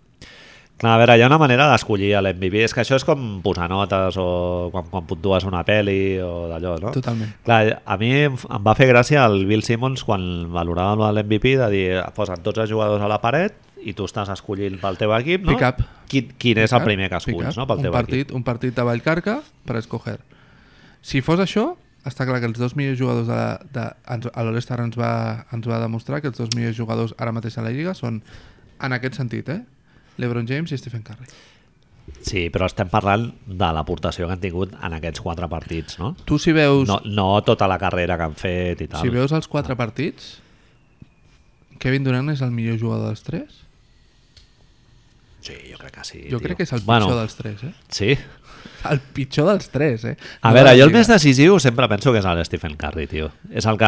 [SPEAKER 1] Clar, a veure, hi ha una manera d'escollir l'MVP. És que això és com posar notes o quan, quan puntues una pel·li o d'allò, no?
[SPEAKER 2] Totalment.
[SPEAKER 1] Clar, a mi em f- em va fer gràcia el Bill Simmons quan valorava l'MVP de dir, posen 12 jugadors a la paret i tu estàs escollint pel teu equip, no?
[SPEAKER 2] Pick up.
[SPEAKER 1] Quin, quin és el primer que
[SPEAKER 2] Pick up,
[SPEAKER 1] esculls, no? Pel
[SPEAKER 2] un
[SPEAKER 1] teu
[SPEAKER 2] partit, Un partit de Vallcarca per escoger. Si fos això, està clar que els dos millors jugadors de, la- de ens, a l'All-Star ens, va, ens va demostrar que els dos millors jugadors ara mateix a la Lliga són, en aquest sentit, eh? LeBron James i Stephen Curry.
[SPEAKER 1] equip. Sí, però estem parlant de l'aportació que han tingut en aquests quatre partits, no?
[SPEAKER 2] Tu si veus,
[SPEAKER 1] No, no tota la carrera que han fet i tal.
[SPEAKER 2] si veus els quatre partits, Kevin Durant és el millor jugador dels tres?
[SPEAKER 1] Sí, jo crec que sí,
[SPEAKER 2] Jo
[SPEAKER 1] tio.
[SPEAKER 2] crec que és el
[SPEAKER 1] bueno,
[SPEAKER 2] pitjor dels tres, eh?
[SPEAKER 1] Sí?
[SPEAKER 2] El pitjor dels tres, eh?
[SPEAKER 1] A
[SPEAKER 2] No
[SPEAKER 1] veure,
[SPEAKER 2] de la
[SPEAKER 1] jo el
[SPEAKER 2] Lliga.
[SPEAKER 1] més decisiu sempre penso que és el Stephen Curry, tio. És el que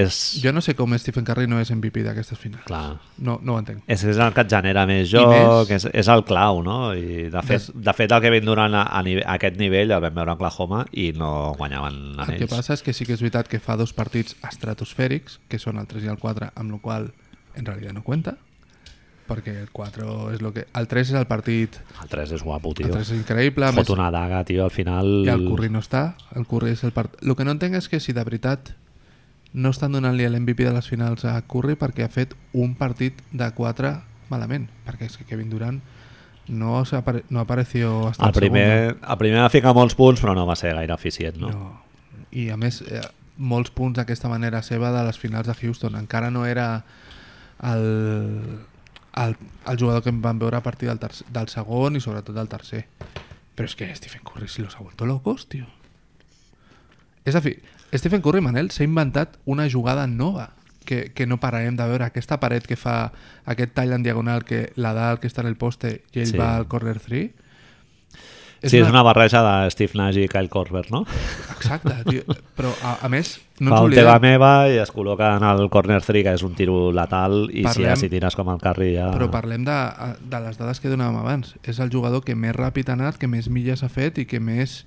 [SPEAKER 1] és...
[SPEAKER 2] Jo no sé com Stephen Curry no és MVP d'aquestes finals.
[SPEAKER 1] Clar,
[SPEAKER 2] No, no ho entenc.
[SPEAKER 1] És, és el que et genera més
[SPEAKER 2] I
[SPEAKER 1] joc,
[SPEAKER 2] més-
[SPEAKER 1] és, és el clau, no? I de fet,
[SPEAKER 2] Des-
[SPEAKER 1] de fet el Kevin Durant a, a, nive- a aquest nivell el vam veure a Oklahoma i no guanyaven
[SPEAKER 2] El que
[SPEAKER 1] anells.
[SPEAKER 2] passa és que sí que és veritat que fa dos partits estratosfèrics, que són el 3 i el 4, amb el qual en realitat no cuenta, perquè el 4 és lo que... El 3 és el partit,
[SPEAKER 1] El 3 és guapo,
[SPEAKER 2] el
[SPEAKER 1] tio.
[SPEAKER 2] 3 és increïble, a
[SPEAKER 1] Fot
[SPEAKER 2] més,
[SPEAKER 1] una daga, tio, al final...
[SPEAKER 2] i el Curry no està, el Curry és el part... El que no entenc és que si de veritat no estan donant-li l'MVP de les finals a Curry perquè ha fet un partit de 4 malament, perquè és que Kevin Durant no, s'ha apare... no apareció hasta
[SPEAKER 1] El
[SPEAKER 2] el, segundo.
[SPEAKER 1] primer, el primer va ficar molts punts, però no va ser gaire eficient, no?
[SPEAKER 2] No. I a més, eh, molts punts d'aquesta manera seva de les finals de Houston. Encara no era el, el, el jugador que em van veure a partir del, terc- del segon i sobretot del tercer. Però és que Stephen Curry si los ha vuelto locos, tio. És a fi, Stephen Curry, Manel, s'ha inventat una jugada nova que, que no pararem de veure. Aquesta paret que fa aquest tall en diagonal que la dà el que està en el poste i ell
[SPEAKER 1] Sí.
[SPEAKER 2] sí. va al corner 3.
[SPEAKER 1] sí, és una barreja de Steve Nash i Kyle Korver,
[SPEAKER 2] [laughs]
[SPEAKER 1] no?
[SPEAKER 2] Exacte, tio. Però, a, a més, no
[SPEAKER 1] Fa
[SPEAKER 2] ens
[SPEAKER 1] un teva
[SPEAKER 2] oblidem,
[SPEAKER 1] meva i es col·loca en el corner 3, que és un tiro letal, i si, ja,
[SPEAKER 2] Parlem-
[SPEAKER 1] si tires com el Curry ja...
[SPEAKER 2] però parlem de, de les dades que donàvem abans. És el jugador que més ràpid ha anat, que més milles ha fet i que més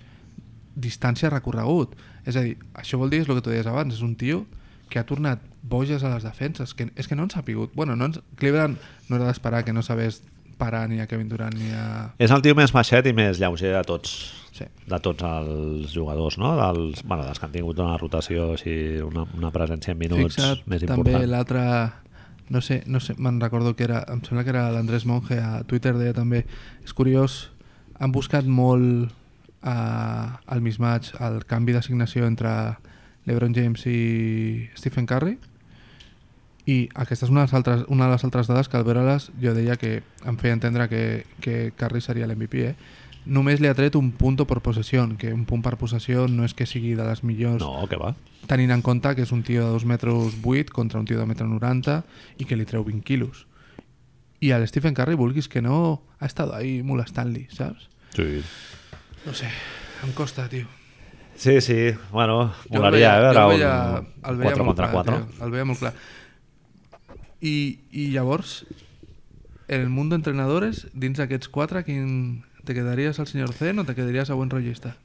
[SPEAKER 2] distància recorregut. És a dir, això vol dir, és el que tu deies abans, és un tio que ha tornat boges a les defenses, que és que no han sapigut. Bueno, no ens, Cleveland no era d'esperar que no sabés parar ni a Kevin Durant ni a...
[SPEAKER 1] És el tio més baixet i més lleuger de tots.
[SPEAKER 2] Sí.
[SPEAKER 1] De tots els jugadors, no? Dels, bueno, dels que han tingut una rotació, així, una, una presència en minuts
[SPEAKER 2] Fixa't,
[SPEAKER 1] més
[SPEAKER 2] també
[SPEAKER 1] important.
[SPEAKER 2] l'altre... No sé, no sé, me'n recordo que era... Em sembla que era l'Andrés Monge a Twitter, deia també... És curiós, han buscat molt eh, el mismatch, el canvi d'assignació entre LeBron James i Stephen Curry i aquesta és una de les altres, una de les altres dades que al veure-les jo deia que em feia entendre que, que Curry seria l'MVP, eh? Només li ha tret un punt per possessió, que un punt per possessió no és que sigui de les millors
[SPEAKER 1] No, que va.
[SPEAKER 2] tenint en compte que és un tio de 2 metres 8 contra un tio de 1,90 90 i que li treu 20 quilos. I el Stephen Curry, vulguis que no, ha estat ahí molestant-li, saps?
[SPEAKER 1] Sí.
[SPEAKER 2] No sé, em costa, tio.
[SPEAKER 1] Sí, sí, bueno,
[SPEAKER 2] Jo el
[SPEAKER 1] molaria
[SPEAKER 2] veia-
[SPEAKER 1] eh, veure
[SPEAKER 2] jo el veia-
[SPEAKER 1] un
[SPEAKER 2] el veia
[SPEAKER 1] 4
[SPEAKER 2] molt
[SPEAKER 1] contra
[SPEAKER 2] clar,
[SPEAKER 1] 4.
[SPEAKER 2] tio, El veia molt clar. I, I llavors, en el món d'entrenadores, dins d'aquests quatre, quin... te quedaries al senyor Zen o te quedaries a buen rotllista?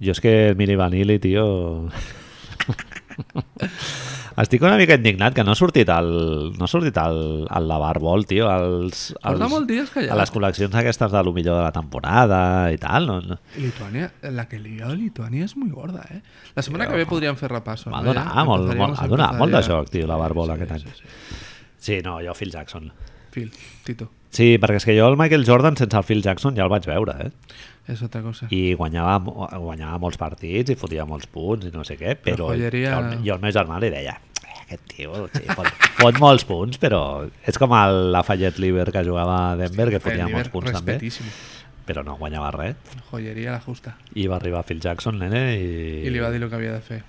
[SPEAKER 1] Jo és que el Mili Vanilli, tio... [laughs] Estic una mica indignat que no ha sortit el, no ha sortit el, el Lavar Vol, tio, als,
[SPEAKER 2] Porta
[SPEAKER 1] als-
[SPEAKER 2] molt dies callat.
[SPEAKER 1] a les col·leccions aquestes de lo millor de la temporada i tal. No, no.
[SPEAKER 2] Lituania, la que liga de Lituania és molt gorda, eh? La setmana que ve podríem fer repasso.
[SPEAKER 1] Va
[SPEAKER 2] no?
[SPEAKER 1] donar
[SPEAKER 2] Ja,
[SPEAKER 1] molt-
[SPEAKER 2] empezaríem,
[SPEAKER 1] molt-
[SPEAKER 2] no
[SPEAKER 1] ha donat
[SPEAKER 2] empezaríem.
[SPEAKER 1] molt de joc, tio, la
[SPEAKER 2] Sí,
[SPEAKER 1] Barbola
[SPEAKER 2] sí,
[SPEAKER 1] aquest
[SPEAKER 2] sí,
[SPEAKER 1] any.
[SPEAKER 2] sí.
[SPEAKER 1] Sí, no, jo Phil Jackson.
[SPEAKER 2] Phil, Tito,
[SPEAKER 1] Sí, perquè és que jo el Michael Jordan sense el Phil Jackson ja el vaig veure, eh?
[SPEAKER 2] és altra cosa. I...
[SPEAKER 1] I guanyava, mo- guanyava molts partits i fotia molts punts i no sé què, però
[SPEAKER 2] joieria-
[SPEAKER 1] jo, jo al meu germà li deia "Eh, aquest tio sí, fot, [laughs] fot molts punts, però és com el Lafayette Liver que jugava a Denver, que ¿eh? fotia molts punts també,
[SPEAKER 2] Respetíssim.
[SPEAKER 1] però no guanyava res.
[SPEAKER 2] Joyeria la justa.
[SPEAKER 1] I va arribar Phil Jackson, nene, i...
[SPEAKER 2] I li va dir el que havia de fer.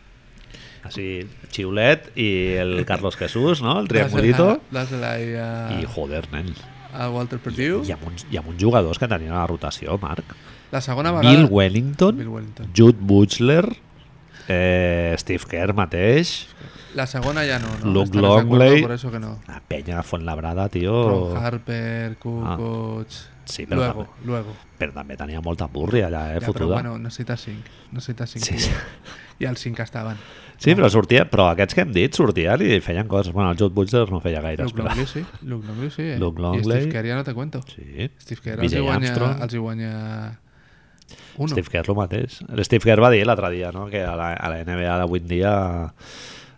[SPEAKER 1] Així, Xiulet i el Carlos Jesús, no?, el triangulito.
[SPEAKER 2] Dásela i a,
[SPEAKER 1] I joder, nen,
[SPEAKER 2] a Walter Perdiu.
[SPEAKER 1] hi ha, uns, hi ha uns jugadors que tenien a la rotació, Marc.
[SPEAKER 2] La segona vegada...
[SPEAKER 1] Bill Wellington,
[SPEAKER 2] Bill Wellington.
[SPEAKER 1] Jude Butler, eh, Steve Kerr mateix,
[SPEAKER 2] La segona ja no, no?
[SPEAKER 1] Luke
[SPEAKER 2] Estaràs d'acord,
[SPEAKER 1] Longley.
[SPEAKER 2] Por eso que no.
[SPEAKER 1] La penya de Fontlabrada,
[SPEAKER 2] Ron
[SPEAKER 1] tio...
[SPEAKER 2] Harper, Kukoc...
[SPEAKER 1] Ah. Sí, però
[SPEAKER 2] luego,
[SPEAKER 1] també-
[SPEAKER 2] luego.
[SPEAKER 1] Però també tenia molta burri allà, eh,
[SPEAKER 2] Ja, però
[SPEAKER 1] fotuda.
[SPEAKER 2] bueno, necessita 5. Necessita 5.
[SPEAKER 1] Sí,
[SPEAKER 2] Sí,
[SPEAKER 1] sí.
[SPEAKER 2] sí. I els 5 estaven.
[SPEAKER 1] Sí, però sortia... Però aquests que hem dit sortien i feien coses. Bueno, el Jude Butler no feia gaire,
[SPEAKER 2] Luke
[SPEAKER 1] espera.
[SPEAKER 2] Longley sí. Luke Longley sí. Eh?
[SPEAKER 1] Luke
[SPEAKER 2] I
[SPEAKER 1] Longley.
[SPEAKER 2] Steve Kerr ja no te cuento.
[SPEAKER 1] Sí.
[SPEAKER 2] Steve Kerr els
[SPEAKER 1] BJ
[SPEAKER 2] hi guanya...
[SPEAKER 1] Armstrong.
[SPEAKER 2] Els hi guanya... Uno.
[SPEAKER 1] Steve Kerr el mateix. Steve Kerr va dir l'altre dia, no?, que a la, a la NBA d'avui en dia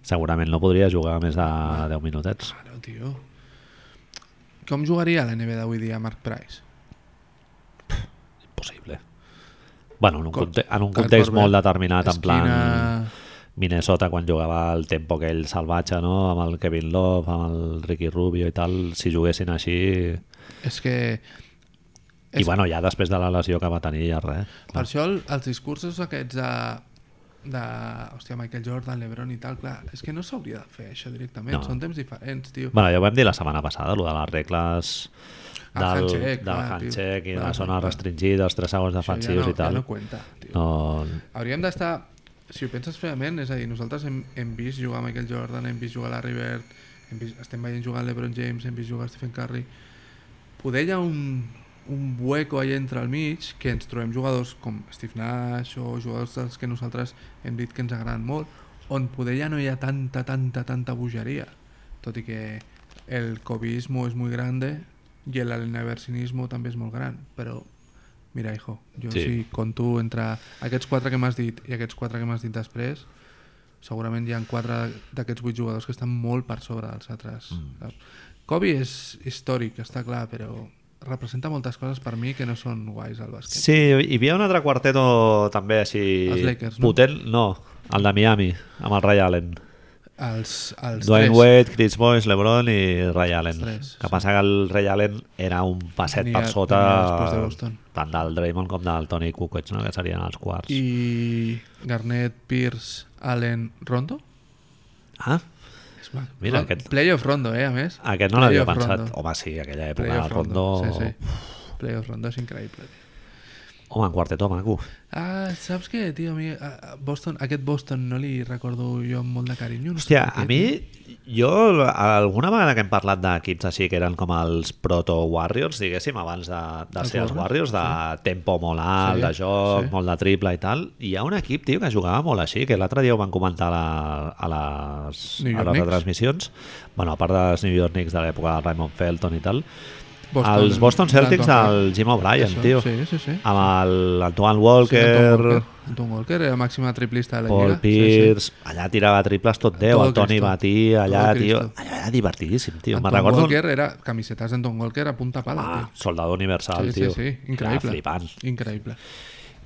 [SPEAKER 1] segurament no podria jugar més de 10 minutets.
[SPEAKER 2] Claro, tio. Com jugaria a la NBA d'avui dia Mark Price?
[SPEAKER 1] Impossible. Bueno, en un,
[SPEAKER 2] Com-
[SPEAKER 1] conte en un
[SPEAKER 2] Kyle
[SPEAKER 1] context
[SPEAKER 2] Korver.
[SPEAKER 1] molt determinat, en Ah, plan...
[SPEAKER 2] Esquina-
[SPEAKER 1] Minnesota quan jugava el tempo que ell salvatge, no? amb el Kevin Love, amb el Ricky Rubio i tal, si juguessin així...
[SPEAKER 2] És que...
[SPEAKER 1] Ah. I bueno, ja després de la lesió que va tenir ja res.
[SPEAKER 2] Per això el, els discursos aquests de, de hòstia, Michael Jordan, LeBron i tal, clar, és que no s'hauria de fer això directament,
[SPEAKER 1] No.
[SPEAKER 2] són temps diferents, tio.
[SPEAKER 1] Bueno, ja ho vam dir la setmana passada, allò de les regles
[SPEAKER 2] El
[SPEAKER 1] del,
[SPEAKER 2] handshake,
[SPEAKER 1] del
[SPEAKER 2] clar,
[SPEAKER 1] handshake i
[SPEAKER 2] tio.
[SPEAKER 1] de
[SPEAKER 2] Clar,
[SPEAKER 1] la zona
[SPEAKER 2] clar.
[SPEAKER 1] restringida, els 3 segons
[SPEAKER 2] Això
[SPEAKER 1] defensius
[SPEAKER 2] ja no,
[SPEAKER 1] i tal.
[SPEAKER 2] Ja no cuenta, tio.
[SPEAKER 1] no,
[SPEAKER 2] Hauríem d'estar, si ho penses fredament, és a dir, nosaltres hem, hem vist jugar Michael Jordan, hem vist jugar la Rivert, hem vist, estem veient jugar LeBron James, hem vist jugar Stephen Curry. Poder hi ha un, un hueco allà entre el mig que ens trobem jugadors com Steve Nash o jugadors dels que nosaltres hem dit que ens agraden molt, on poder ja no hi ha tanta, tanta, tanta bogeria. Tot i que el covismo és molt grande i el alenaversinismo també és molt gran, però mira, hijo, jo
[SPEAKER 1] Sí.
[SPEAKER 2] sí. si conto entre aquests quatre que m'has dit i aquests quatre que m'has dit després, segurament hi ha quatre d'aquests vuit jugadors que estan molt per sobre dels altres. Mm. Kobe és històric, està clar, però representa moltes coses per mi que no són guais al bàsquet.
[SPEAKER 1] Sí, hi havia un altre quarteto també així...
[SPEAKER 2] Els Lakers, no?
[SPEAKER 1] potent, no? no, el de Miami, amb el Ray Allen.
[SPEAKER 2] Els, els
[SPEAKER 1] Dwayne
[SPEAKER 2] tres,
[SPEAKER 1] Wade, Chris Bosh, LeBron i Ray Allen.
[SPEAKER 2] tres,
[SPEAKER 1] que passa que el Ray Allen era un passet
[SPEAKER 2] Tenia-
[SPEAKER 1] per sota
[SPEAKER 2] tenia després de Boston.
[SPEAKER 1] tant del Draymond com del Tony Kukoc, no? que serien els quarts.
[SPEAKER 2] i Garnett, Pierce, Allen, Rondo?
[SPEAKER 1] Ah,
[SPEAKER 2] És maco.
[SPEAKER 1] Mira,
[SPEAKER 2] Ron-
[SPEAKER 1] aquest-
[SPEAKER 2] Playoff Rondo, eh, a més.
[SPEAKER 1] aquest no l'havia
[SPEAKER 2] Playoff
[SPEAKER 1] pensat.
[SPEAKER 2] Rondo.
[SPEAKER 1] Home, sí, aquella època,
[SPEAKER 2] Playoff
[SPEAKER 1] Rondo...
[SPEAKER 2] Rondo. Sí, sí. Playoff Rondo és increïble. tio.
[SPEAKER 1] Home, en quartetó maco.
[SPEAKER 2] Ah, saps què, tio? A mi, a- a Boston, aquest Boston no li recordo jo amb molt de carinyo. No sé
[SPEAKER 1] Hòstia,
[SPEAKER 2] per
[SPEAKER 1] a
[SPEAKER 2] què,
[SPEAKER 1] mi, jo alguna vegada que hem parlat d'equips així que eren com els proto-warriors, diguéssim, abans de, de
[SPEAKER 2] Els
[SPEAKER 1] ser els warriors,
[SPEAKER 2] Warriors,
[SPEAKER 1] de tempo molt alt,
[SPEAKER 2] Sí,
[SPEAKER 1] de joc,
[SPEAKER 2] sí.
[SPEAKER 1] molt de triple i tal, i hi ha un equip, tio, que jugava molt així, que l'altre dia ho van comentar a, la, a les,
[SPEAKER 2] New
[SPEAKER 1] a
[SPEAKER 2] York
[SPEAKER 1] les
[SPEAKER 2] Knicks?
[SPEAKER 1] retransmissions, bueno, a part dels New York Knicks de l'època de Raymond Felton i tal,
[SPEAKER 2] Boston,
[SPEAKER 1] els Boston Celtics
[SPEAKER 2] D'Anton
[SPEAKER 1] del Jim O'Brien,
[SPEAKER 2] Això,
[SPEAKER 1] tio,
[SPEAKER 2] Sí, sí, sí.
[SPEAKER 1] amb l'Antoine
[SPEAKER 2] Sí, Anton Walker.
[SPEAKER 1] Walker,
[SPEAKER 2] Anton Walker era màxima triplista de la
[SPEAKER 1] Paul
[SPEAKER 2] Lliga.
[SPEAKER 1] Pierce, allà tirava triples tot Déu,
[SPEAKER 2] Todo
[SPEAKER 1] el Toni
[SPEAKER 2] Cristo.
[SPEAKER 1] batia, allà,
[SPEAKER 2] Todo
[SPEAKER 1] tio,
[SPEAKER 2] Cristo.
[SPEAKER 1] allà era divertidíssim, tio. Me'n
[SPEAKER 2] Anton
[SPEAKER 1] recordo un-
[SPEAKER 2] Walker era camisetes d'Anton Walker a punta pala,
[SPEAKER 1] Ah,
[SPEAKER 2] tio.
[SPEAKER 1] soldador universal,
[SPEAKER 2] Sí, sí,
[SPEAKER 1] tio.
[SPEAKER 2] sí,
[SPEAKER 1] Era
[SPEAKER 2] increïble.
[SPEAKER 1] flipant.
[SPEAKER 2] Increïble.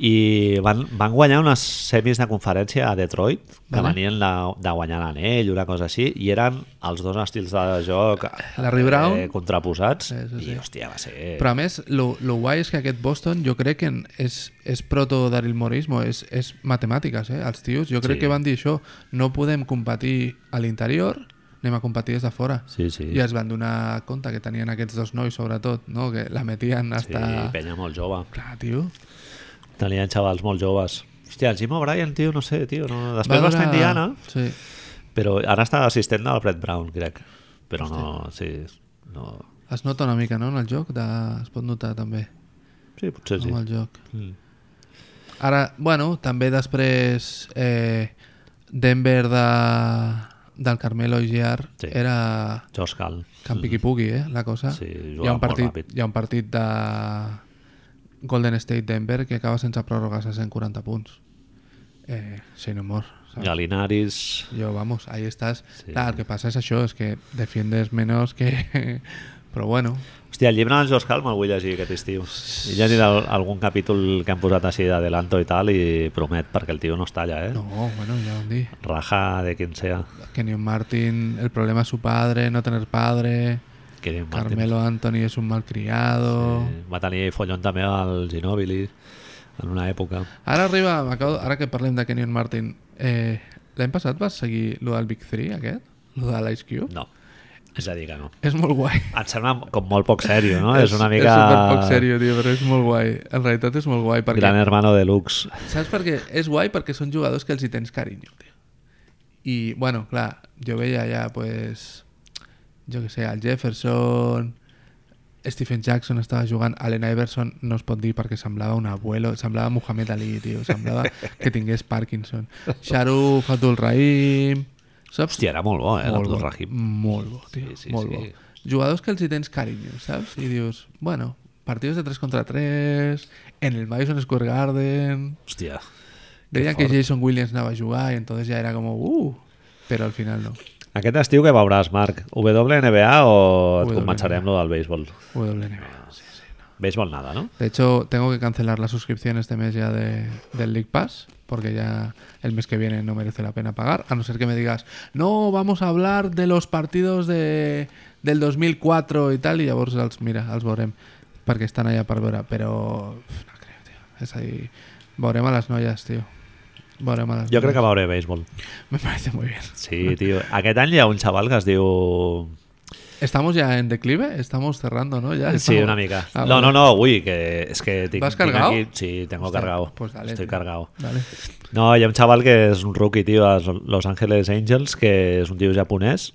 [SPEAKER 1] I van, van guanyar unes semis de conferència a Detroit, que
[SPEAKER 2] Vale.
[SPEAKER 1] venien de, de guanyar l'anell, una cosa així, i eren els dos estils de joc eh,
[SPEAKER 2] Larry Brown.
[SPEAKER 1] contraposats,
[SPEAKER 2] Sí, sí, sí.
[SPEAKER 1] i hòstia, va ser...
[SPEAKER 2] Però a més, lo, lo guai és que aquest Boston jo crec que en- és, és proto-Daryl Morismo, és, és matemàtiques, eh, els tios. Jo crec
[SPEAKER 1] Sí.
[SPEAKER 2] que van dir això, no podem competir a l'interior, anem a competir des de fora.
[SPEAKER 1] Sí, sí.
[SPEAKER 2] I es van donar compte que tenien aquests dos nois, sobretot, no? que la metien
[SPEAKER 1] Sí,
[SPEAKER 2] hasta...
[SPEAKER 1] penya molt jove.
[SPEAKER 2] Clar, tio.
[SPEAKER 1] Tenien xavals molt joves. Hòstia, el Jim O'Brien, tio, no sé, tio. No... Després va, estar a Indiana.
[SPEAKER 2] Sí.
[SPEAKER 1] Però ara està assistent del Brett Brown, crec. Però no, sí, no...
[SPEAKER 2] Es nota una mica, no?, en el joc. De... Es pot notar, també,
[SPEAKER 1] Sí, potser sí.
[SPEAKER 2] amb el joc.
[SPEAKER 1] Mm.
[SPEAKER 2] Ara, bueno, també després eh, Denver de, del Carmelo Giar
[SPEAKER 1] Sí.
[SPEAKER 2] sí. era
[SPEAKER 1] Josh Cal.
[SPEAKER 2] campi qui pugui, eh, la cosa.
[SPEAKER 1] Sí,
[SPEAKER 2] hi, ha
[SPEAKER 1] jugava molt
[SPEAKER 2] un partit,
[SPEAKER 1] ràpid.
[SPEAKER 2] hi ha un partit de Golden State Denver que acaba sense pròrrogues a 140 punts. Eh, sin humor. saps?
[SPEAKER 1] Galinaris.
[SPEAKER 2] Yo, vamos, ahí estás.
[SPEAKER 1] Sí.
[SPEAKER 2] Claro, que pasa es eso, es que defiendes menos que... [laughs] Pero bueno,
[SPEAKER 1] Hòstia, el llibre del Josh Cal me'l vull llegir aquest estiu. He llegit al- algun capítol que han posat així d'adelanto i tal i promet, perquè el tio no es talla, eh?
[SPEAKER 2] no, bueno, ya hundí.
[SPEAKER 1] Raja de quien sea.
[SPEAKER 2] Kenyon Martin, el problema es su padre, no tener padre.
[SPEAKER 1] Kenyon Martin.
[SPEAKER 2] Carmelo Anthony es un malcriado.
[SPEAKER 1] Eh, va tenir follon també al Ginobili en una època.
[SPEAKER 2] Ahora arriba, m'acabo- ara que parlem de Kenyon Martin, eh, l'any passat vas seguir lo del Big 3 aquest? Lo de l'Ice Cube?
[SPEAKER 1] No, és a dir que no.
[SPEAKER 2] És molt guai.
[SPEAKER 1] Em sembla com molt poc sèrio, no? És, una mica...
[SPEAKER 2] [laughs] És superpoc sèrio, tio, però és molt guai. En realitat és molt guai perquè...
[SPEAKER 1] Gran hermano deluxe.
[SPEAKER 2] Saps per què? És guai perquè són jugadors que els hi tens carinyo, tio. I, bueno, clar, jo veia ja, pues, jo que sé, el Jefferson, Stephen Jackson estava jugant, Allen Iverson no es pot dir perquè semblava un abuelo, semblava Muhammad Ali, tio, semblava que tingués Parkinson. Sharuf, Abdul Rahim... Saps?
[SPEAKER 1] Hòstia, era molt bo, eh,
[SPEAKER 2] Molt
[SPEAKER 1] l'Abdul
[SPEAKER 2] bo,
[SPEAKER 1] Rahim.
[SPEAKER 2] Molt bo, tio,
[SPEAKER 1] Sí, sí,
[SPEAKER 2] molt
[SPEAKER 1] sí.
[SPEAKER 2] bo. Jugadors que els hi tens carinyo, saps? I dius, bueno, partidos de 3 contra 3, en el Madison Square Garden...
[SPEAKER 1] Hòstia.
[SPEAKER 2] Deien que Jason Williams anava a jugar i entonces ja era com, uh, però al final no.
[SPEAKER 1] Aquest estiu que veuràs, Marc? WNBA o et
[SPEAKER 2] WNBA.
[SPEAKER 1] començarem lo del béisbol? Ah,
[SPEAKER 2] WNBA. Sí, sí.
[SPEAKER 1] Béisbol nada, no?
[SPEAKER 2] De hecho, tengo que cancelar la suscripción este mes ya de, del League Pass, porque ya el mes que viene no merece la pena pagar, a no ser que me digas, no, vamos a hablar de los partidos de, del 2004 y tal, y llavors els, mira, els veurem, perquè estan allà per veure, però uf, no creo, tio. És a dir, veurem a les noies, tio. Veurem a les
[SPEAKER 1] Jo crec que
[SPEAKER 2] noies.
[SPEAKER 1] veuré béisbol.
[SPEAKER 2] [laughs] Me parece muy bien.
[SPEAKER 1] Sí, tio. Aquest any hi ha un xaval que es diu...
[SPEAKER 2] Estamos ya en declive, estamos cerrando, ¿no? Ya
[SPEAKER 1] Sí,
[SPEAKER 2] estamos-
[SPEAKER 1] una mica.
[SPEAKER 2] Ah,
[SPEAKER 1] No,
[SPEAKER 2] vale.
[SPEAKER 1] no, no, ui, que és que tinc...
[SPEAKER 2] ¿Vas
[SPEAKER 1] tinc
[SPEAKER 2] cargado?
[SPEAKER 1] aquí- Sí, tengo
[SPEAKER 2] Hostia,
[SPEAKER 1] cargado.
[SPEAKER 2] pues dale,
[SPEAKER 1] Estoy
[SPEAKER 2] tío.
[SPEAKER 1] cargado.
[SPEAKER 2] Vale.
[SPEAKER 1] No, hi ha un xaval que és un rookie, tio, a Los Angeles Angels, que és un tio japonès,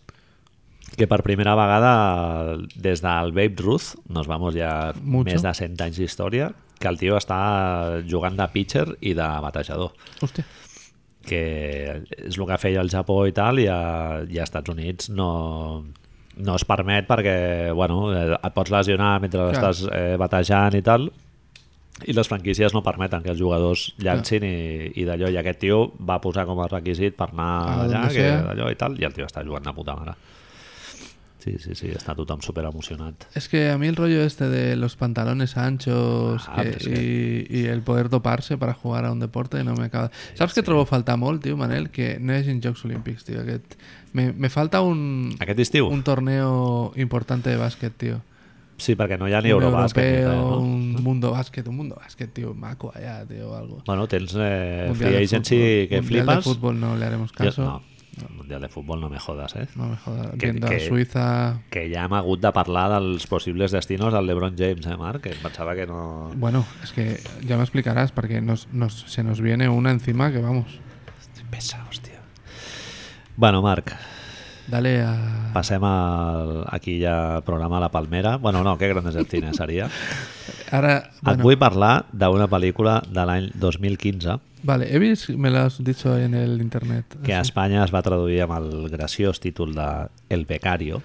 [SPEAKER 1] que per primera vegada des del Babe Ruth, nos vamos ja
[SPEAKER 2] Mucho.
[SPEAKER 1] més de 100 anys d'història, que el tio està jugant de pitcher i de batejador,
[SPEAKER 2] Hòstia.
[SPEAKER 1] que és el que feia al Japó i tal, i a, i a Estats Units no, no es permet perquè bueno, eh, et pots lesionar mentre
[SPEAKER 2] Clar.
[SPEAKER 1] estàs eh, batejant i tal, i les franquícies no permeten que els jugadors llancin i, i d'allò. I aquest tio va posar com a requisit per anar
[SPEAKER 2] A
[SPEAKER 1] allà,
[SPEAKER 2] donde
[SPEAKER 1] que
[SPEAKER 2] sea.
[SPEAKER 1] d'allò i tal, i el tio està jugant de puta mare. Sí, sí, sí, està tothom super emocionat.
[SPEAKER 2] Es que a mí el rollo este de los pantalones anchos
[SPEAKER 1] Ah,
[SPEAKER 2] que-
[SPEAKER 1] pues
[SPEAKER 2] y, y el poder doparse para jugar a un deporte no me acaba... ¿Sabes qué trobo falta molt, tío, Manel? Que no es en Jocs Olímpics, tío. Que me, me falta un,
[SPEAKER 1] Aquest estiu?
[SPEAKER 2] un torneo importante de básquet, tío.
[SPEAKER 1] Sí, perquè no hi ha ni
[SPEAKER 2] un
[SPEAKER 1] Eurobàsquet. ni
[SPEAKER 2] europeo,
[SPEAKER 1] res, no?
[SPEAKER 2] un mundo bàsquet, un mundo bàsquet, tío. Maco allá, tío, o algo.
[SPEAKER 1] Bueno, tens eh,
[SPEAKER 2] Mundial
[SPEAKER 1] Free
[SPEAKER 2] de
[SPEAKER 1] Agency
[SPEAKER 2] fútbol.
[SPEAKER 1] que
[SPEAKER 2] Mundial de
[SPEAKER 1] flipes.
[SPEAKER 2] fútbol no le haremos
[SPEAKER 1] Jo,
[SPEAKER 2] caso.
[SPEAKER 1] no. El Mundial de Futbol no me jodas, eh?
[SPEAKER 2] No me jodas.
[SPEAKER 1] Que-
[SPEAKER 2] Viendo a
[SPEAKER 1] que-
[SPEAKER 2] Suiza.
[SPEAKER 1] Que ja hem hagut de parlar dels possibles destinos del LeBron James, eh, Marc? Que em pensava que no...
[SPEAKER 2] Bueno, es que ya me explicarás, porque nos, nos- se nos viene una encima que vamos.
[SPEAKER 1] Pesa, hòstia. Bueno, Marc,
[SPEAKER 2] Dale a.
[SPEAKER 1] Passem al, aquí ja al programa La Palmera. Bueno, no, que grandes del cine seria.
[SPEAKER 2] Ahora.
[SPEAKER 1] Et
[SPEAKER 2] bueno,
[SPEAKER 1] vull parlar d'una pel·lícula de l'any 2015
[SPEAKER 2] Vale, Evis me lo has dicho en el internet.
[SPEAKER 1] que a Espanya es va traduir amb el graciós títol de El Becario,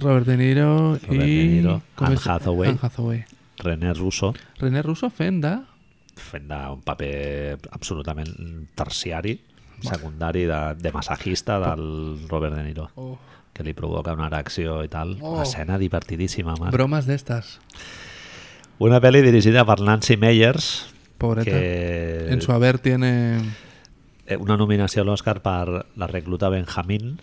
[SPEAKER 2] Robert De Niro y.
[SPEAKER 1] De Niro,
[SPEAKER 2] ¿cómo
[SPEAKER 1] Anne
[SPEAKER 2] es?
[SPEAKER 1] Hathaway.
[SPEAKER 2] Anne Hathaway.
[SPEAKER 1] René Russo,
[SPEAKER 2] René Russo Fenda.
[SPEAKER 1] fent de un paper absolutament terciari, secundari de, de massajista del Robert De Niro, que li provoca una erecció i tal.
[SPEAKER 2] Oh.
[SPEAKER 1] Escena divertidíssima, Marc.
[SPEAKER 2] Bromas de estas.
[SPEAKER 1] Una pel·li dirigida per Nancy Meyers,
[SPEAKER 2] Pobreta.
[SPEAKER 1] que...
[SPEAKER 2] En su haber tiene.
[SPEAKER 1] Eh, una nominació a l'Oscar per La recluta Benjamín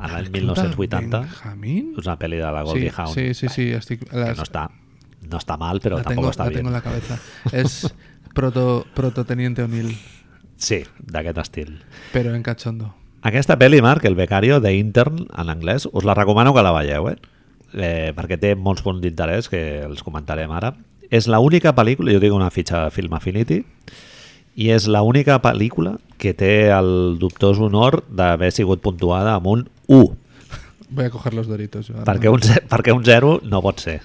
[SPEAKER 1] a l'any 1980.
[SPEAKER 2] Benjamín.
[SPEAKER 1] És una pel·li de la
[SPEAKER 2] Sí,
[SPEAKER 1] Goldie Hawn.
[SPEAKER 2] sí, sí, sí. estic-
[SPEAKER 1] Que
[SPEAKER 2] las-
[SPEAKER 1] no està, no està mal, però
[SPEAKER 2] la
[SPEAKER 1] tampoc
[SPEAKER 2] tengo,
[SPEAKER 1] està
[SPEAKER 2] la
[SPEAKER 1] bé.
[SPEAKER 2] tengo en la cabeza. Es proto, prototeniente O'Neill,
[SPEAKER 1] Sí, d'aquest estil.
[SPEAKER 2] pero en cachondo.
[SPEAKER 1] Aquesta pel·li, Marc, El becario, de Intern, en anglès, us la recomano que la veieu, eh? eh perquè té molts punts d'interès que els comentarem ara. És l'única pel·lícula, jo tinc una fitxa de Film Affinity, i és l'única pel·lícula que té el dubtós honor d'haver sigut puntuada amb un 1
[SPEAKER 2] Voy a coger los doritos. yo ahora.
[SPEAKER 1] Perquè un, ze- perquè un zero no pot ser.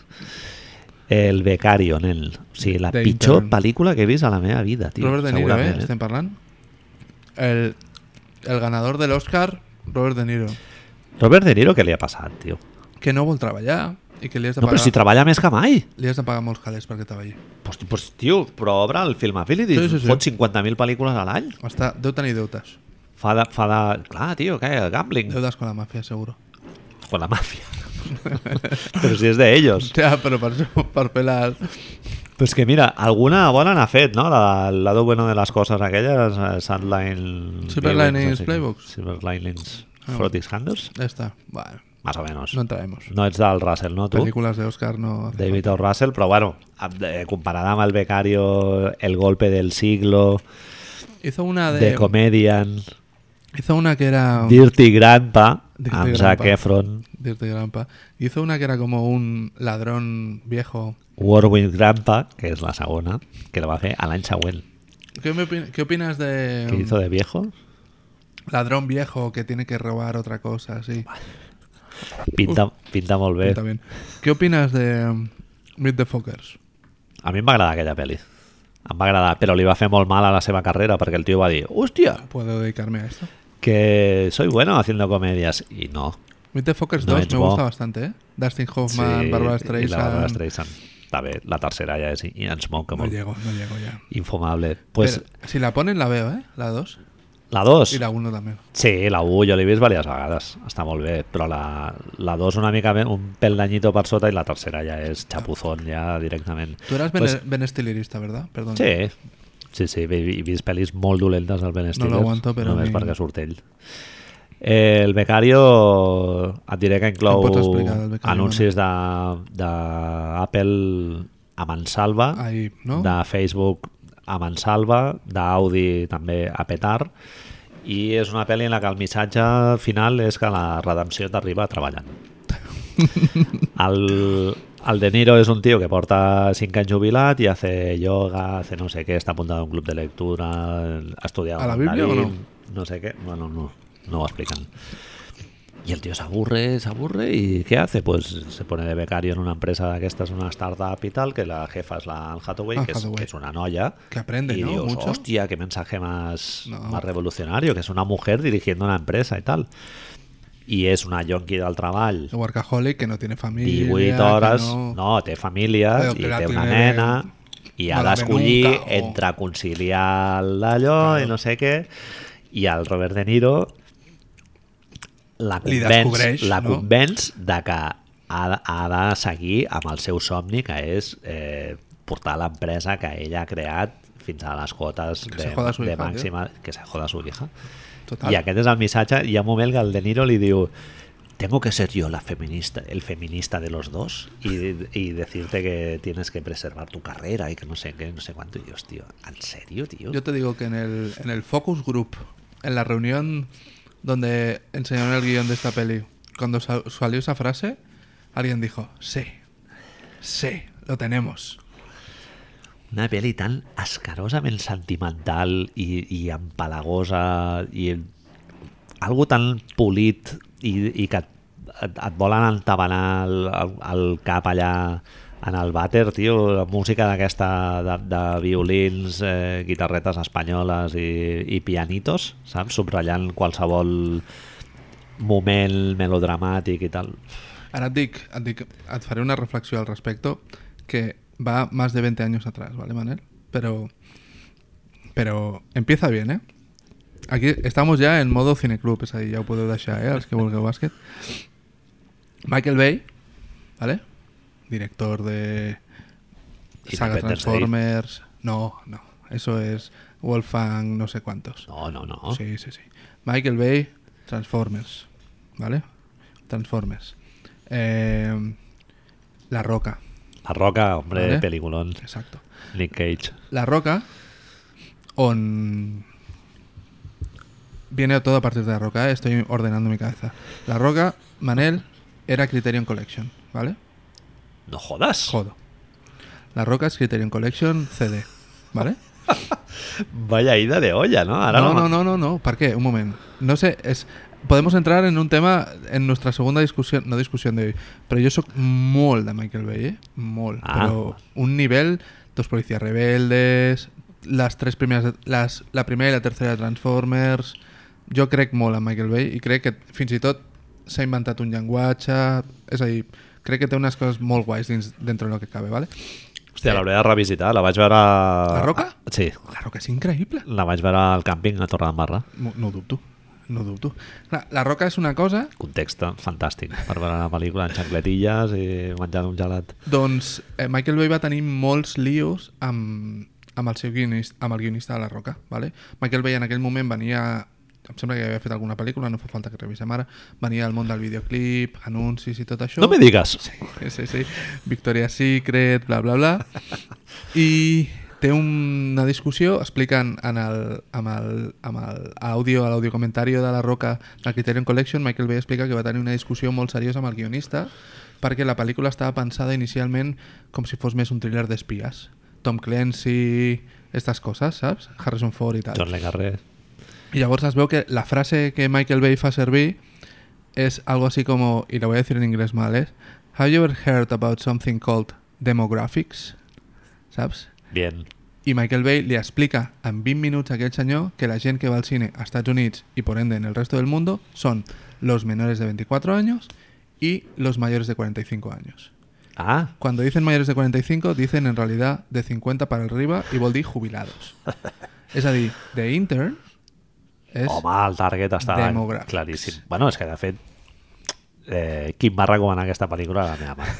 [SPEAKER 1] El Becario, nen. O sigui, la
[SPEAKER 2] The
[SPEAKER 1] pitjor
[SPEAKER 2] Intern.
[SPEAKER 1] pel·lícula que he vist a la meva vida, tio.
[SPEAKER 2] Robert De Niro, ¿eh?
[SPEAKER 1] segurament,
[SPEAKER 2] Estem parlant. El, el ganador del Oscar, Robert De Niro.
[SPEAKER 1] Robert De Niro, què li ha passat, tio?
[SPEAKER 2] Que no vol treballar i que li has de
[SPEAKER 1] No,
[SPEAKER 2] pagar,
[SPEAKER 1] però si treballa més que mai.
[SPEAKER 2] li has de pagar molts calés perquè treballi.
[SPEAKER 1] Pues, pues, tio, però obre el Film Affinity,
[SPEAKER 2] Sí,
[SPEAKER 1] sí,
[SPEAKER 2] sí, sí.
[SPEAKER 1] fot 50.000 pel·lícules a l'any.
[SPEAKER 2] Està, deu tenir deutes.
[SPEAKER 1] Fa de, fa de... Clar, tio, què? Gambling.
[SPEAKER 2] Deutes con la màfia, seguro. [laughs]
[SPEAKER 1] Con la màfia. [laughs] però si és d'ells.
[SPEAKER 2] Ja, però per, això, per fer la...
[SPEAKER 1] Pues que mira, alguna bona n'ha fet, no? La, la do bueno de les coses aquelles, eh, Sandline...
[SPEAKER 2] Silver
[SPEAKER 1] Viewings,
[SPEAKER 2] Linings
[SPEAKER 1] no sé què.
[SPEAKER 2] Playbooks.
[SPEAKER 1] Silver Linings
[SPEAKER 2] Ah,
[SPEAKER 1] Frottis Handers,
[SPEAKER 2] Ja està. Bueno,
[SPEAKER 1] más o menos.
[SPEAKER 2] no
[SPEAKER 1] No,
[SPEAKER 2] entraremos.
[SPEAKER 1] ets del Russell, no, tu?
[SPEAKER 2] Películas de Oscar no...
[SPEAKER 1] David O. Russell, però bueno, amb- eh, comparada amb el becario, el golpe del siglo,
[SPEAKER 2] Hizo una Ah, de...
[SPEAKER 1] The Comedian,
[SPEAKER 2] Hizo una que era...
[SPEAKER 1] Dirty Grandpa,
[SPEAKER 2] Dirty
[SPEAKER 1] amb
[SPEAKER 2] Grandpa.
[SPEAKER 1] Zac Efron,
[SPEAKER 2] Dirty Grandpa. Hizo una que era como un ladrón viejo.
[SPEAKER 1] Warwick Grandpa, que és la segona, que la va fer a l'any següent.
[SPEAKER 2] ¿Qué, me opin- qué opinas de mm,
[SPEAKER 1] Que hizo de viejo?
[SPEAKER 2] ladrón viejo que tiene que robar otra cosa? Sí,
[SPEAKER 1] Pinta, pinta molt bé.
[SPEAKER 2] Está bien. ¿Qué opinas de um, Meet the Fockers?
[SPEAKER 1] A mi em va agradar aquella pel·li. Em va agradar, però li va fer molt mal a la seva carrera perquè el tio va dir, hòstia,
[SPEAKER 2] ¿Puedo dedicarme a esto?
[SPEAKER 1] que soy bueno haciendo comedias. I no.
[SPEAKER 2] Meet the Fockers
[SPEAKER 1] No
[SPEAKER 2] 2
[SPEAKER 1] es
[SPEAKER 2] me
[SPEAKER 1] bo.
[SPEAKER 2] gusta bastante, ¿eh? Dustin Hoffman, Barbara
[SPEAKER 1] i la Barbara
[SPEAKER 2] Streisand.
[SPEAKER 1] Streisand. Està bé, la tercera ja és Insmoke,
[SPEAKER 2] No
[SPEAKER 1] molt
[SPEAKER 2] llego, no llego ya.
[SPEAKER 1] infumable. Pues
[SPEAKER 2] Pero si la ponen, la veo, ¿eh? La 2
[SPEAKER 1] la 2,
[SPEAKER 2] y la 1 también.
[SPEAKER 1] sí, la 1 jo l'he vist diverses vegades, està molt bé, però la, la 2 una mica me- un pèl d'anyito per sota i la tercera ja és xapuzón, ja directament.
[SPEAKER 2] Tú eras Ben, E-,
[SPEAKER 1] Pues-
[SPEAKER 2] Ben Stillerista, ¿verdad? Perdón.
[SPEAKER 1] Sí, sí, sí, he he vist pel·lis molt dolentes del Ben Stiller.
[SPEAKER 2] l'aguanto, però
[SPEAKER 1] Només
[SPEAKER 2] ni-
[SPEAKER 1] perquè surt ell. Eh, el Becario et diré que inclou
[SPEAKER 2] Em pots explicar del Becario,
[SPEAKER 1] anuncis d'Apple de, Apple a Mansalva,
[SPEAKER 2] Ahí, ¿no?
[SPEAKER 1] de Facebook a Mansalva, d'Audi també a petar, i és una pel·li en la que el missatge final és que la redempció t'arriba
[SPEAKER 2] [laughs]
[SPEAKER 1] treballant. El, el De Niro és un tio que porta 5 anys jubilat i hace yoga, hace no sé què, està apuntat a un club de lectura, estudia
[SPEAKER 2] ¿A la Biblia o
[SPEAKER 1] mandarín, No sé què, bueno, no, no ho expliquen. Y el tío se aburre, se aburre y ¿qué hace? Pues se pone de becario en una empresa d'aquestes, una startup y tal, que la jefa es la Anne Hathaway,
[SPEAKER 2] Anne
[SPEAKER 1] que, es,
[SPEAKER 2] Hathaway.
[SPEAKER 1] que es una noia.
[SPEAKER 2] Que aprende,
[SPEAKER 1] y
[SPEAKER 2] ¿no?
[SPEAKER 1] Dios,
[SPEAKER 2] Mucho.
[SPEAKER 1] hostia, qué mensaje más,
[SPEAKER 2] No.
[SPEAKER 1] más revolucionario, que es una mujer dirigiendo una empresa y tal. Y es una yonqui del treball.
[SPEAKER 2] El Workaholic que no tiene familia.
[SPEAKER 1] 18
[SPEAKER 2] que
[SPEAKER 1] hores,
[SPEAKER 2] no-
[SPEAKER 1] no, té família
[SPEAKER 2] Però
[SPEAKER 1] i
[SPEAKER 2] que la
[SPEAKER 1] té una
[SPEAKER 2] tiene
[SPEAKER 1] nena i ha
[SPEAKER 2] malament
[SPEAKER 1] d'escollir
[SPEAKER 2] nunca, o-
[SPEAKER 1] entre conciliar d'allò i no sé què i el Robert De Niro la
[SPEAKER 2] Li
[SPEAKER 1] convenç,
[SPEAKER 2] descobreix,
[SPEAKER 1] la
[SPEAKER 2] no?
[SPEAKER 1] convenç de que ha, de- ha de seguir amb el seu somni que és eh, portar l'empresa que ella ha creat fins a les cotes
[SPEAKER 2] Que se
[SPEAKER 1] de,
[SPEAKER 2] joda su
[SPEAKER 1] de
[SPEAKER 2] hija, tio.
[SPEAKER 1] màxima que se joda su hija
[SPEAKER 2] Total.
[SPEAKER 1] i aquest és el missatge. Hi ha un moment que el De Niro li diu tengo que ser yo la feminista, el feminista de los dos y, y decirte que tienes que preservar tu carrera y que no sé qué, no sé cuánto. Y Dios, tío, ¿en serio, tío?
[SPEAKER 2] Yo te digo que en el, en el focus group, en la reunión donde enseñaron el guión de esta peli. Cuando sa- salió esa frase, alguien dijo, sí, sí, lo tenemos.
[SPEAKER 1] Una peli tan asquerosament sentimental i, i empalagosa i algo tan polit i, i que et, et, et volen entabanar el, el, el cap allà en el vàter, tio, la música d'aquesta de, de violins, eh, guitarretes espanyoles i, i pianitos, saps? Subratllant qualsevol moment melodramàtic i tal.
[SPEAKER 2] Ahora, Dick, et, dic- et faré una reflexión al respecto que va más de 20 años atrás, ¿vale, Manel? Pero, pero empieza bien, ¿eh? Aquí estamos ya en modo cineclub, es ahí, ya puedo deixar, ¿eh? Els que vulgueu bàsquet. Michael Bay, ¿vale? Director de
[SPEAKER 1] Y
[SPEAKER 2] saga
[SPEAKER 1] Independence
[SPEAKER 2] Transformers. No, no, eso es Wolfgang no sé cuántos.
[SPEAKER 1] No, no, no. Sí.
[SPEAKER 2] Sí, sí, sí. Michael Bay, Transformers. ¿Vale? Transformers. Eh, La Roca.
[SPEAKER 1] La Roca, hombre,
[SPEAKER 2] Vale.
[SPEAKER 1] vale. peliculón.
[SPEAKER 2] Exacto.
[SPEAKER 1] Nick Cage.
[SPEAKER 2] La Roca. On. Viene todo a partir de La Roca, ¿eh? estoy ordenando mi cabeza. La Roca, Manel, era Criterion Collection, ¿vale?
[SPEAKER 1] No jodas.
[SPEAKER 2] Jodo. La Roca es Criterion Collection CD, ¿vale?
[SPEAKER 1] Vaya ida de olla, ¿no? Ahora
[SPEAKER 2] no,
[SPEAKER 1] lo-
[SPEAKER 2] no, no, no, no. ¿Para qué? Un momento. No sé, es... Podemos entrar en un tema en nuestra segunda discusión, no discusión de hoy, pero yo soy molt de Michael Bay, eh? Molt.
[SPEAKER 1] Ah.
[SPEAKER 2] Pero un nivel, dos policías rebeldes, las tres primeras, de- las, la primera y la tercera de Transformers, jo crec molt en Michael Bay i crec que fins i tot s'ha inventat un llenguatge, és a dir, crec que té unes coses molt guais dins, dentro del que cabe, ¿vale?
[SPEAKER 1] Hòstia, l'hauré de revisitar. La vaig veure... La
[SPEAKER 2] Eh. Roca?
[SPEAKER 1] Sí.
[SPEAKER 2] Claro que és increïble.
[SPEAKER 1] La vaig veure al càmping a Torredembarra.
[SPEAKER 2] No, no ho dubto, no ho dubto. Clar, la roca és una cosa
[SPEAKER 1] Context fantàstic per veure la pel·lícula en xancletilles i menjant un gelat.
[SPEAKER 2] Doncs eh, Michael Bay va tenir molts líos amb, amb el seu guionista, amb el guionista de La Roca. Vale? Michael Bay en aquell moment venia em sembla que havia fet alguna pel·lícula, no fa falta que revisem ara, venia del món del videoclip, anuncis i tot això.
[SPEAKER 1] No me digues!
[SPEAKER 2] Sí, sí. Victoria's Secret, bla, bla, bla. I té una discussió, expliquen en el, amb el, amb el àudio, a l'àudio comentari de la Roca del Criterion Collection, Michael Bay explica que va tenir una discussió molt seriosa amb el guionista perquè la pel·lícula estava pensada inicialment com si fos més un thriller d'espies. Tom Clancy, estas coses, saps? Harrison Ford i tal.
[SPEAKER 1] John Le Carré.
[SPEAKER 2] Y llavors es veo que la frase que Michael Bay fa servir es algo así como, y la voy a decir en inglés mal, es Have you ever heard about something called demographics? Saps?
[SPEAKER 1] Bien.
[SPEAKER 2] I Michael Bay li explica en 20 minuts a aquell senyor que la gent que va al cine a Estats Units i por ende en el resto del mundo son los menores de 24 años y los mayores de 45 años.
[SPEAKER 1] Ah,
[SPEAKER 2] Cuando dicen mayores de 45, dicen en realidad de 50 para arriba y vol dir jubilados. És a dir, The Intern és...
[SPEAKER 1] home, el target està
[SPEAKER 2] Demogràfics.
[SPEAKER 1] claríssim. Bueno, és que de fet... Eh, qui em va recomanar aquesta pel·lícula? La meva
[SPEAKER 2] [laughs]
[SPEAKER 1] mare.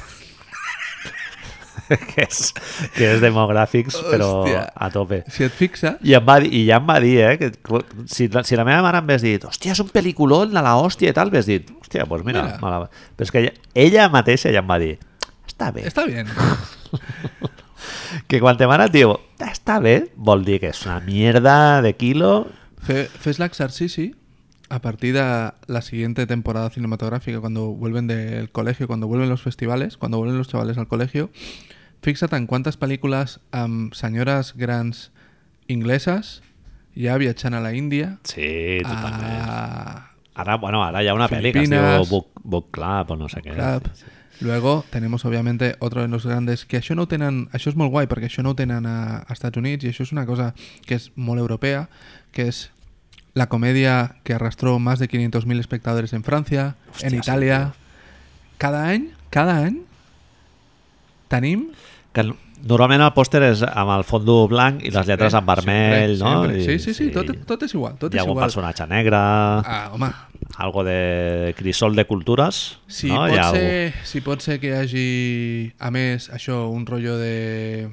[SPEAKER 1] [laughs] que, és, que és demogràfics, però
[SPEAKER 2] Hòstia.
[SPEAKER 1] a tope.
[SPEAKER 2] Si et fixes,
[SPEAKER 1] I, em va dir, I ja em va dir, eh, que cl- si, la- si la meva mare em hagués dit hòstia, és un pel·liculón de la hòstia i tal, hagués dit, hòstia, doncs mira,
[SPEAKER 2] Mira.
[SPEAKER 1] mira. Me la... però és que ella, ella mateixa ja em va dir, està bé.
[SPEAKER 2] està bé.
[SPEAKER 1] Que quan te mare et diu, està bé, vol dir que és una mierda de quilo.
[SPEAKER 2] Fe, fes l'exercici a partir de la siguiente temporada cinematográfica, cuando vuelven del colegio, cuando vuelven los festivales, cuando vuelven los chavales al colegio. Fixa't en quantes pel·lícules amb senyores grans ingleses ja viatjant a la Índia, Ah,
[SPEAKER 1] Sí, totalment.
[SPEAKER 2] a
[SPEAKER 1] Ah. Ara, bueno, ara hi ha una pel·li que es diu
[SPEAKER 2] Filipines.
[SPEAKER 1] Book, Book Club o no sé què.
[SPEAKER 2] Club. Luego tenemos obviamente otro de los grandes que això no ho tenen, això és molt guai perquè això no ho tenen a, a Estats Units i això és una cosa que és molt europea, que és la comèdia que arrastró más de 500.000 espectadores en Francia,
[SPEAKER 1] Hòstia,
[SPEAKER 2] en
[SPEAKER 1] sí, tio.
[SPEAKER 2] Itàlia. Cada any, cada any tenim
[SPEAKER 1] Que n- normalment el pòster és amb el fondo blanc i les lletres en vermell,
[SPEAKER 2] sempre,
[SPEAKER 1] no?
[SPEAKER 2] sempre.
[SPEAKER 1] I-
[SPEAKER 2] Sí, sí, sí, tot, tot és igual, tot
[SPEAKER 1] Hi ha
[SPEAKER 2] és
[SPEAKER 1] algun
[SPEAKER 2] igual.
[SPEAKER 1] personatge negre...
[SPEAKER 2] Ah, home,
[SPEAKER 1] algo de crisol de cultures
[SPEAKER 2] Si,
[SPEAKER 1] no?
[SPEAKER 2] pot
[SPEAKER 1] Hi ha algú-
[SPEAKER 2] ser, si pot ser que hi hagi, a més, això, un rollo de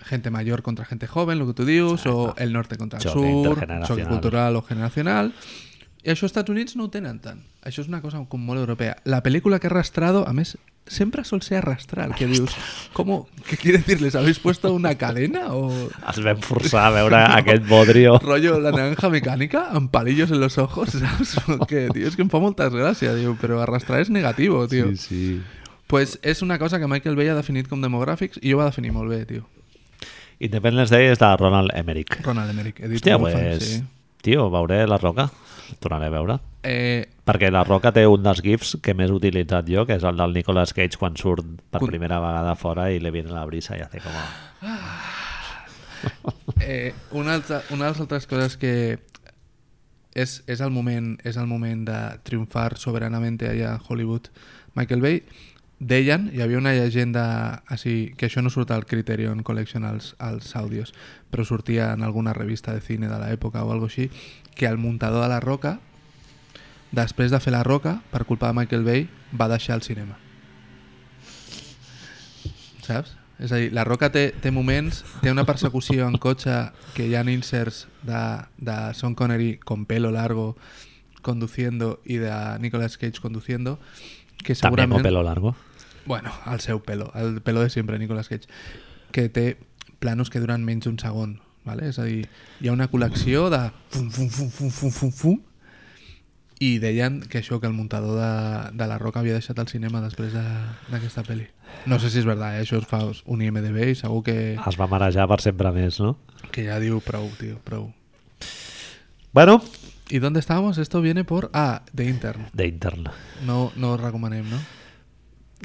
[SPEAKER 2] gente mayor contra gente joven, lo que tú dius, o el norte contra el
[SPEAKER 1] Choque
[SPEAKER 2] sur,
[SPEAKER 1] intergeneracional.
[SPEAKER 2] choque cultural o generacional, I això als Estats Units no ho tenen tant. Això és una cosa com molt europea. La pel·lícula que ha arrastrado, a més, sempre sol ser arrastrar, que dius, com, què quiere decir, les habéis puesto una cadena o...
[SPEAKER 1] Els vam forçar a veure aquest
[SPEAKER 2] [laughs]
[SPEAKER 1] bodrio.
[SPEAKER 2] Rollo la naranja mecànica amb palillos en los ojos, [laughs] saps? Que, tio, és que em fa moltes gràcies, diu, però arrastrar és negatiu, tio.
[SPEAKER 1] Sí, sí.
[SPEAKER 2] Pues és una cosa que Michael Bay ha definit com demogràfics i ho va definir molt bé, tio.
[SPEAKER 1] Independence Day és de Ronald Emmerich.
[SPEAKER 2] Ronald Emmerich, he dit
[SPEAKER 1] Hòstia,
[SPEAKER 2] molt
[SPEAKER 1] pues,
[SPEAKER 2] fan, sí.
[SPEAKER 1] tio, veuré La Roca. El Tornaré a veure.
[SPEAKER 2] Eh,
[SPEAKER 1] Perquè La Roca té un dels gifs que més he utilitzat jo, que és el del Nicolas Cage quan surt per
[SPEAKER 2] Con-
[SPEAKER 1] primera vegada fora i li viene la brisa i hace com... a-
[SPEAKER 2] Eh, una, altra, una de les altres coses que és, és, el moment, és el moment de triomfar soberanament allà a Hollywood. Michael Bay, deien, hi havia una llegenda així, que això no surt al Criterion Collection als, als àudios, però sortia en alguna revista de cine de l'època o alguna així, que el muntador de La Roca, després de fer La Roca, per culpa de Michael Bay, va deixar el cinema. Saps? És a dir, La Roca té, té moments, té una persecució en cotxe que hi ha inserts de, de Sean Connery con pelo largo conduciendo i de Nicolas Cage conduciendo que
[SPEAKER 1] També
[SPEAKER 2] segurament...
[SPEAKER 1] amb pelo largo.
[SPEAKER 2] Bueno, el seu pelo, el pelo de sempre, Nicolas Cage, que té planos que duren menys d'un segon, ¿vale? és a dir, hi ha una col·lecció de fum, fum, fum, fum, fum, fum, fum, i deien que això, que el muntador de, de La Roca havia deixat el cinema després de- d'aquesta de, pel·li. No sé si és veritat, eh? això es fa un IMDB i segur que,
[SPEAKER 1] Es va marejar per sempre més, no?
[SPEAKER 2] que ja diu prou, tio, prou.
[SPEAKER 1] Bueno,
[SPEAKER 2] ¿Y dónde estábamos? Esto viene por... Ah, de Intern.
[SPEAKER 1] de interna.
[SPEAKER 2] No, no os recomanem, no?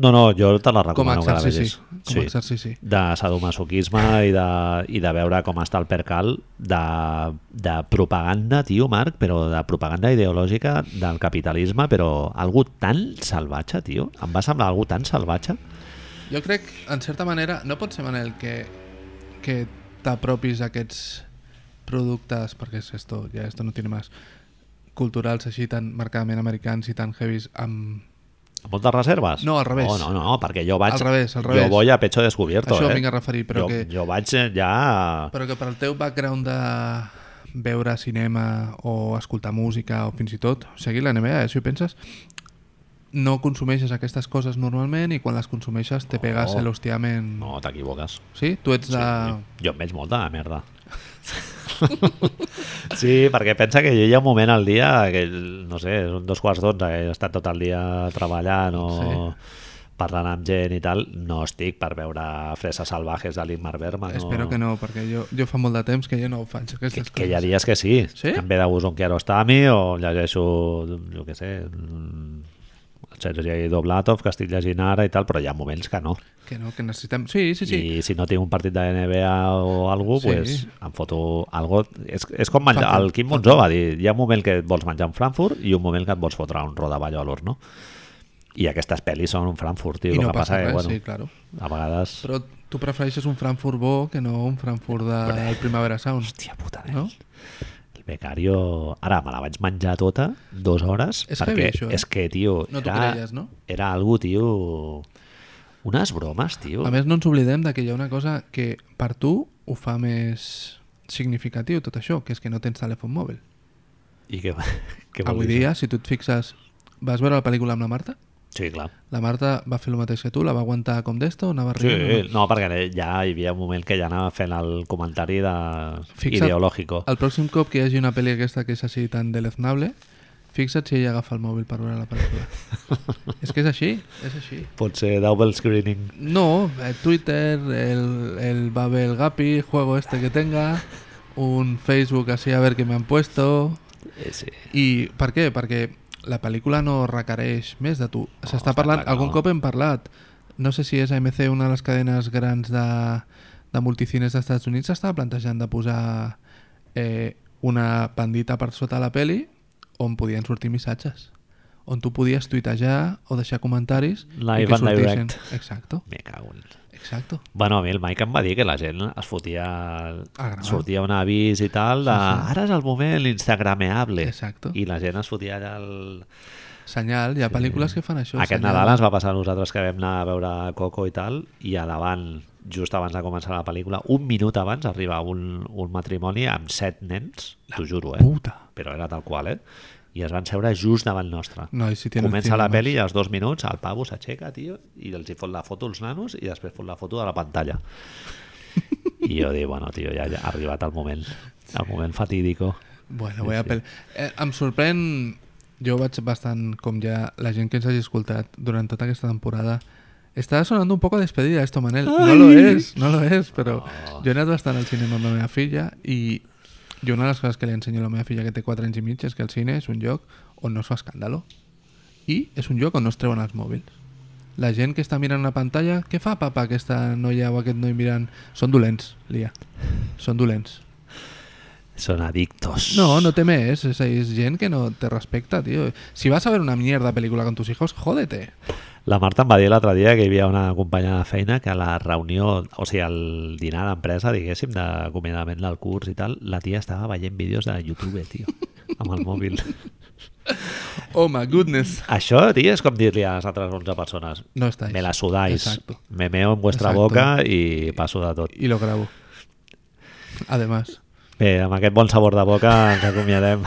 [SPEAKER 1] No, no, jo te la
[SPEAKER 2] Com a
[SPEAKER 1] recomano que la vegis.
[SPEAKER 2] exercici. Com a exercici.
[SPEAKER 1] de sadomasoquisme i de, i de veure com està el percal de, de propaganda, tio Marc, però de propaganda ideològica del capitalisme, però algú tan salvatge, tio. Em va semblar algú tan salvatge.
[SPEAKER 2] Jo crec, en certa manera, no pot ser, Manel, que, que t'apropis a aquests productes, perquè és esto, ja esto no tiene más, culturals així tan marcadament americans i tan heavies amb...
[SPEAKER 1] Amb moltes reserves? Oh,
[SPEAKER 2] No, al revés.
[SPEAKER 1] No, no, no, perquè jo vaig...
[SPEAKER 2] Al revés, al revés.
[SPEAKER 1] Jo voy a pecho descubierto,
[SPEAKER 2] Això
[SPEAKER 1] eh?
[SPEAKER 2] vinc a referir, però
[SPEAKER 1] jo,
[SPEAKER 2] que-
[SPEAKER 1] Jo vaig eh, ja...
[SPEAKER 2] Però que per al teu background de veure cinema o escoltar música o fins i tot seguir la NBA, eh, si ho penses, no consumeixes aquestes coses normalment i quan les consumeixes te pegas
[SPEAKER 1] No.
[SPEAKER 2] el l'hostiament...
[SPEAKER 1] No, Ah, t'equivoques.
[SPEAKER 2] Sí? Tu ets de...
[SPEAKER 1] Jo em veig molta de merda. [laughs] sí, perquè pensa que jo hi ha un moment al dia que, no sé, són dos quarts d'onze, que he estat tot el dia treballant o parlant amb gent i tal, no estic per veure freses salvajes de l'Ingmar Bergman.
[SPEAKER 2] Espero que no, perquè jo, jo fa molt de temps que jo no ho faig,
[SPEAKER 1] Que,
[SPEAKER 2] aquestes
[SPEAKER 1] que hi ha
[SPEAKER 2] coses.
[SPEAKER 1] dies que sí.
[SPEAKER 2] Sí?
[SPEAKER 1] Em ve de gust un Kiarostami o llegeixo, jo què sé, mm, el Sergi Doblatov, que estic llegint ara i tal, però hi ha moments que no.
[SPEAKER 2] Que no, que necessitem... Sí, sí, sí.
[SPEAKER 1] sí. i si no tinc un partit de NBA o algú,
[SPEAKER 2] Sí.
[SPEAKER 1] sí. pues, em foto algo... És, és com menjar,
[SPEAKER 2] Fanta-
[SPEAKER 1] el Quim Monzó va dir, hi ha un moment que et vols menjar un Frankfurt i un moment que et vols fotre un rodaballo a l'horno. I aquestes pel·lis són un Frankfurt, tio.
[SPEAKER 2] I
[SPEAKER 1] el
[SPEAKER 2] no
[SPEAKER 1] que passa,
[SPEAKER 2] passa res,
[SPEAKER 1] que, bueno,
[SPEAKER 2] sí, claro.
[SPEAKER 1] a vegades... Però...
[SPEAKER 2] Però tu prefereixes un Frankfurt bo que no un Frankfurt del de... Primavera Sound,
[SPEAKER 1] Hòstia puta, eh?
[SPEAKER 2] no?
[SPEAKER 1] El Becario... Ara, me la vaig menjar tota, dues hores,
[SPEAKER 2] És
[SPEAKER 1] perquè
[SPEAKER 2] heavy, això, eh?
[SPEAKER 1] és que, tio,
[SPEAKER 2] No t'ho
[SPEAKER 1] era,
[SPEAKER 2] creies, no?
[SPEAKER 1] era algo, tio... Unes bromes, tio.
[SPEAKER 2] A més, no ens oblidem de que hi ha una cosa que per tu ho fa més significatiu tot això, que és que no tens telèfon mòbil.
[SPEAKER 1] I que, [laughs] que
[SPEAKER 2] Avui dia, si tu et fixes... Vas veure la pel·lícula amb la Marta?
[SPEAKER 1] Sí, clar.
[SPEAKER 2] La Marta va fer el mateix que tu, la va aguantar com d'esto, anava
[SPEAKER 1] Sí,
[SPEAKER 2] rient... no?
[SPEAKER 1] no, perquè ja hi havia un moment que ja anava fent el comentari de...
[SPEAKER 2] Fixa't,
[SPEAKER 1] ideològico.
[SPEAKER 2] El pròxim cop que hi hagi una pel·li aquesta que és així tan deleznable, fixa't si ella agafa el mòbil per veure la pel·lícula. és que és així, és així.
[SPEAKER 1] Pot ser double screening.
[SPEAKER 2] No, eh, Twitter, el, el Babel Gapi, juego este que tenga, un Facebook así a ver qué me han puesto...
[SPEAKER 1] Eh, sí.
[SPEAKER 2] I per què? Perquè la pel·lícula no requereix més de tu. S'està
[SPEAKER 1] Oh, està
[SPEAKER 2] parlant,
[SPEAKER 1] clar que
[SPEAKER 2] algun
[SPEAKER 1] no.
[SPEAKER 2] cop hem parlat, no sé si és AMC, una de les cadenes grans de, de multicines dels Estats Units, estava plantejant de posar eh, una bandita per sota la peli on podien sortir missatges on tu podies tuitejar o deixar comentaris i
[SPEAKER 1] Live
[SPEAKER 2] que
[SPEAKER 1] and
[SPEAKER 2] sortissin.
[SPEAKER 1] direct.
[SPEAKER 2] Exacto,
[SPEAKER 1] Me cago en...
[SPEAKER 2] exacto.
[SPEAKER 1] Bueno, a mi el Mike em va dir que la gent es fotia...
[SPEAKER 2] A gravar.
[SPEAKER 1] Sortia un avís i tal de... Ara és el moment instagrameable.
[SPEAKER 2] Exacto.
[SPEAKER 1] I la gent es fotia allà el...
[SPEAKER 2] Senyal, hi ha pel·lícules que fan això.
[SPEAKER 1] Aquest
[SPEAKER 2] senyal.
[SPEAKER 1] Nadal ens va passar a nosaltres que vam anar a veure Coco i tal, i a davant, just abans de començar la pel·lícula, un minut abans arriba un, un matrimoni amb set nens, t'ho juro, eh?
[SPEAKER 2] Puta.
[SPEAKER 1] però era tal qual, eh? i es van seure just davant nostre.
[SPEAKER 2] No, i si Mm, tenen
[SPEAKER 1] Comença la
[SPEAKER 2] cinemes.
[SPEAKER 1] pel·li i als dos minuts el pavo s'aixeca, tio, i els hi fot la foto als nanos i després fot la foto de la
[SPEAKER 2] [laughs]
[SPEAKER 1] pantalla. I jo dic, bueno, tio, ja, ja ha arribat el moment, el moment fatídico.
[SPEAKER 2] Bueno, voy a pel... Eh, em sorprèn... Jo vaig bastant, com ja la gent que ens hagi escoltat durant tota aquesta temporada, estava sonant un poco despedida esto, Manel. No lo és, no lo és, però jo he anat bastant al cinema amb la meva filla i jo una de les coses que li ensenyo a la meva filla que té 4 anys i mig és que el cine és un lloc on no es fa escàndalo i és un lloc on no es treuen els mòbils. La gent que està mirant una pantalla, què fa papa aquesta noia o aquest noi mirant? Són dolents, Lia. Són dolents.
[SPEAKER 1] Són adictos.
[SPEAKER 2] No, no te mees, es, es gent que no te respecta, tío. Si vas a ver una mierda película con tus hijos, jódete.
[SPEAKER 1] La Marta em va dir l'altre dia que hi havia una companya de feina que a la reunió, o sigui, al dinar d'empresa, diguéssim, d'acomiadament del curs i tal, la tia estava veient vídeos de YouTube, tio, amb el mòbil.
[SPEAKER 2] [laughs] Oh my goodness.
[SPEAKER 1] Això, tio, és com dir-li a les altres 11 persones
[SPEAKER 2] No estáis.
[SPEAKER 1] me la sudáis,
[SPEAKER 2] Exacto.
[SPEAKER 1] me meo en vuestra
[SPEAKER 2] Exacto.
[SPEAKER 1] boca i passo de tot.
[SPEAKER 2] Y lo grabo. Además.
[SPEAKER 1] Bé, amb aquest bon sabor de boca ens acomiadem.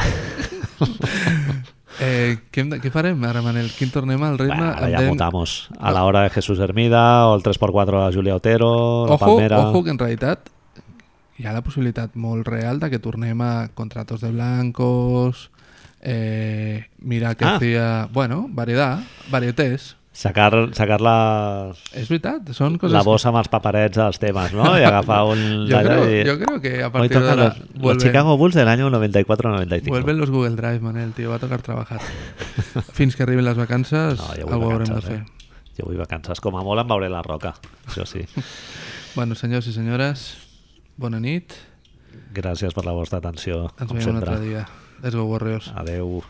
[SPEAKER 2] Eh, què, hem de- què farem ara, Manel? Quin tornem al ritme?
[SPEAKER 1] Bueno, ara
[SPEAKER 2] Em
[SPEAKER 1] ja
[SPEAKER 2] deien-
[SPEAKER 1] mutamos. A la hora de Jesús Hermida, o el 3x4 de Julia Otero, la
[SPEAKER 2] Ojo,
[SPEAKER 1] Palmera...
[SPEAKER 2] ojo, que en realitat hi ha la possibilitat molt real de que tornem a contratos de blancos, eh, mirar que
[SPEAKER 1] Ah.
[SPEAKER 2] hacía... Bueno, variedad, varietés.
[SPEAKER 1] Sacar, sacar les,
[SPEAKER 2] És veritat, són coses...
[SPEAKER 1] la bossa amb els paperets dels temes, no? I agafar
[SPEAKER 2] [laughs]
[SPEAKER 1] un...
[SPEAKER 2] Yo
[SPEAKER 1] d'allà
[SPEAKER 2] creo,
[SPEAKER 1] i-
[SPEAKER 2] yo creo que a
[SPEAKER 1] Hoy
[SPEAKER 2] partir de
[SPEAKER 1] tocan
[SPEAKER 2] ahora
[SPEAKER 1] los, los
[SPEAKER 2] vuelven,
[SPEAKER 1] Chicago Bulls del año 94-95.
[SPEAKER 2] vuelven los Google Drive, Manel, tío, va a tocar
[SPEAKER 1] [laughs]
[SPEAKER 2] trabajar. Fins que arriben les vacances,
[SPEAKER 1] No, jo vull
[SPEAKER 2] algo haurem de
[SPEAKER 1] vacances,
[SPEAKER 2] fer.
[SPEAKER 1] eh? Jo vull vacances. Com a molt em veuré la roca, això
[SPEAKER 2] [laughs]
[SPEAKER 1] sí. eh.
[SPEAKER 2] Bueno, senyors i senyores, bona nit.
[SPEAKER 1] Gràcies per la vostra atenció,
[SPEAKER 2] Ens
[SPEAKER 1] com
[SPEAKER 2] veiem un altre
[SPEAKER 1] sempre.
[SPEAKER 2] dia. Let's go, Warriors.
[SPEAKER 1] Adeu.